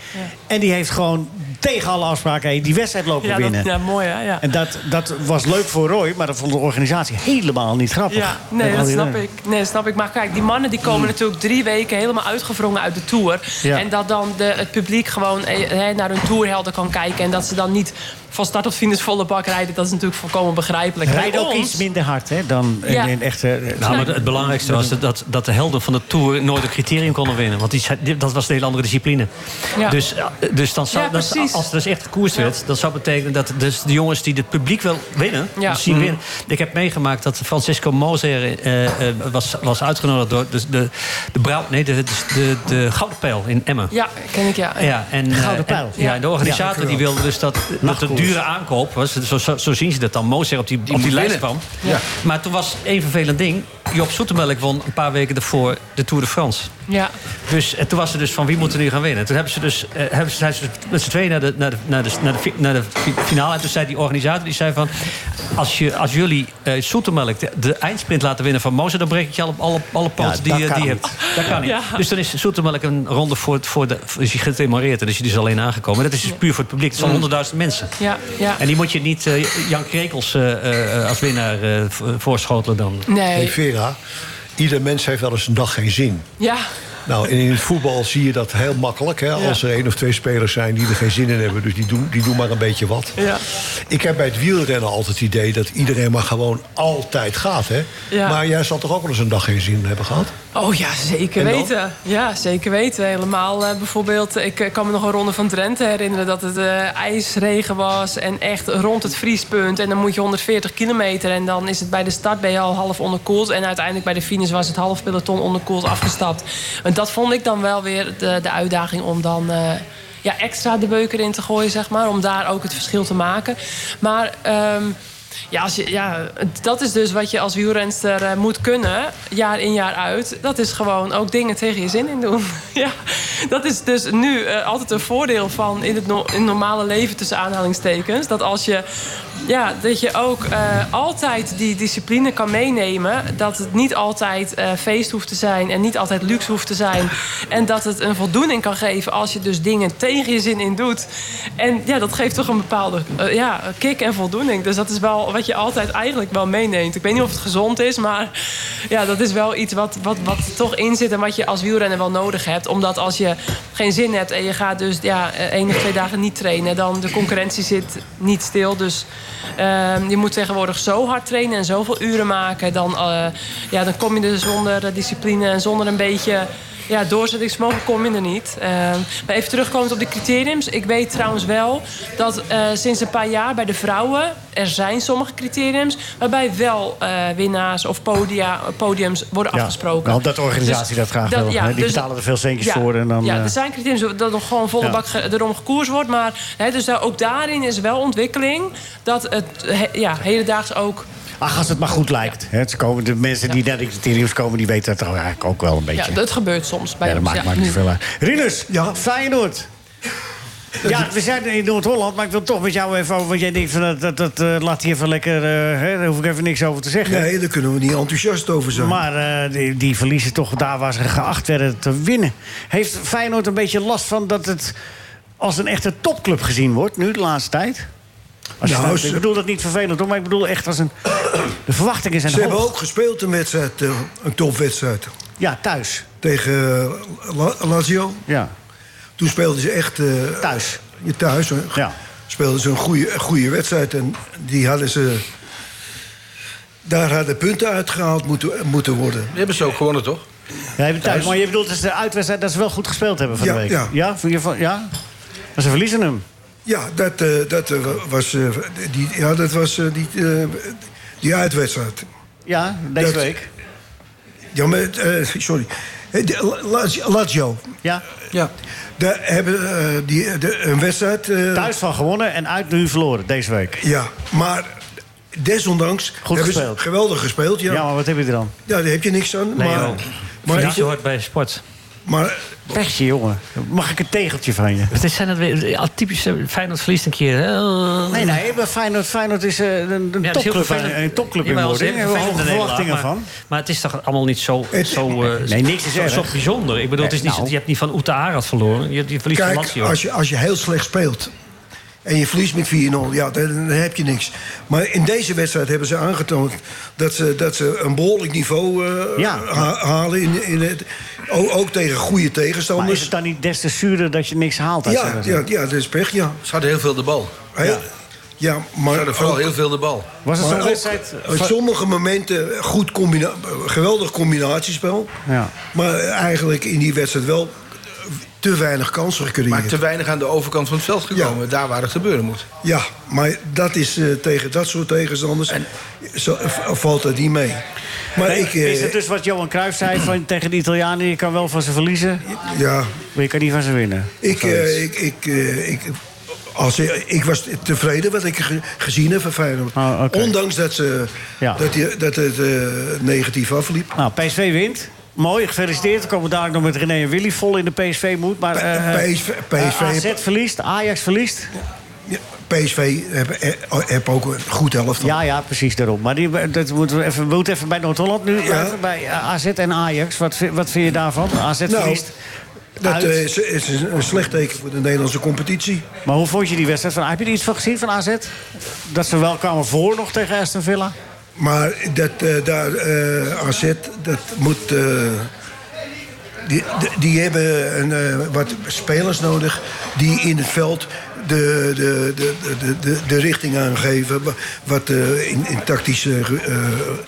S4: En die heeft gewoon tegen alle afspraken heen die wedstrijd lopen
S11: ja,
S4: winnen.
S11: dat, ja, mooi hè. Ja.
S4: En dat, dat was leuk voor Roy, maar dat vond de organisatie helemaal niet grappig.
S11: Ja, nee,
S4: Met
S11: dat
S4: al die
S11: snap
S4: lui.
S11: ik. Nee, dat snap ik. Maar kijk, die mannen die komen natuurlijk drie weken helemaal uitgevrongen uit de tour.
S4: Ja.
S11: En dat dan de, het publiek gewoon eh, hè, naar hun tourhelden kan kijken. En dat ze dan niet van start tot finish volle bak rijden. Dat is natuurlijk volkomen begrijpelijk.
S4: Rijden
S11: Bij
S4: ook
S11: ons-
S4: iets minder hard hè, dan in-
S11: Ja.
S4: in echte...
S5: Nou, maar het belangrijkste was dat, dat de helden van de Tour nooit een criterium konden winnen. Want die, zei- dat was een hele andere discipline.
S11: Ja.
S5: Dus, eh, dus dan zou,
S11: Ja,
S5: dan-
S11: precies.
S5: als er dus echt gekoerst werd, dat zou betekenen dat dus de jongens die het publiek wel winnen,
S11: Ja.
S5: dus zien
S11: Mhm.
S5: winnen. Ik heb meegemaakt dat Francisco Moser eh, eh, was, was uitgenodigd door de, de, de, Brouw- nee, de, de, de, de Gouden Pijl in Emmen.
S11: Ja, ken ik ja.
S5: Ja, en, eh,
S4: Gouden Pijl.
S5: en- ja, en de organisator die wilde dus dat, dat de
S4: Nachtkoers.
S5: dure aankoop was. Dus Zo, zo, zo zien ze dat dan. Mozer op die, op
S7: moet
S5: die lijst
S7: winnen.
S5: kwam.
S7: Ja.
S5: Maar toen was één vervelend ding. Job Soetemelk won een paar weken daarvoor de Tour de France.
S11: Ja.
S5: Dus en toen was er dus van wie moeten nu gaan winnen. Toen hebben ze dus, eh, hebben ze, zijn ze dus met z'n tweeën naar de, naar, de, naar, de, naar, de, fi- naar de fi- finale. En toen zei die organisator, die zei van... als, je, als jullie eh Soetemelk de, de eindsprint laten winnen van Mozer... dan breek ik je alle, alle, alle poten
S4: dat
S5: die je
S4: kan
S5: die je
S4: niet.
S5: hebt. [laughs] Dat kan niet.
S11: Ja.
S5: Dus dan is Soetemelk een ronde voor, het- voor de... is hij gedemoreerd en is hij dus alleen aangekomen. Dat is dus puur voor het publiek. Het zijn honderdduizend mensen.
S11: Ja, ja.
S5: En die moet je niet eh, Jan Krekels eh, eh, eh, als winnaar eh, vo- voorschotelen dan.
S11: Nee.
S9: Hey Vera, ieder mens heeft wel eens een dag geen zin.
S11: Ja.
S9: Nou, en in het voetbal zie je dat heel makkelijk. Hè? Als er één of twee spelers zijn die er geen zin in hebben. Dus die doen, die doen maar een beetje wat.
S11: Ja.
S9: Ik heb bij het wielrennen altijd het idee dat iedereen maar gewoon altijd gaat. Hè?
S11: Ja.
S9: Maar jij zal toch ook wel eens een dag geen zin hebben gehad?
S11: Oh ja, zeker
S9: En dan?
S11: weten. Ja, zeker weten. Helemaal eh, bijvoorbeeld, ik eh, kan me nog een ronde van Drenthe herinneren... dat het eh, ijsregen was en echt rond het vriespunt. En dan moet je 140 kilometer en dan is het bij de start ben je al half onderkoeld. En uiteindelijk bij de finish was het half peloton onderkoeld afgestapt. En dat vond ik dan wel weer de, de uitdaging om dan... eh, ja, extra de beuker in te gooien, zeg maar. Om daar ook het verschil te maken. Maar... ehm, ja, als je, ja, dat is dus wat je als wielrenster eh, moet kunnen, jaar in jaar uit. Dat is gewoon ook dingen tegen je zin in doen. [laughs] ja, dat is dus nu eh, altijd een voordeel van in het, no- in het normale leven tussen aanhalingstekens. Dat als je, ja, dat je ook eh, altijd die discipline kan meenemen. Dat het niet altijd eh, feest hoeft te zijn en niet altijd luxe hoeft te zijn. En dat het een voldoening kan geven als je dus dingen tegen je zin in doet. En ja, dat geeft toch een bepaalde eh, ja, kick en voldoening. Dus dat is wel wat je altijd eigenlijk wel meeneemt. Ik weet niet of het gezond is, maar ja, dat is wel iets wat, wat, wat er toch in zit... en wat je als wielrenner wel nodig hebt. Omdat als je geen zin hebt en je gaat dus ja, eh, één of twee dagen niet trainen... dan de concurrentie zit niet stil. Dus ehm, je moet tegenwoordig zo hard trainen dus en zoveel uren maken... dan, eh, ja, dan kom je er zonder eh, discipline en zonder een beetje ja, doorzettingsvermogen kon minder niet. Eh, maar even terugkomend op de criteriums. Ik weet trouwens wel dat eh, sinds een paar jaar bij de vrouwen... er zijn sommige criteriums waarbij wel eh, winnaars of podia, podiums worden
S4: Ja,
S11: afgesproken. Dus
S4: wel dat organisatie dat graag wil, hè. Die betalen er veel centjes voor en dan,
S11: ja, dus
S4: eh,
S11: er zijn criteriums dat nog gewoon volle
S4: Ja.
S11: bak ge- erom gekoers wordt. Maar hè, dus daar, ook daarin is wel ontwikkeling dat het he- ja, hedendaags ook...
S4: Ach, als het maar goed lijkt. Hè, ze komen, de mensen die naar de criteriums komen, die weten dat eigenlijk ook wel een beetje.
S11: Ja, dat gebeurt soms bij
S4: Ja, dat
S11: ons.
S4: maakt, maakt niet
S11: nu.
S4: veel uit. Rinus, Feyenoord. Ja, we zijn in Noord-Holland, maar ik wil toch met jou even over... want jij denkt, van, dat, dat, dat eh, laat hier even lekker... eh, hè, daar hoef ik even niks over te zeggen.
S8: Nee, daar kunnen we niet enthousiast over zijn.
S4: Maar eh, die, die verliezen toch daar waar ze geacht werden te winnen. Heeft Feyenoord een beetje last van dat het als een echte topclub gezien wordt... nu de laatste tijd? Als je
S8: Nou,
S4: nou,
S8: ze-
S4: ik bedoel dat niet vervelend, hoor, maar ik bedoel echt als een... De verwachtingen zijn
S8: Ze hebben
S4: hoog.
S8: ook gespeeld een wedstrijd, eh, een topwedstrijd.
S4: Ja, thuis.
S8: Tegen eh, La- Lazio.
S4: Ja.
S8: Toen speelden ze echt... eh,
S4: thuis.
S8: Je thuis. hè. Speelden ze een goede, goede wedstrijd. En die hadden ze... Daar hadden punten uitgehaald moeten, moeten worden.
S7: Die hebben ze ook gewonnen, toch?
S4: Ja, je bedoelt-
S8: Thuis.
S4: maar je bedoelt dus de uitwedstrijd dat ze wel goed gespeeld hebben van
S8: Ja,
S4: de week.
S8: ja.
S4: Ja, vond je van, ja? Maar ze verliezen hem.
S8: Ja, dat, eh, dat eh, was, eh, die, ja, dat was eh, die, eh, die uitwedstrijd.
S4: Ja, deze
S8: Dat-
S4: week.
S8: Ja, maar, eh, sorry. Eh, de- La- Lazio- Lazio.
S4: Ja.
S7: ja.
S8: Daar hebben eh, die, de, een wedstrijd... eh,
S4: Thuis van gewonnen en uit nu verloren, deze week.
S8: Ja, maar desondanks...
S4: Goed
S8: hebben ze
S4: gespeeld.
S8: Geweldig gespeeld, ja.
S4: Ja, maar wat heb je er dan?
S8: Ja, daar heb je niks aan.
S4: Nee,
S8: maar,
S4: joh.
S8: maar,
S5: Niet zo hard bij sport.
S8: Maar...
S4: Pechje, jongen. Mag ik een tegeltje van je?
S5: Wat zijn dat weer? Ja, typisch eh, Feyenoord verliest een keer. hè?
S4: Nee, nee, maar Feyenoord, Feyenoord is eh, een, een
S5: Ja, dat is heel
S4: topclub,
S5: vervelend.
S4: een, een topclub
S5: Ja,
S4: in
S5: maar dat is
S4: wording.
S5: heel
S4: Daar hebben we hoge
S5: vervelend in Nederland,
S4: verwachtingen van.
S5: maar- Maar het is toch allemaal niet zo, zo, eh,
S4: nee, niks is
S5: zo,
S4: erg.
S5: zo bijzonder. Ik bedoel, het is niet,
S4: Nee, nou.
S5: zo- je hebt niet van Uta Arad verloren. Je, je verliest van
S8: Kijk,
S5: Lazio.
S8: als je, als je heel slecht speelt en je verliest met 4-0, ja, dan, dan heb je niks. Maar in deze wedstrijd hebben ze aangetoond dat ze, dat ze een behoorlijk niveau eh,
S4: Ja.
S8: ha- halen. In, in het, ook, ook tegen goede
S4: Maar is
S8: tegenstanders.
S4: het dan niet des te zuurder dat je niks haalt? uit zo'n
S8: Ja, ja,
S4: wedstrijd?
S8: ja, dat is pech, ja.
S7: Ze hadden heel veel de bal.
S8: Heel- ja. maar
S7: Ze hadden vooral
S8: ook-
S7: heel veel de bal.
S4: Was het
S8: maar
S4: zo'n
S8: ook
S4: wedstrijd-
S8: Op sommige momenten goed combina geweldig combinatiespel.
S4: Ja.
S8: Maar eigenlijk in die wedstrijd wel te weinig kansen gecreëerd.
S7: Maar te weinig aan de overkant van het veld gekomen. Daar waar het gebeuren moet.
S8: Ja, maar dat is eh, tegen dat soort tegenstanders. zo, eh, v- valt dat niet mee. Maar
S4: Nee,
S8: ik. eh,
S4: is het dus wat Johan Cruijff zei van, tegen de Italianen... je kan wel van ze verliezen,
S8: ja,
S4: maar je kan niet van ze winnen?
S8: ik, eh,
S4: Zoiets.
S8: ik, ik, eh, ik, als, ik ik was tevreden wat ik ge- gezien heb van Feyenoord.
S4: Oh, oké.
S8: Ondanks dat, ze,
S4: Ja.
S8: dat, die, dat het eh, negatief afliep.
S4: Nou, PSV wint. Mooi, gefeliciteerd. We komen dadelijk nog met René en Willy vol in de PSV-moed. Maar eh, eh,
S8: PSV, PSV,
S4: eh, AZ verliest, Ajax verliest.
S8: PSV heb, eh, heb ook een goed elftal.
S4: Ja, ja, precies daarom. Maar die, dat moeten we, even, we moeten even bij Noord-Holland nu.
S8: Ja.
S4: Even bij eh, AZ en Ajax. Wat, vind- wat vind je daarvan? AZ
S8: Nou,
S4: verliest.
S8: Dat
S4: uit.
S8: eh, is, is een slecht teken voor de Nederlandse competitie.
S4: Maar hoe vond je die wedstrijd? Van, heb je er iets van gezien van AZ? Dat ze wel kwamen voor nog tegen Aston Villa?
S8: Maar dat eh, daar, eh, AZ, dat moet... eh, die, die- die hebben een, eh, wat spelers nodig die in het veld de, de, de, de, de, de richting aangeven. wa- Wat eh, in, in tactische... eh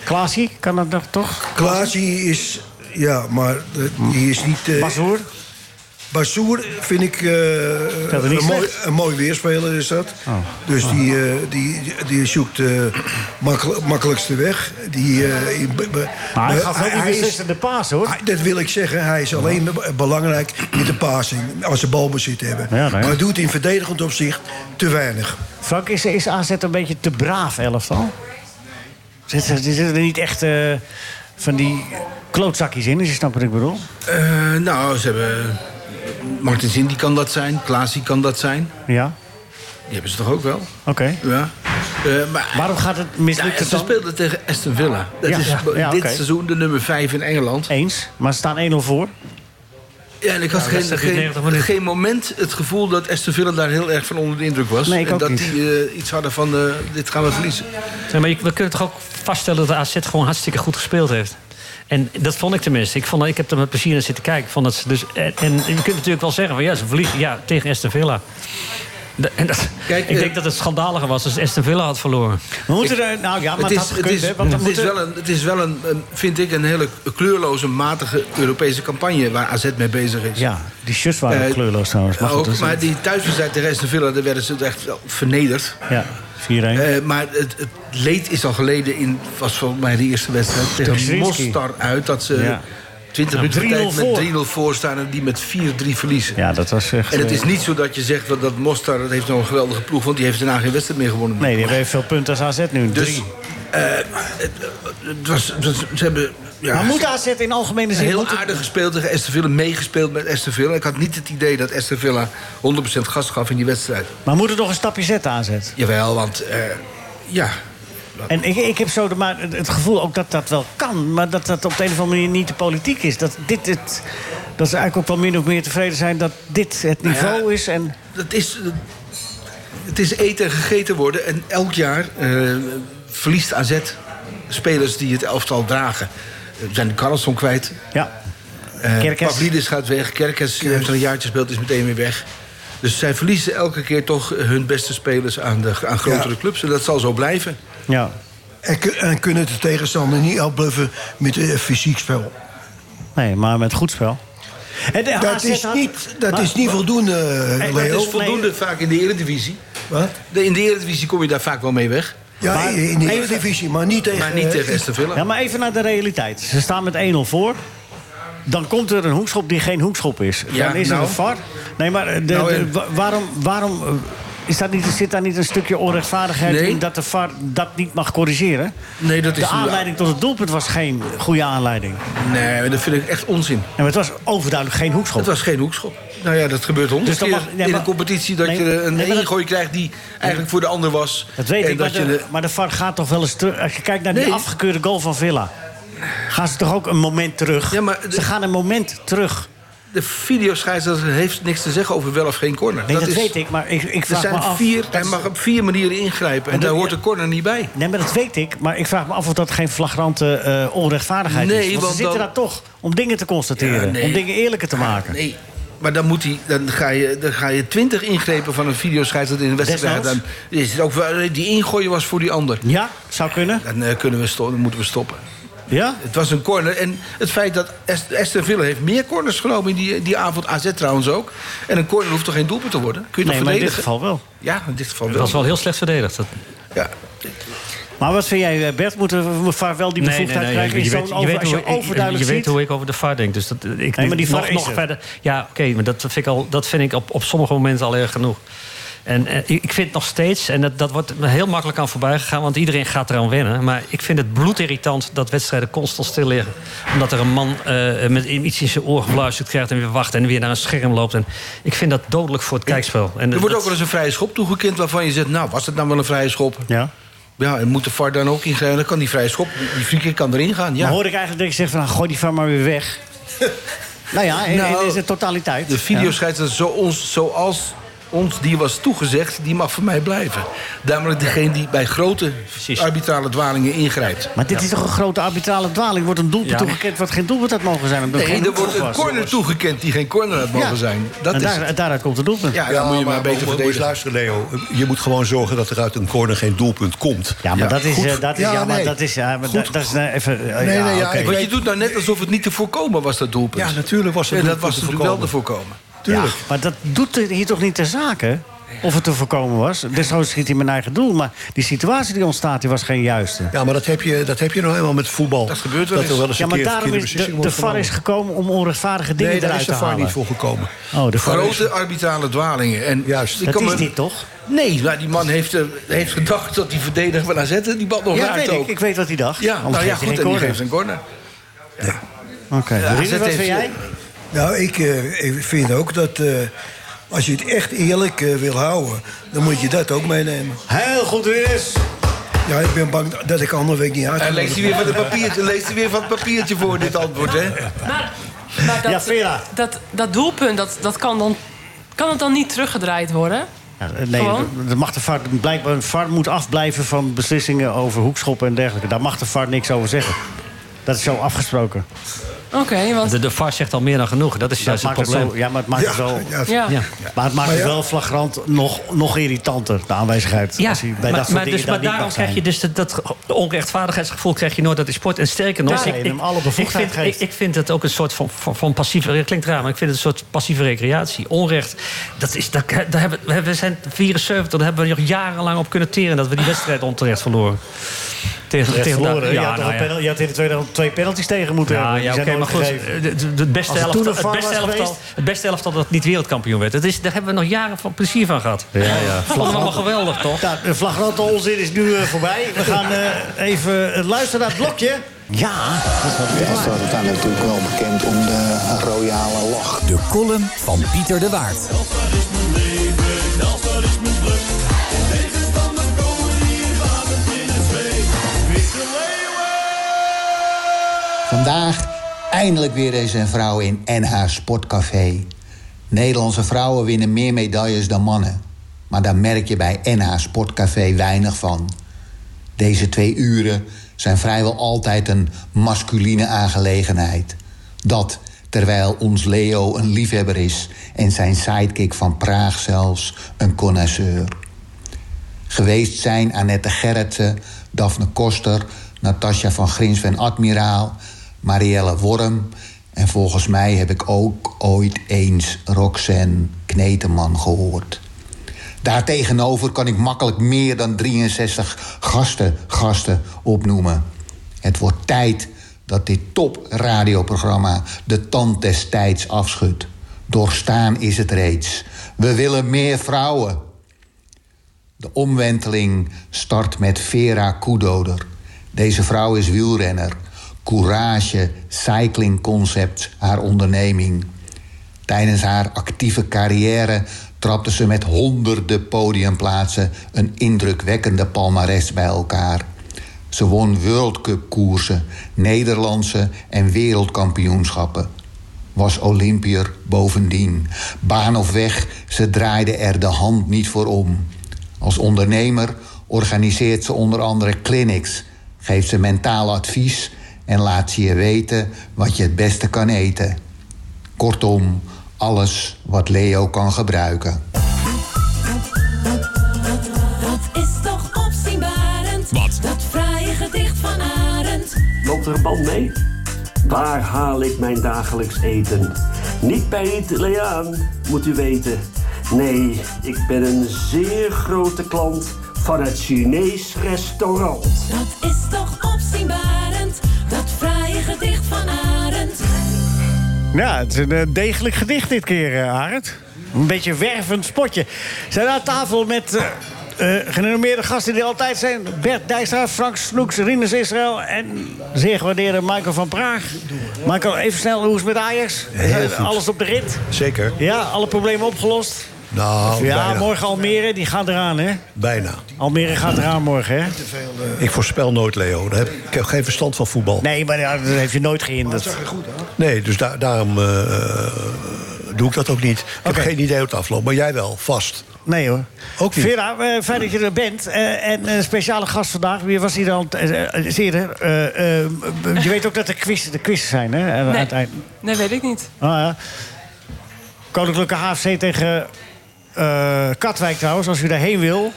S4: Klaasie, kan dat nog toch?
S8: Klaasie is... Ja, maar eh, die is niet... eh,
S4: Bashoer?
S8: Bassoer vind ik eh,
S4: dat
S8: een,
S4: niet
S8: mooi,
S4: slecht?
S8: een mooi weerspeler is dat.
S4: Oh.
S8: Dus die, eh, die, die zoekt de makkelijkste weg. Die, eh, in- be- be-
S4: Maar hij
S8: be-
S4: gaf ook niet
S8: hij is-
S4: beslissende paas, hoor.
S8: hij- dat wil ik zeggen. Hij is alleen be- belangrijk in de passing. Als ze balbezit hebben.
S4: Oh. Ja, nee.
S8: Maar hij doet in verdedigend opzicht te weinig.
S4: Frank, is, is AZ een beetje te braaf elftal? Zitten er zitten er niet echt eh, van die klootzakjes in, als je snapt wat ik bedoel?
S7: Eh, nou, ze hebben... Martin Zin, die kan dat zijn. Klaas, die kan dat zijn.
S4: Ja,
S7: Die hebben ze toch ook wel?
S4: oké.
S7: Ja. Eh, maar,
S4: Waarom gaat het mislukt
S7: Nou,
S4: het
S7: ze
S4: dan?
S7: speelden tegen Aston Villa. Dat
S4: Ja,
S7: is
S4: ja, ja,
S7: dit
S4: oké.
S7: seizoen de nummer 5 in Engeland.
S4: Eens, maar ze staan 1-0 voor.
S7: Ja, en ik had
S5: Ja, dat
S7: geen,
S5: is natuurlijk 90
S7: geen,
S5: minuten.
S7: geen moment het gevoel dat Aston Villa daar heel erg van onder de indruk was.
S4: Nee, ik
S7: en
S4: ook
S7: dat
S4: niet.
S7: die eh, iets hadden van, eh, dit gaan we verliezen.
S5: Nee, maar je- we kunnen toch ook vaststellen dat de AZ gewoon hartstikke goed gespeeld heeft. En dat vond ik tenminste. Ik, vond, dat- ik heb er met plezier naar zitten kijken. Ik Vond dat ze dus, en, en je kunt natuurlijk wel zeggen van ja, ze verliezen ja, tegen Aston Villa. Da- En dat, ik
S7: eh,
S5: denk dat het schandaliger was als Aston Villa had verloren. We moeten er... Nou ja, maar het, had gekund,
S7: het is,
S5: hè, want we
S7: het is
S5: moeten-
S7: wel, een, het is wel een, een, vind ik, een hele kleurloze, matige Europese campagne waar AZ mee bezig is.
S4: Ja, die shirts waren
S7: Eh,
S4: kleurloos trouwens. Maar goed,
S7: ook,
S4: dat is-
S7: maar die thuiswedstrijd tegen Aston Villa, daar werden ze echt wel vernederd.
S4: Ja, 4-1.
S7: Eh, maar het, het leed is al geleden in, was volgens mij de eerste wedstrijd tegen
S4: Tegen Zrinski.
S7: Mostar uit. Dat ze
S4: Ja.
S7: 20
S4: Ja,
S7: minuten
S4: 3-0
S7: tijd
S4: voor.
S7: met 3-0 voor staan en die met 4-3 verliezen.
S4: Ja, dat was echt...
S7: En het
S4: eh,
S7: is niet zo dat je zegt dat, dat Mostar, dat heeft nog een geweldige ploeg, want die heeft daarna geen wedstrijd meer gewonnen.
S4: Nee, die hebben evenveel punten als AZ nu.
S7: Dus,
S4: Drie.
S7: eh, het, het was, het was- ze hebben... Ja,
S4: maar moet AZ in algemene zin...
S7: Heel
S4: moet het-
S7: aardig gespeeld tegen Aston Villa, meegespeeld met Aston Villa. Ik had niet het idee dat Aston Villa 100% gas gaf in die wedstrijd.
S4: Maar moet het nog een stapje zetten AZ?
S7: Jawel, want eh, ja,
S4: En ik, ik heb zo de, maar het het gevoel ook dat dat wel kan. Maar dat dat op de een of andere manier niet de politiek is. Dat, dit het, dat ze eigenlijk ook wel min of meer tevreden zijn dat dit het
S7: Nou ja,
S4: niveau is. En,
S7: dat is, het is eten en gegeten worden. En elk jaar eh, verliest AZ spelers die het elftal dragen. We zijn de Carlson kwijt.
S4: Ja.
S7: Kerkers.
S8: Eh,
S4: Kerkers.
S7: Pavlidis gaat weg. Kerkers die heeft al een jaartje gespeeld, is meteen weer weg. Dus zij verliezen elke keer toch hun beste spelers aan, de, aan grotere clubs. En dat zal zo blijven.
S4: ja.
S8: En, kun- en kunnen de tegenstander niet uitbluffen met eh, fysiek spel.
S4: Nee, maar met goed spel. En de
S8: dat
S4: AZ
S8: is
S4: had-
S8: niet, dat
S4: Maar-
S8: is niet voldoende,
S7: En dat
S8: Leo.
S7: is voldoende vaak in de Eredivisie.
S8: Wat?
S7: De- In de Eredivisie kom je daar vaak wel mee weg.
S8: Ja,
S4: Maar-
S8: in de
S4: Even-
S8: Eredivisie, maar niet tegen... eh,
S7: Maar niet tegen Aston Villa.
S4: Ja, maar even naar de realiteit. Ze staan met 1-0 voor. Dan komt er een hoekschop die geen hoekschop is.
S7: Ja,
S4: dan is
S7: nou.
S4: er een VAR. Nee, maar eh, de,
S7: Nou,
S4: de-
S7: en-
S4: wa- waarom... waarom eh, is dat niet, zit daar niet een stukje onrechtvaardigheid
S7: Nee.
S4: in dat de VAR dat niet mag corrigeren?
S7: Nee, dat is
S4: de
S7: niet waar.
S4: aanleiding tot het doelpunt was geen goede aanleiding.
S7: Nee, dat vind ik echt onzin.
S4: En het was overduidelijk geen hoekschop.
S7: Het was geen hoekschop. Nou ja, dat gebeurt honderd
S4: Dus dan
S7: keer
S4: mag- nee,
S7: in
S4: maar-
S7: een competitie... dat
S4: Nee,
S7: je een
S4: nee, maar dat-
S7: ingooi krijgt die eigenlijk voor de ander was.
S4: Dat weet
S7: en
S4: ik, maar,
S7: je
S4: de,
S7: de-
S4: maar de VAR gaat toch wel eens terug. Als je kijkt naar
S7: Nee.
S4: die afgekeurde goal van Villa... gaan ze toch ook een moment terug?
S7: Ja, maar de-
S4: Ze gaan een moment terug.
S7: De videoscheidsrechter heeft niks te zeggen over wel of geen corner.
S4: Nee, dat,
S7: is-
S4: weet ik, maar ik, ik
S7: Er
S4: vraag me
S7: zijn
S4: af...
S7: vier,
S4: dat
S7: hij
S4: is-
S7: mag op vier manieren ingrijpen. En
S4: dat-
S7: daar hoort de corner niet bij.
S4: Nee, maar dat weet ik. Maar ik vraag me af of dat geen flagrante eh, onrechtvaardigheid
S7: Nee,
S4: is. Want,
S7: want
S4: ze zitten
S7: dan-
S4: daar toch om dingen te constateren.
S7: Ja, nee.
S4: Om dingen eerlijker te maken.
S7: Nee. Maar dan, moet hij, dan, ga je, dan ga je twintig ingrepen van een videoscheidsrechter in een wedstrijd. Dan
S4: Desnoods.
S7: is het ook, wel- die ingooien was voor die ander.
S4: Ja, zou kunnen.
S7: Dan, eh, kunnen we sto- dan moeten we stoppen.
S4: Ja?
S7: Het was een corner. En het feit dat Est- Aston Villa heeft meer corners genomen in die, eh, die avond. AZ trouwens ook. En een corner hoeft toch geen doelpunt te worden? Kun je
S4: Nee,
S7: toch
S4: maar in dit
S7: verdedigen?
S4: geval wel.
S7: Ja, in dit geval
S5: Het
S7: wel.
S5: was wel heel slecht verdedigd. Dat-
S7: Ja.
S4: Maar wat vind jij, eh, Bert? Moeten we VAR wel die bevoegdheid krijgen?
S5: Je
S4: Is
S5: weet,
S4: zo'n
S5: je,
S4: over,
S5: weet
S4: als
S5: hoe,
S4: je
S5: ik, je
S4: overduidelijk
S5: weet
S4: ziet...
S5: hoe ik over de VAR denk. Dus dat, ik
S4: Nee, maar die
S5: nog,
S4: VAR is
S5: nog
S4: er.
S5: verder. Ja, oké, maar dat vind ik, al, dat vind ik op, op sommige momenten al erg genoeg. En eh, ik ik vind nog steeds, en dat, dat wordt me heel makkelijk aan voorbij gegaan, want iedereen gaat eraan wennen. Maar ik vind het bloedirritant dat wedstrijden constant stil liggen. Omdat er een man eh, met iets in zijn oor gefluisterd krijgt en weer wacht en weer naar een scherm loopt. En ik vind dat dodelijk voor het kijkspel. En
S7: Er wordt
S5: dat-
S7: ook wel eens een vrije schop toegekend waarvan je zegt... nou, was het nou wel een vrije schop?
S4: Ja.
S7: Ja, en moet de VAR dan ook ingrijpen? Dan kan die vrije schop, die friekick kan erin gaan. Ja.
S4: Maar hoor ik eigenlijk dat je zegt van... nou, gooi die VAR maar weer
S7: [laughs]
S4: weg. nou ja, in,
S7: Nou,
S4: in zijn totaliteit.
S7: De
S4: Ja.
S7: videoscheidsrechter zo ons, zoals ons die was toegezegd, die mag voor mij blijven. Namelijk degene die bij grote arbitrale dwalingen ingrijpt.
S4: Maar dit is toch een grote arbitrale dwaling? Wordt een doelpunt
S5: Ja.
S4: toegekend wat geen doelpunt had mogen zijn? Omdat
S7: Nee,
S4: geen
S7: er wordt
S4: doelpunt
S7: een
S4: was.
S7: corner toegekend die geen corner had mogen
S4: Ja.
S7: zijn. Dat
S4: en
S7: is
S4: daar,
S7: het.
S4: daaruit komt het doelpunt.
S7: Ja, dan moet je maar, beter
S9: moet je eens
S7: verdedigen.
S9: luisteren, Leo. Je moet gewoon zorgen dat er uit een corner geen doelpunt komt.
S4: Ja, maar dat is...
S9: goed.
S4: eh, dat is
S9: Ja,
S4: ja, maar
S9: nee.
S4: dat is... Ja, maar
S9: Goed.
S4: dat- dat is eh, even... eh,
S9: Nee,
S4: ja,
S9: nee, ja,
S4: oké.
S9: ik
S7: Want je doet nou net alsof het niet te voorkomen was, dat doelpunt.
S9: Ja, natuurlijk was het
S7: En dat
S9: doelpunt
S7: was
S9: te
S7: natuurlijk wel te
S9: voorkomen.
S7: voorkomen.
S9: Tuurlijk.
S4: Ja, maar dat doet er hier toch niet ter zake? Of het te voorkomen was. Desnoods schiet hij mijn eigen doel. Maar die situatie die ontstaat, die was geen juiste.
S9: Ja, maar dat heb, je, dat heb je nou helemaal met voetbal.
S7: Dat gebeurt wel
S9: dat er
S7: eens.
S9: wel eens
S4: Ja,
S9: een
S4: maar
S9: keer
S4: daarom
S9: verkeerde
S4: is
S9: beslissing
S4: de, de
S9: wordt
S4: VAR is
S9: genomen.
S4: gekomen om onrechtvaardige dingen
S9: Nee, daar
S4: eruit
S9: is de
S4: te
S9: VAR
S4: halen.
S9: niet voor gekomen.
S4: Oh, de VAR is...
S7: Grote arbitrale dwalingen. En
S9: Juist.
S7: ik
S4: Dat
S7: kan
S4: is
S7: me-
S4: dit toch?
S7: Nee, maar die man heeft, eh, heeft gedacht dat die verdediger van AZ die bal nog
S4: Ja,
S7: raakt
S4: weet
S7: ook.
S4: ik. Ik weet wat hij dacht.
S7: Ja,
S4: Anders
S7: nou ja,
S4: geeft hij
S7: goed,
S4: geen
S7: en die
S4: corner.
S7: geeft een corner.
S4: Oké,
S7: Ja,
S4: Rinus,
S7: AZ
S4: wat
S7: heeft-
S4: vind jij?
S8: Nou, ik, eh, ik vind ook dat eh, als je het echt eerlijk eh, wil houden... dan moet je dat ook meenemen.
S4: Heel goed, Rinus.
S8: Ja, ik ben bang dat ik andere week niet uit.
S7: En Eh, leest hij weer van het papiertje, leest hij weer van het papiertje voor dit antwoord, hè?
S11: Maar, maar dat,
S4: Ja, Vera.
S11: dat, dat doelpunt, dat, dat kan, dan, kan het dan niet teruggedraaid worden?
S4: Ja, nee,
S11: Gewoon?
S4: dat- dat mag de VAR, blijkbaar een VAR moet afblijven van beslissingen over hoekschoppen en dergelijke. Daar mag de VAR niks over zeggen. Dat is zo afgesproken.
S11: Oké, want...
S5: De, de VAR zegt al meer dan genoeg. Dat is juist
S4: maakt
S5: het
S4: het
S5: probleem.
S4: zo- ja, maar het maakt het wel- Ja,
S11: ja.
S4: Ja. Maar het maakt
S5: Maar
S4: het
S5: ja.
S4: wel flagrant nog, nog irritanter, de aanwezigheid.
S5: Ja,
S4: als hij
S5: maar,
S4: bij dat soort
S5: maar,
S4: dingen
S5: dus,
S4: dan
S5: maar
S4: niet
S5: daarom
S4: mag
S5: krijg
S4: zijn.
S5: je dus dat, dat ge- onrechtvaardigheidsgevoel krijg je nooit dat die sport. En sterker nog,
S4: Tenzij
S5: ik,
S4: je hem alle bevoegdheid
S5: ik, vind,
S4: geeft.
S5: ik, ik vind het ook een soort van, van, van passieve... Het klinkt raar, maar ik vind het een soort passieve recreatie. Onrecht, dat is, dat, daar hebben, we- we zijn 74, daar hebben we nog jarenlang op kunnen teren... dat we die wedstrijd onterecht verloren. Tegen,
S4: Terecht verloren.
S5: ja,
S4: je, had
S5: nou
S4: nog een
S5: ja.
S4: penal- je had in de tweede helft twee penalties tegen moeten
S5: Ja,
S4: hebben.
S5: ja,
S4: Die
S5: oké,
S4: zijn
S5: maar goed.
S4: nooit
S5: eh,
S4: gegeven.
S5: de- de- Het beste
S4: Als er toen
S5: elftal- het
S4: een VAR
S5: beste
S4: was
S5: elftal-
S4: geweest-
S5: het beste elftal dat niet wereldkampioen werd. Het is, daar hebben we nog jaren van plezier van gehad.
S4: Ja, ja.
S5: Dat was allemaal geweldig, toch?
S4: Nou, de flagrante onzin is nu eh, voorbij. We gaan eh, even eh, luisteren naar het blokje. Ja, dat is wel
S13: Ja, staat uiteindelijk natuurlijk wel bekend om de royale lach. De column van Pieter de Waard. Vandaag eindelijk weer deze vrouwen in NH Sportcafé. Nederlandse vrouwen winnen meer medailles dan mannen. Maar daar merk je bij NH Sportcafé weinig van. Deze twee uren zijn vrijwel altijd een masculine aangelegenheid. Dat terwijl ons Leo een liefhebber is en zijn sidekick van Praag zelfs een connoisseur. Geweest zijn Annette Gerritsen, Daphne Koster, Natasja van Grinsven Admiraal, Marielle Worm en volgens mij heb ik ook ooit eens Roxanne Kneteman gehoord. Daartegenover kan ik makkelijk meer dan 63 gasten, gasten opnoemen. Het wordt tijd dat dit topradioprogramma de tand des tijds afschudt. Doorstaan is het reeds. We willen meer vrouwen. De omwenteling start met Vera Koedoder. Deze vrouw is wielrenner. Courage Cycling Concept, haar onderneming. Tijdens haar actieve carrière trapte ze met honderden podiumplaatsen een indrukwekkende palmares bij elkaar. Ze won World Cup koersen, Nederlandse en wereldkampioenschappen. Was Olympier bovendien. Baan of weg, ze draaide er de hand niet voor om. Als ondernemer organiseert ze onder andere clinics, geeft ze mentaal advies en laat ze je weten wat je het beste kan eten. Kortom, alles wat Leo kan gebruiken.
S2: Dat is toch opzienbarend. Wat? Dat fraaie gedicht van Arend.
S14: Loopt er een band mee? Waar haal ik mijn dagelijks eten? Niet bij de Italiaan, moet u weten. Nee, ik ben een zeer grote klant van het Chinees restaurant.
S2: Dat is toch opzienbarend. Dat fraaie gedicht van Arend.
S4: Ja, het is een eh, degelijk gedicht dit keer, eh, Arend. Een beetje wervend spotje. We Zijn aan tafel met eh, eh, gerenommeerde gasten die er altijd zijn. Bert Dijkstra, Frank Snoeks, Rinus Israël en zeer gewaardeerde Michael van Praag. Michael, even snel, hoe is het met Ajax? Eh,
S9: Heel goed.
S4: Alles op de rit?
S9: Zeker.
S4: Ja, alle problemen opgelost?
S9: Nou,
S4: ja,
S9: bijna.
S4: morgen Almere, die gaat eraan, hè?
S9: Bijna.
S4: Almere gaat eraan morgen, hè?
S9: Ik voorspel nooit, Leo. Daar heb, ik heb geen verstand van voetbal.
S4: Nee, maar ja, dat heeft je nooit gehinderd.
S9: Nee, dus da- daarom eh, doe ik dat ook niet. Ik heb geen idee hoe het afloopt, maar jij wel, vast.
S4: Nee hoor.
S9: Ook niet.
S4: Vera, eh, fijn dat je er bent. Eh, en een speciale gast vandaag. Wie was die dan? Eh, eh, is eerder. Eh, eh, je weet ook dat er quiz, de quiz zijn, hè? Eh,
S11: Nee.
S4: uiteindelijk.
S11: Nee, weet ik niet.
S4: Ah, ja. Koninklijke HFC tegen eh, Katwijk trouwens. Als u daarheen wil.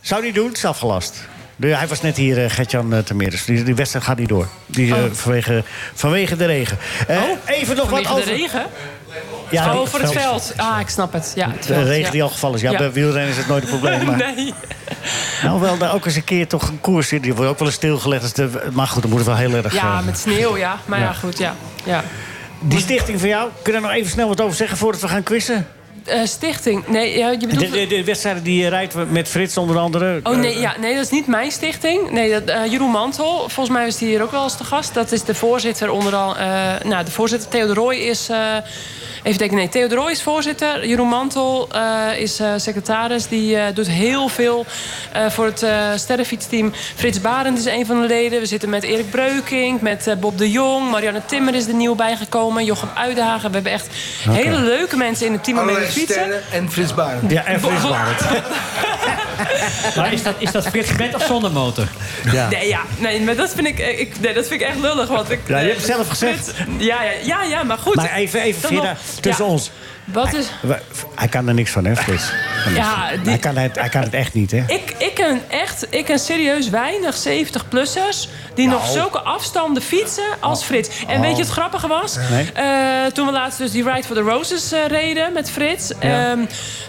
S4: Zou niet doen, het is afgelast. De- hij was net hier, eh, Gertjan eh, Temeres. Die, die wedstrijd gaat niet door. Die, eh,
S11: Oh.
S4: vanwege, vanwege de regen. Eh, even nog
S11: Vanwege
S4: wat
S11: de
S4: over...
S11: regen?
S4: Ja,
S11: oh,
S4: het
S11: voor het
S4: veld.
S11: veld. Ah, ik snap het. Ja, het
S4: De
S11: veld,
S4: regen
S11: ja.
S4: die al gevallen is. Ja,
S11: Ja.
S4: bij wielrennen is het nooit een
S11: [laughs]
S4: probleem. Maar...
S11: Nee.
S4: Nou, wel daar ook eens een keer toch een koers in. Die wordt ook wel eens stilgelegd. als de- Maar goed, dan moet het wel heel erg...
S11: Ja,
S4: eh,
S11: met sneeuw, ja. Maar ja,
S4: Ja.
S11: goed, ja. ja.
S4: Die stichting van jou, kun je daar nog even snel wat over zeggen... voordat we gaan quizzen?
S11: Eh, stichting. Nee, ja, je
S4: De,
S11: bedoelt...
S4: de, de wedstrijden die je rijdt met Frits onder andere. Eh,
S11: Oh nee, ja, nee, dat is niet mijn stichting. Nee, dat, eh, Jeroen Mantel, volgens mij is die hier ook wel eens te gast. Dat is de voorzitter onder al, eh, nou, de voorzitter Theo de Rooij is... eh, even denken, nee, Theo de Rooij is voorzitter. Jeroen Mantel eh, is eh, secretaris. Die eh, doet heel veel eh, voor het eh, sterrenfietsteam. Frits Barend is een van de leden. We zitten met Erik Breuking, met eh, Bob de Jong. Marianne Timmer is er nieuw bijgekomen. Jochem Uidenhagen. We hebben echt
S7: Oké.
S11: hele leuke mensen in het team om mee te
S7: Allerlei
S11: fietsen.
S7: sterren en Frits Barend.
S4: Ja,
S11: en Frits Barend.
S15: [laughs] Maar is dat, is dat Frits met of zonder motor?
S11: Ja. Nee, ja. nee, maar dat vind ik, eh, ik, nee, dat vind ik echt lullig. Want ik,
S4: Ja, je
S11: eh,
S4: hebt het zelf gezegd.
S11: Frits- Ja, ja, ja, ja, maar goed.
S4: Maar even, even
S11: Dan
S4: Frida,
S11: nog-
S4: tussen
S11: ja.
S4: ons.
S11: Wat is...
S4: Wij- Hij kan er niks van, hè, Frits?
S11: Ja, die-
S4: hij, kan het, hij kan het echt niet, hè?
S11: Ik, ik ken echt, ik ken serieus weinig 70-plussers die
S4: Nou.
S11: nog zulke afstanden fietsen als Frits. En
S4: Oh.
S11: weet je wat grappige was?
S4: Nee.
S11: Eh, toen we laatst dus die Ride for the Roses eh, reden met Frits.
S4: Ja.
S11: ehm,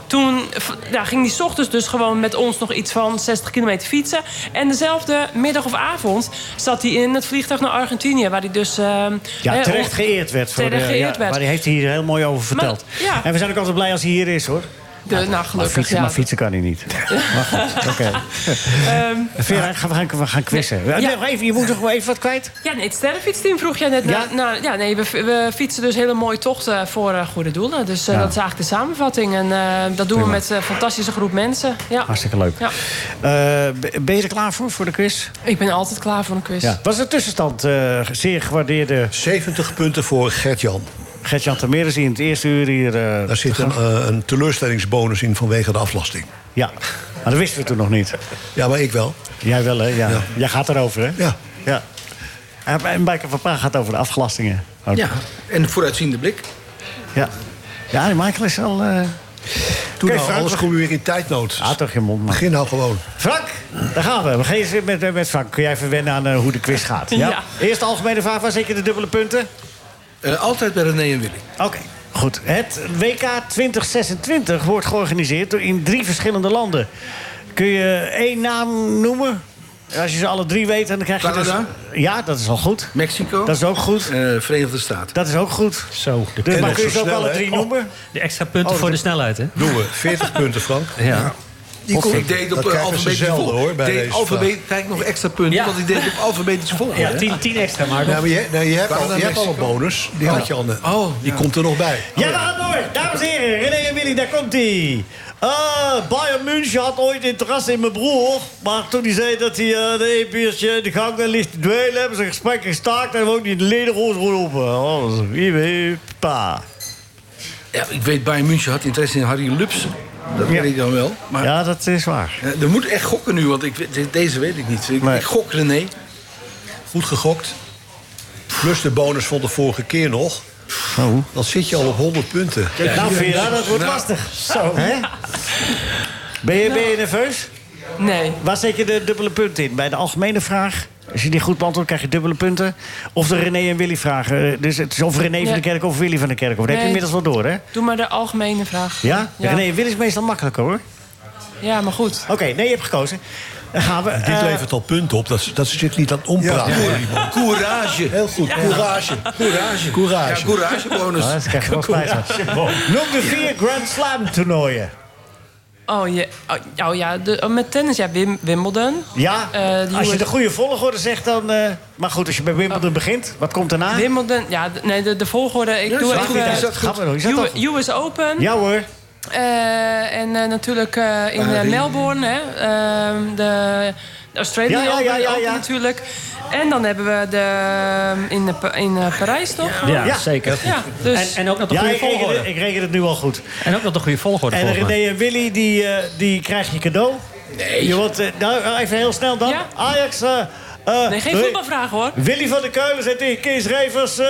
S11: toen v- ja, ging die 's ochtends dus gewoon met ons nog iets van 60 kilometer fietsen. En dezelfde middag of avond zat hij in het vliegtuig naar Argentinië. Waar hij dus... ehm,
S4: Ja,
S11: eh,
S4: terecht
S11: on-
S4: geëerd werd. Voor
S11: terecht
S4: de, ja,
S11: geëerd werd.
S4: Maar die heeft hij hier heel mooi over
S11: Maar-
S4: verteld.
S11: ja.
S4: En we zijn ook altijd blij als hij hier is, hoor.
S11: De, nou,
S4: Maar
S11: gelukkig,
S4: fietsen,
S11: ja.
S4: maar fietsen kan hij niet. [laughs] Maar goed, oké.
S11: Ehm,
S4: Vera, gaan we gaan, we gaan quizzen.
S11: Ja.
S4: Nog even, je moet nog wel even wat kwijt.
S11: Ja, nee, het sterrenfietsteam vroeg jij net.
S4: Ja.
S11: Ja, nou, ja nee, we, we fietsen dus hele mooie tochten voor eh, goede doelen. Dus eh,
S4: Ja.
S11: dat is eigenlijk de samenvatting. En eh, dat doen
S4: Prima.
S11: we met eh, een fantastische groep mensen. Ja.
S4: Hartstikke leuk.
S11: Ja.
S4: Eh, b- ben je er klaar voor, voor de quiz?
S11: Ik ben altijd klaar voor een quiz.
S4: Ja. Wat is de tussenstand? eh, zeer gewaardeerde...
S9: 70 punten voor Gert-Jan.
S4: Gert-Jan Termeer is hier in het eerste uur hier... eh,
S9: Daar zit een, eh, een teleurstellingsbonus in vanwege de aflasting.
S4: Ja, maar dat wisten we toen nog niet.
S9: Ja, maar ik wel.
S4: Jij wel, hè? Ja.
S9: Ja.
S4: Jij gaat erover, hè?
S9: Ja.
S4: ja. En- En Bijker van Pa gaat over de afgelastingen. ook.
S7: Ja, en vooruitziende blik.
S4: Ja, ja die Michael is al... eh
S9: Toen
S4: Oké,
S9: nou,
S4: Frank,
S9: alles
S4: we-
S9: kom je weer in tijdnood.
S4: Ah, toch je mond, man.
S9: Begin nou gewoon.
S4: Frank, daar gaan we. We gaan eens met, eh, met Frank. Kun jij even wennen aan eh, hoe de quiz gaat?
S7: Ja.
S4: Eerste algemene vraag, waar zeker de dubbele punten?
S7: Eh, altijd bij René en Willy.
S4: Oké. Goed. Het WK 2026 wordt georganiseerd door- in drie verschillende landen. Kun je één naam noemen? Als je ze alle drie weet, dan krijg je... dus-
S7: Canada?
S4: Ja, dat is al goed.
S7: Mexico? eh,
S4: Dat is ook goed.
S7: Verenigde Staten.
S4: Dat is ook goed.
S15: Zo. De
S4: Dus,
S7: En
S4: maar
S7: ook
S4: kun je
S7: zo
S4: ze ook
S7: snel,
S4: alle
S7: hè?
S4: drie
S7: Oh.
S4: noemen?
S15: De extra punten
S4: Oh,
S15: voor de
S4: dat-
S15: snelheid, hè?
S9: Doen we. 40 punten, Frank.
S15: Ja.
S7: Die
S9: Godver-
S7: ik deed
S9: dat
S7: op eh,
S9: krijgen ze
S7: alfabetisch
S9: zelden,
S7: volgorde.
S9: hoor, bij
S7: Deed
S9: deze
S7: alfabet-
S9: vraag.
S7: Kijk, nog extra punten,
S9: Ja.
S7: want ik deed op alfabetisch volgorde.
S15: Ja, tien- tien extra, Marco.
S9: Nou, maar je, nou, je hebt,
S7: Waarom
S9: al,
S7: dan
S9: je hebt al een
S7: Mexico?
S9: bonus. Die
S7: Oh.
S9: had je al. net.
S7: Oh,
S9: Die komt er nog bij.
S4: Ja, we gaan door. Dames en heren, René en Willy, daar komt hij. Bayern München had ooit interesse in mijn broer. Maar toen hij zei dat hij eh, de epiertje in de gang en ligt te dweilen... hebben ze een gesprek gestaakt en woont hij in de lederoos geroepen. Oh, wie weet, pa.
S7: Ja, ik weet, Bayern München had interesse in Harry Lups. Dat weet ik dan wel. Maar
S4: Ja, dat is waar.
S7: eh, er moet echt gokken nu, want ik, weet- de- deze weet ik niet. Ik, ik gok René.
S9: Goed gegokt. Plus de bonus van de vorige keer nog. Dan zit je al op 100 punten.
S4: Nou, Vera, dat wordt
S7: Nou.
S4: lastig. Zo. Hè? Ben, je, ben je nerveus?
S11: Nee.
S4: Waar zet je de dubbele punten in? Bij de algemene vraag... Als je die goed beantwoordt, krijg je dubbele punten. Of de René en Willy vragen. Eh, Dus het is of René van
S11: Ja.
S4: de Kerk of Willy van de Kerk. Dat heb je
S11: Nee.
S4: inmiddels wel door, hè?
S11: Doe maar de algemene vraag.
S4: Ja?
S11: Ja,
S4: René, Wil is meestal makkelijker hoor.
S11: Ja, maar goed.
S4: Oké, nee, je hebt gekozen. Dan gaan we.
S9: Dit
S4: eh,
S9: levert al punten op. Dat, dat zit niet aan het ompraten.
S7: Ja.
S9: hoor, die man.
S7: Courage.
S9: Heel goed. Courage.
S7: Courage.
S9: Courage.
S7: Ja, courage bonus.
S4: ah, dat krijg je wel spijt van. Noem de vier Grand Slam toernooien.
S11: Oh, je, oh, oh ja, de, oh, met tennis, ja, Wim, Wimbledon.
S4: Ja,
S11: Eh, die
S4: als je
S11: US
S4: de goede volgorde zegt, dan... eh, maar goed, als je bij Wimbledon begint, wat komt daarna?
S11: Wimbledon, ja, de- nee, de, de volgorde. Ik
S4: Ja,
S11: doe
S4: is dat
S11: even,
S4: goed?
S11: eh,
S4: Is dat goed? Gaan we door, is dat
S11: U-
S4: al goed?
S11: US Open.
S4: Ja hoor.
S11: Eh, en eh, natuurlijk eh, in eh,
S4: Paris.
S11: Melbourne, hè, ehm, de Australian
S4: Ja, ja, ja,
S11: Open,
S4: ja,
S11: Open
S4: ja.
S11: natuurlijk. En dan hebben we de, ehm, in, de, Pa- in eh, Parijs toch?
S15: Ja, zeker.
S11: Ja, dus,
S15: En, en ook nog de
S4: Ja,
S15: goede
S4: ik reken,
S15: volgorde.
S4: het, ik reken het nu al goed.
S15: En ook nog de goede volgorde,
S4: En
S15: volgens mij.
S4: René en Willy, die, eh, die krijg je cadeau. Nee. Je wordt, eh, nou, even heel snel dan.
S11: Ja.
S4: Ajax... eh, eh,
S11: nee, geen
S4: Wi-
S11: voetbalvragen hoor.
S4: Willy van der Kuilen zei tegen Kees Rijvers... eh,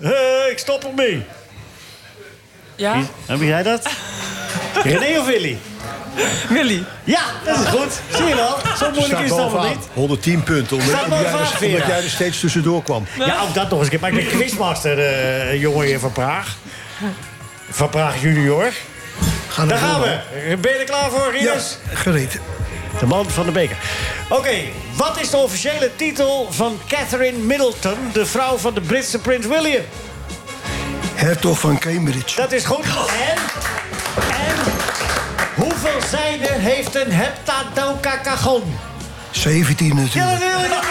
S4: eh, ik stop ermee.
S11: Ja,
S4: Heb jij dat? [laughs] René of Willy?
S11: Willy.
S4: Ja, dat is goed. Zie je wel? Zo moeilijk is het allemaal niet.
S9: 110 punten. Omdat,
S4: Staat
S9: omdat jij,
S4: bovenaan,
S9: er,
S4: Vera.
S9: omdat jij er steeds tussendoor kwam.
S4: Ja, ook dat nog eens. Ik maak de quizmaster, eh, jongen hier van Praag. Van Praag junior.
S9: Ga
S4: Daar gaan
S9: door,
S4: we. Ben je er klaar voor, Rinus?
S3: Gereed.
S4: De man van de beker. Oké, wat is de officiële titel van Catherine Middleton... de vrouw van de Britse prins William?
S8: Hertog van Cambridge.
S4: Dat is goed. En, en hoeveel zijden heeft een heptadokakagon?
S8: 17
S4: Ja,
S8: natuurlijk.
S4: natuurlijk.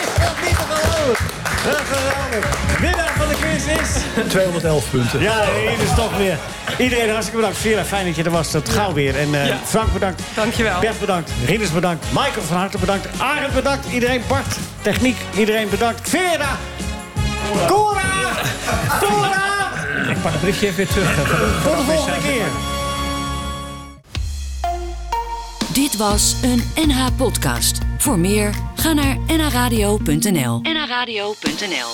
S4: Is dat niet te geloven? Dat is geweldig. Winnaar van de quiz is...
S9: 211 punten.
S4: Ja, hier is toch weer. Iedereen hartstikke bedankt. Vera, fijn dat je er was. Tot gauw weer. En eh,
S11: Ja.
S4: Frank bedankt.
S11: Dankjewel.
S4: Bert bedankt. Rinus bedankt. Michael van harte bedankt. Arend bedankt. Iedereen. Bart, techniek. Iedereen bedankt. Vera. Cora. Cora.
S15: Ik pak het briefje even weer terug. eh, van de- van
S4: Tot de
S15: de-
S4: volgende keer.
S1: Dit was een NH-podcast. Voor meer, ga naar nhradio.nl.
S2: nhradio.nl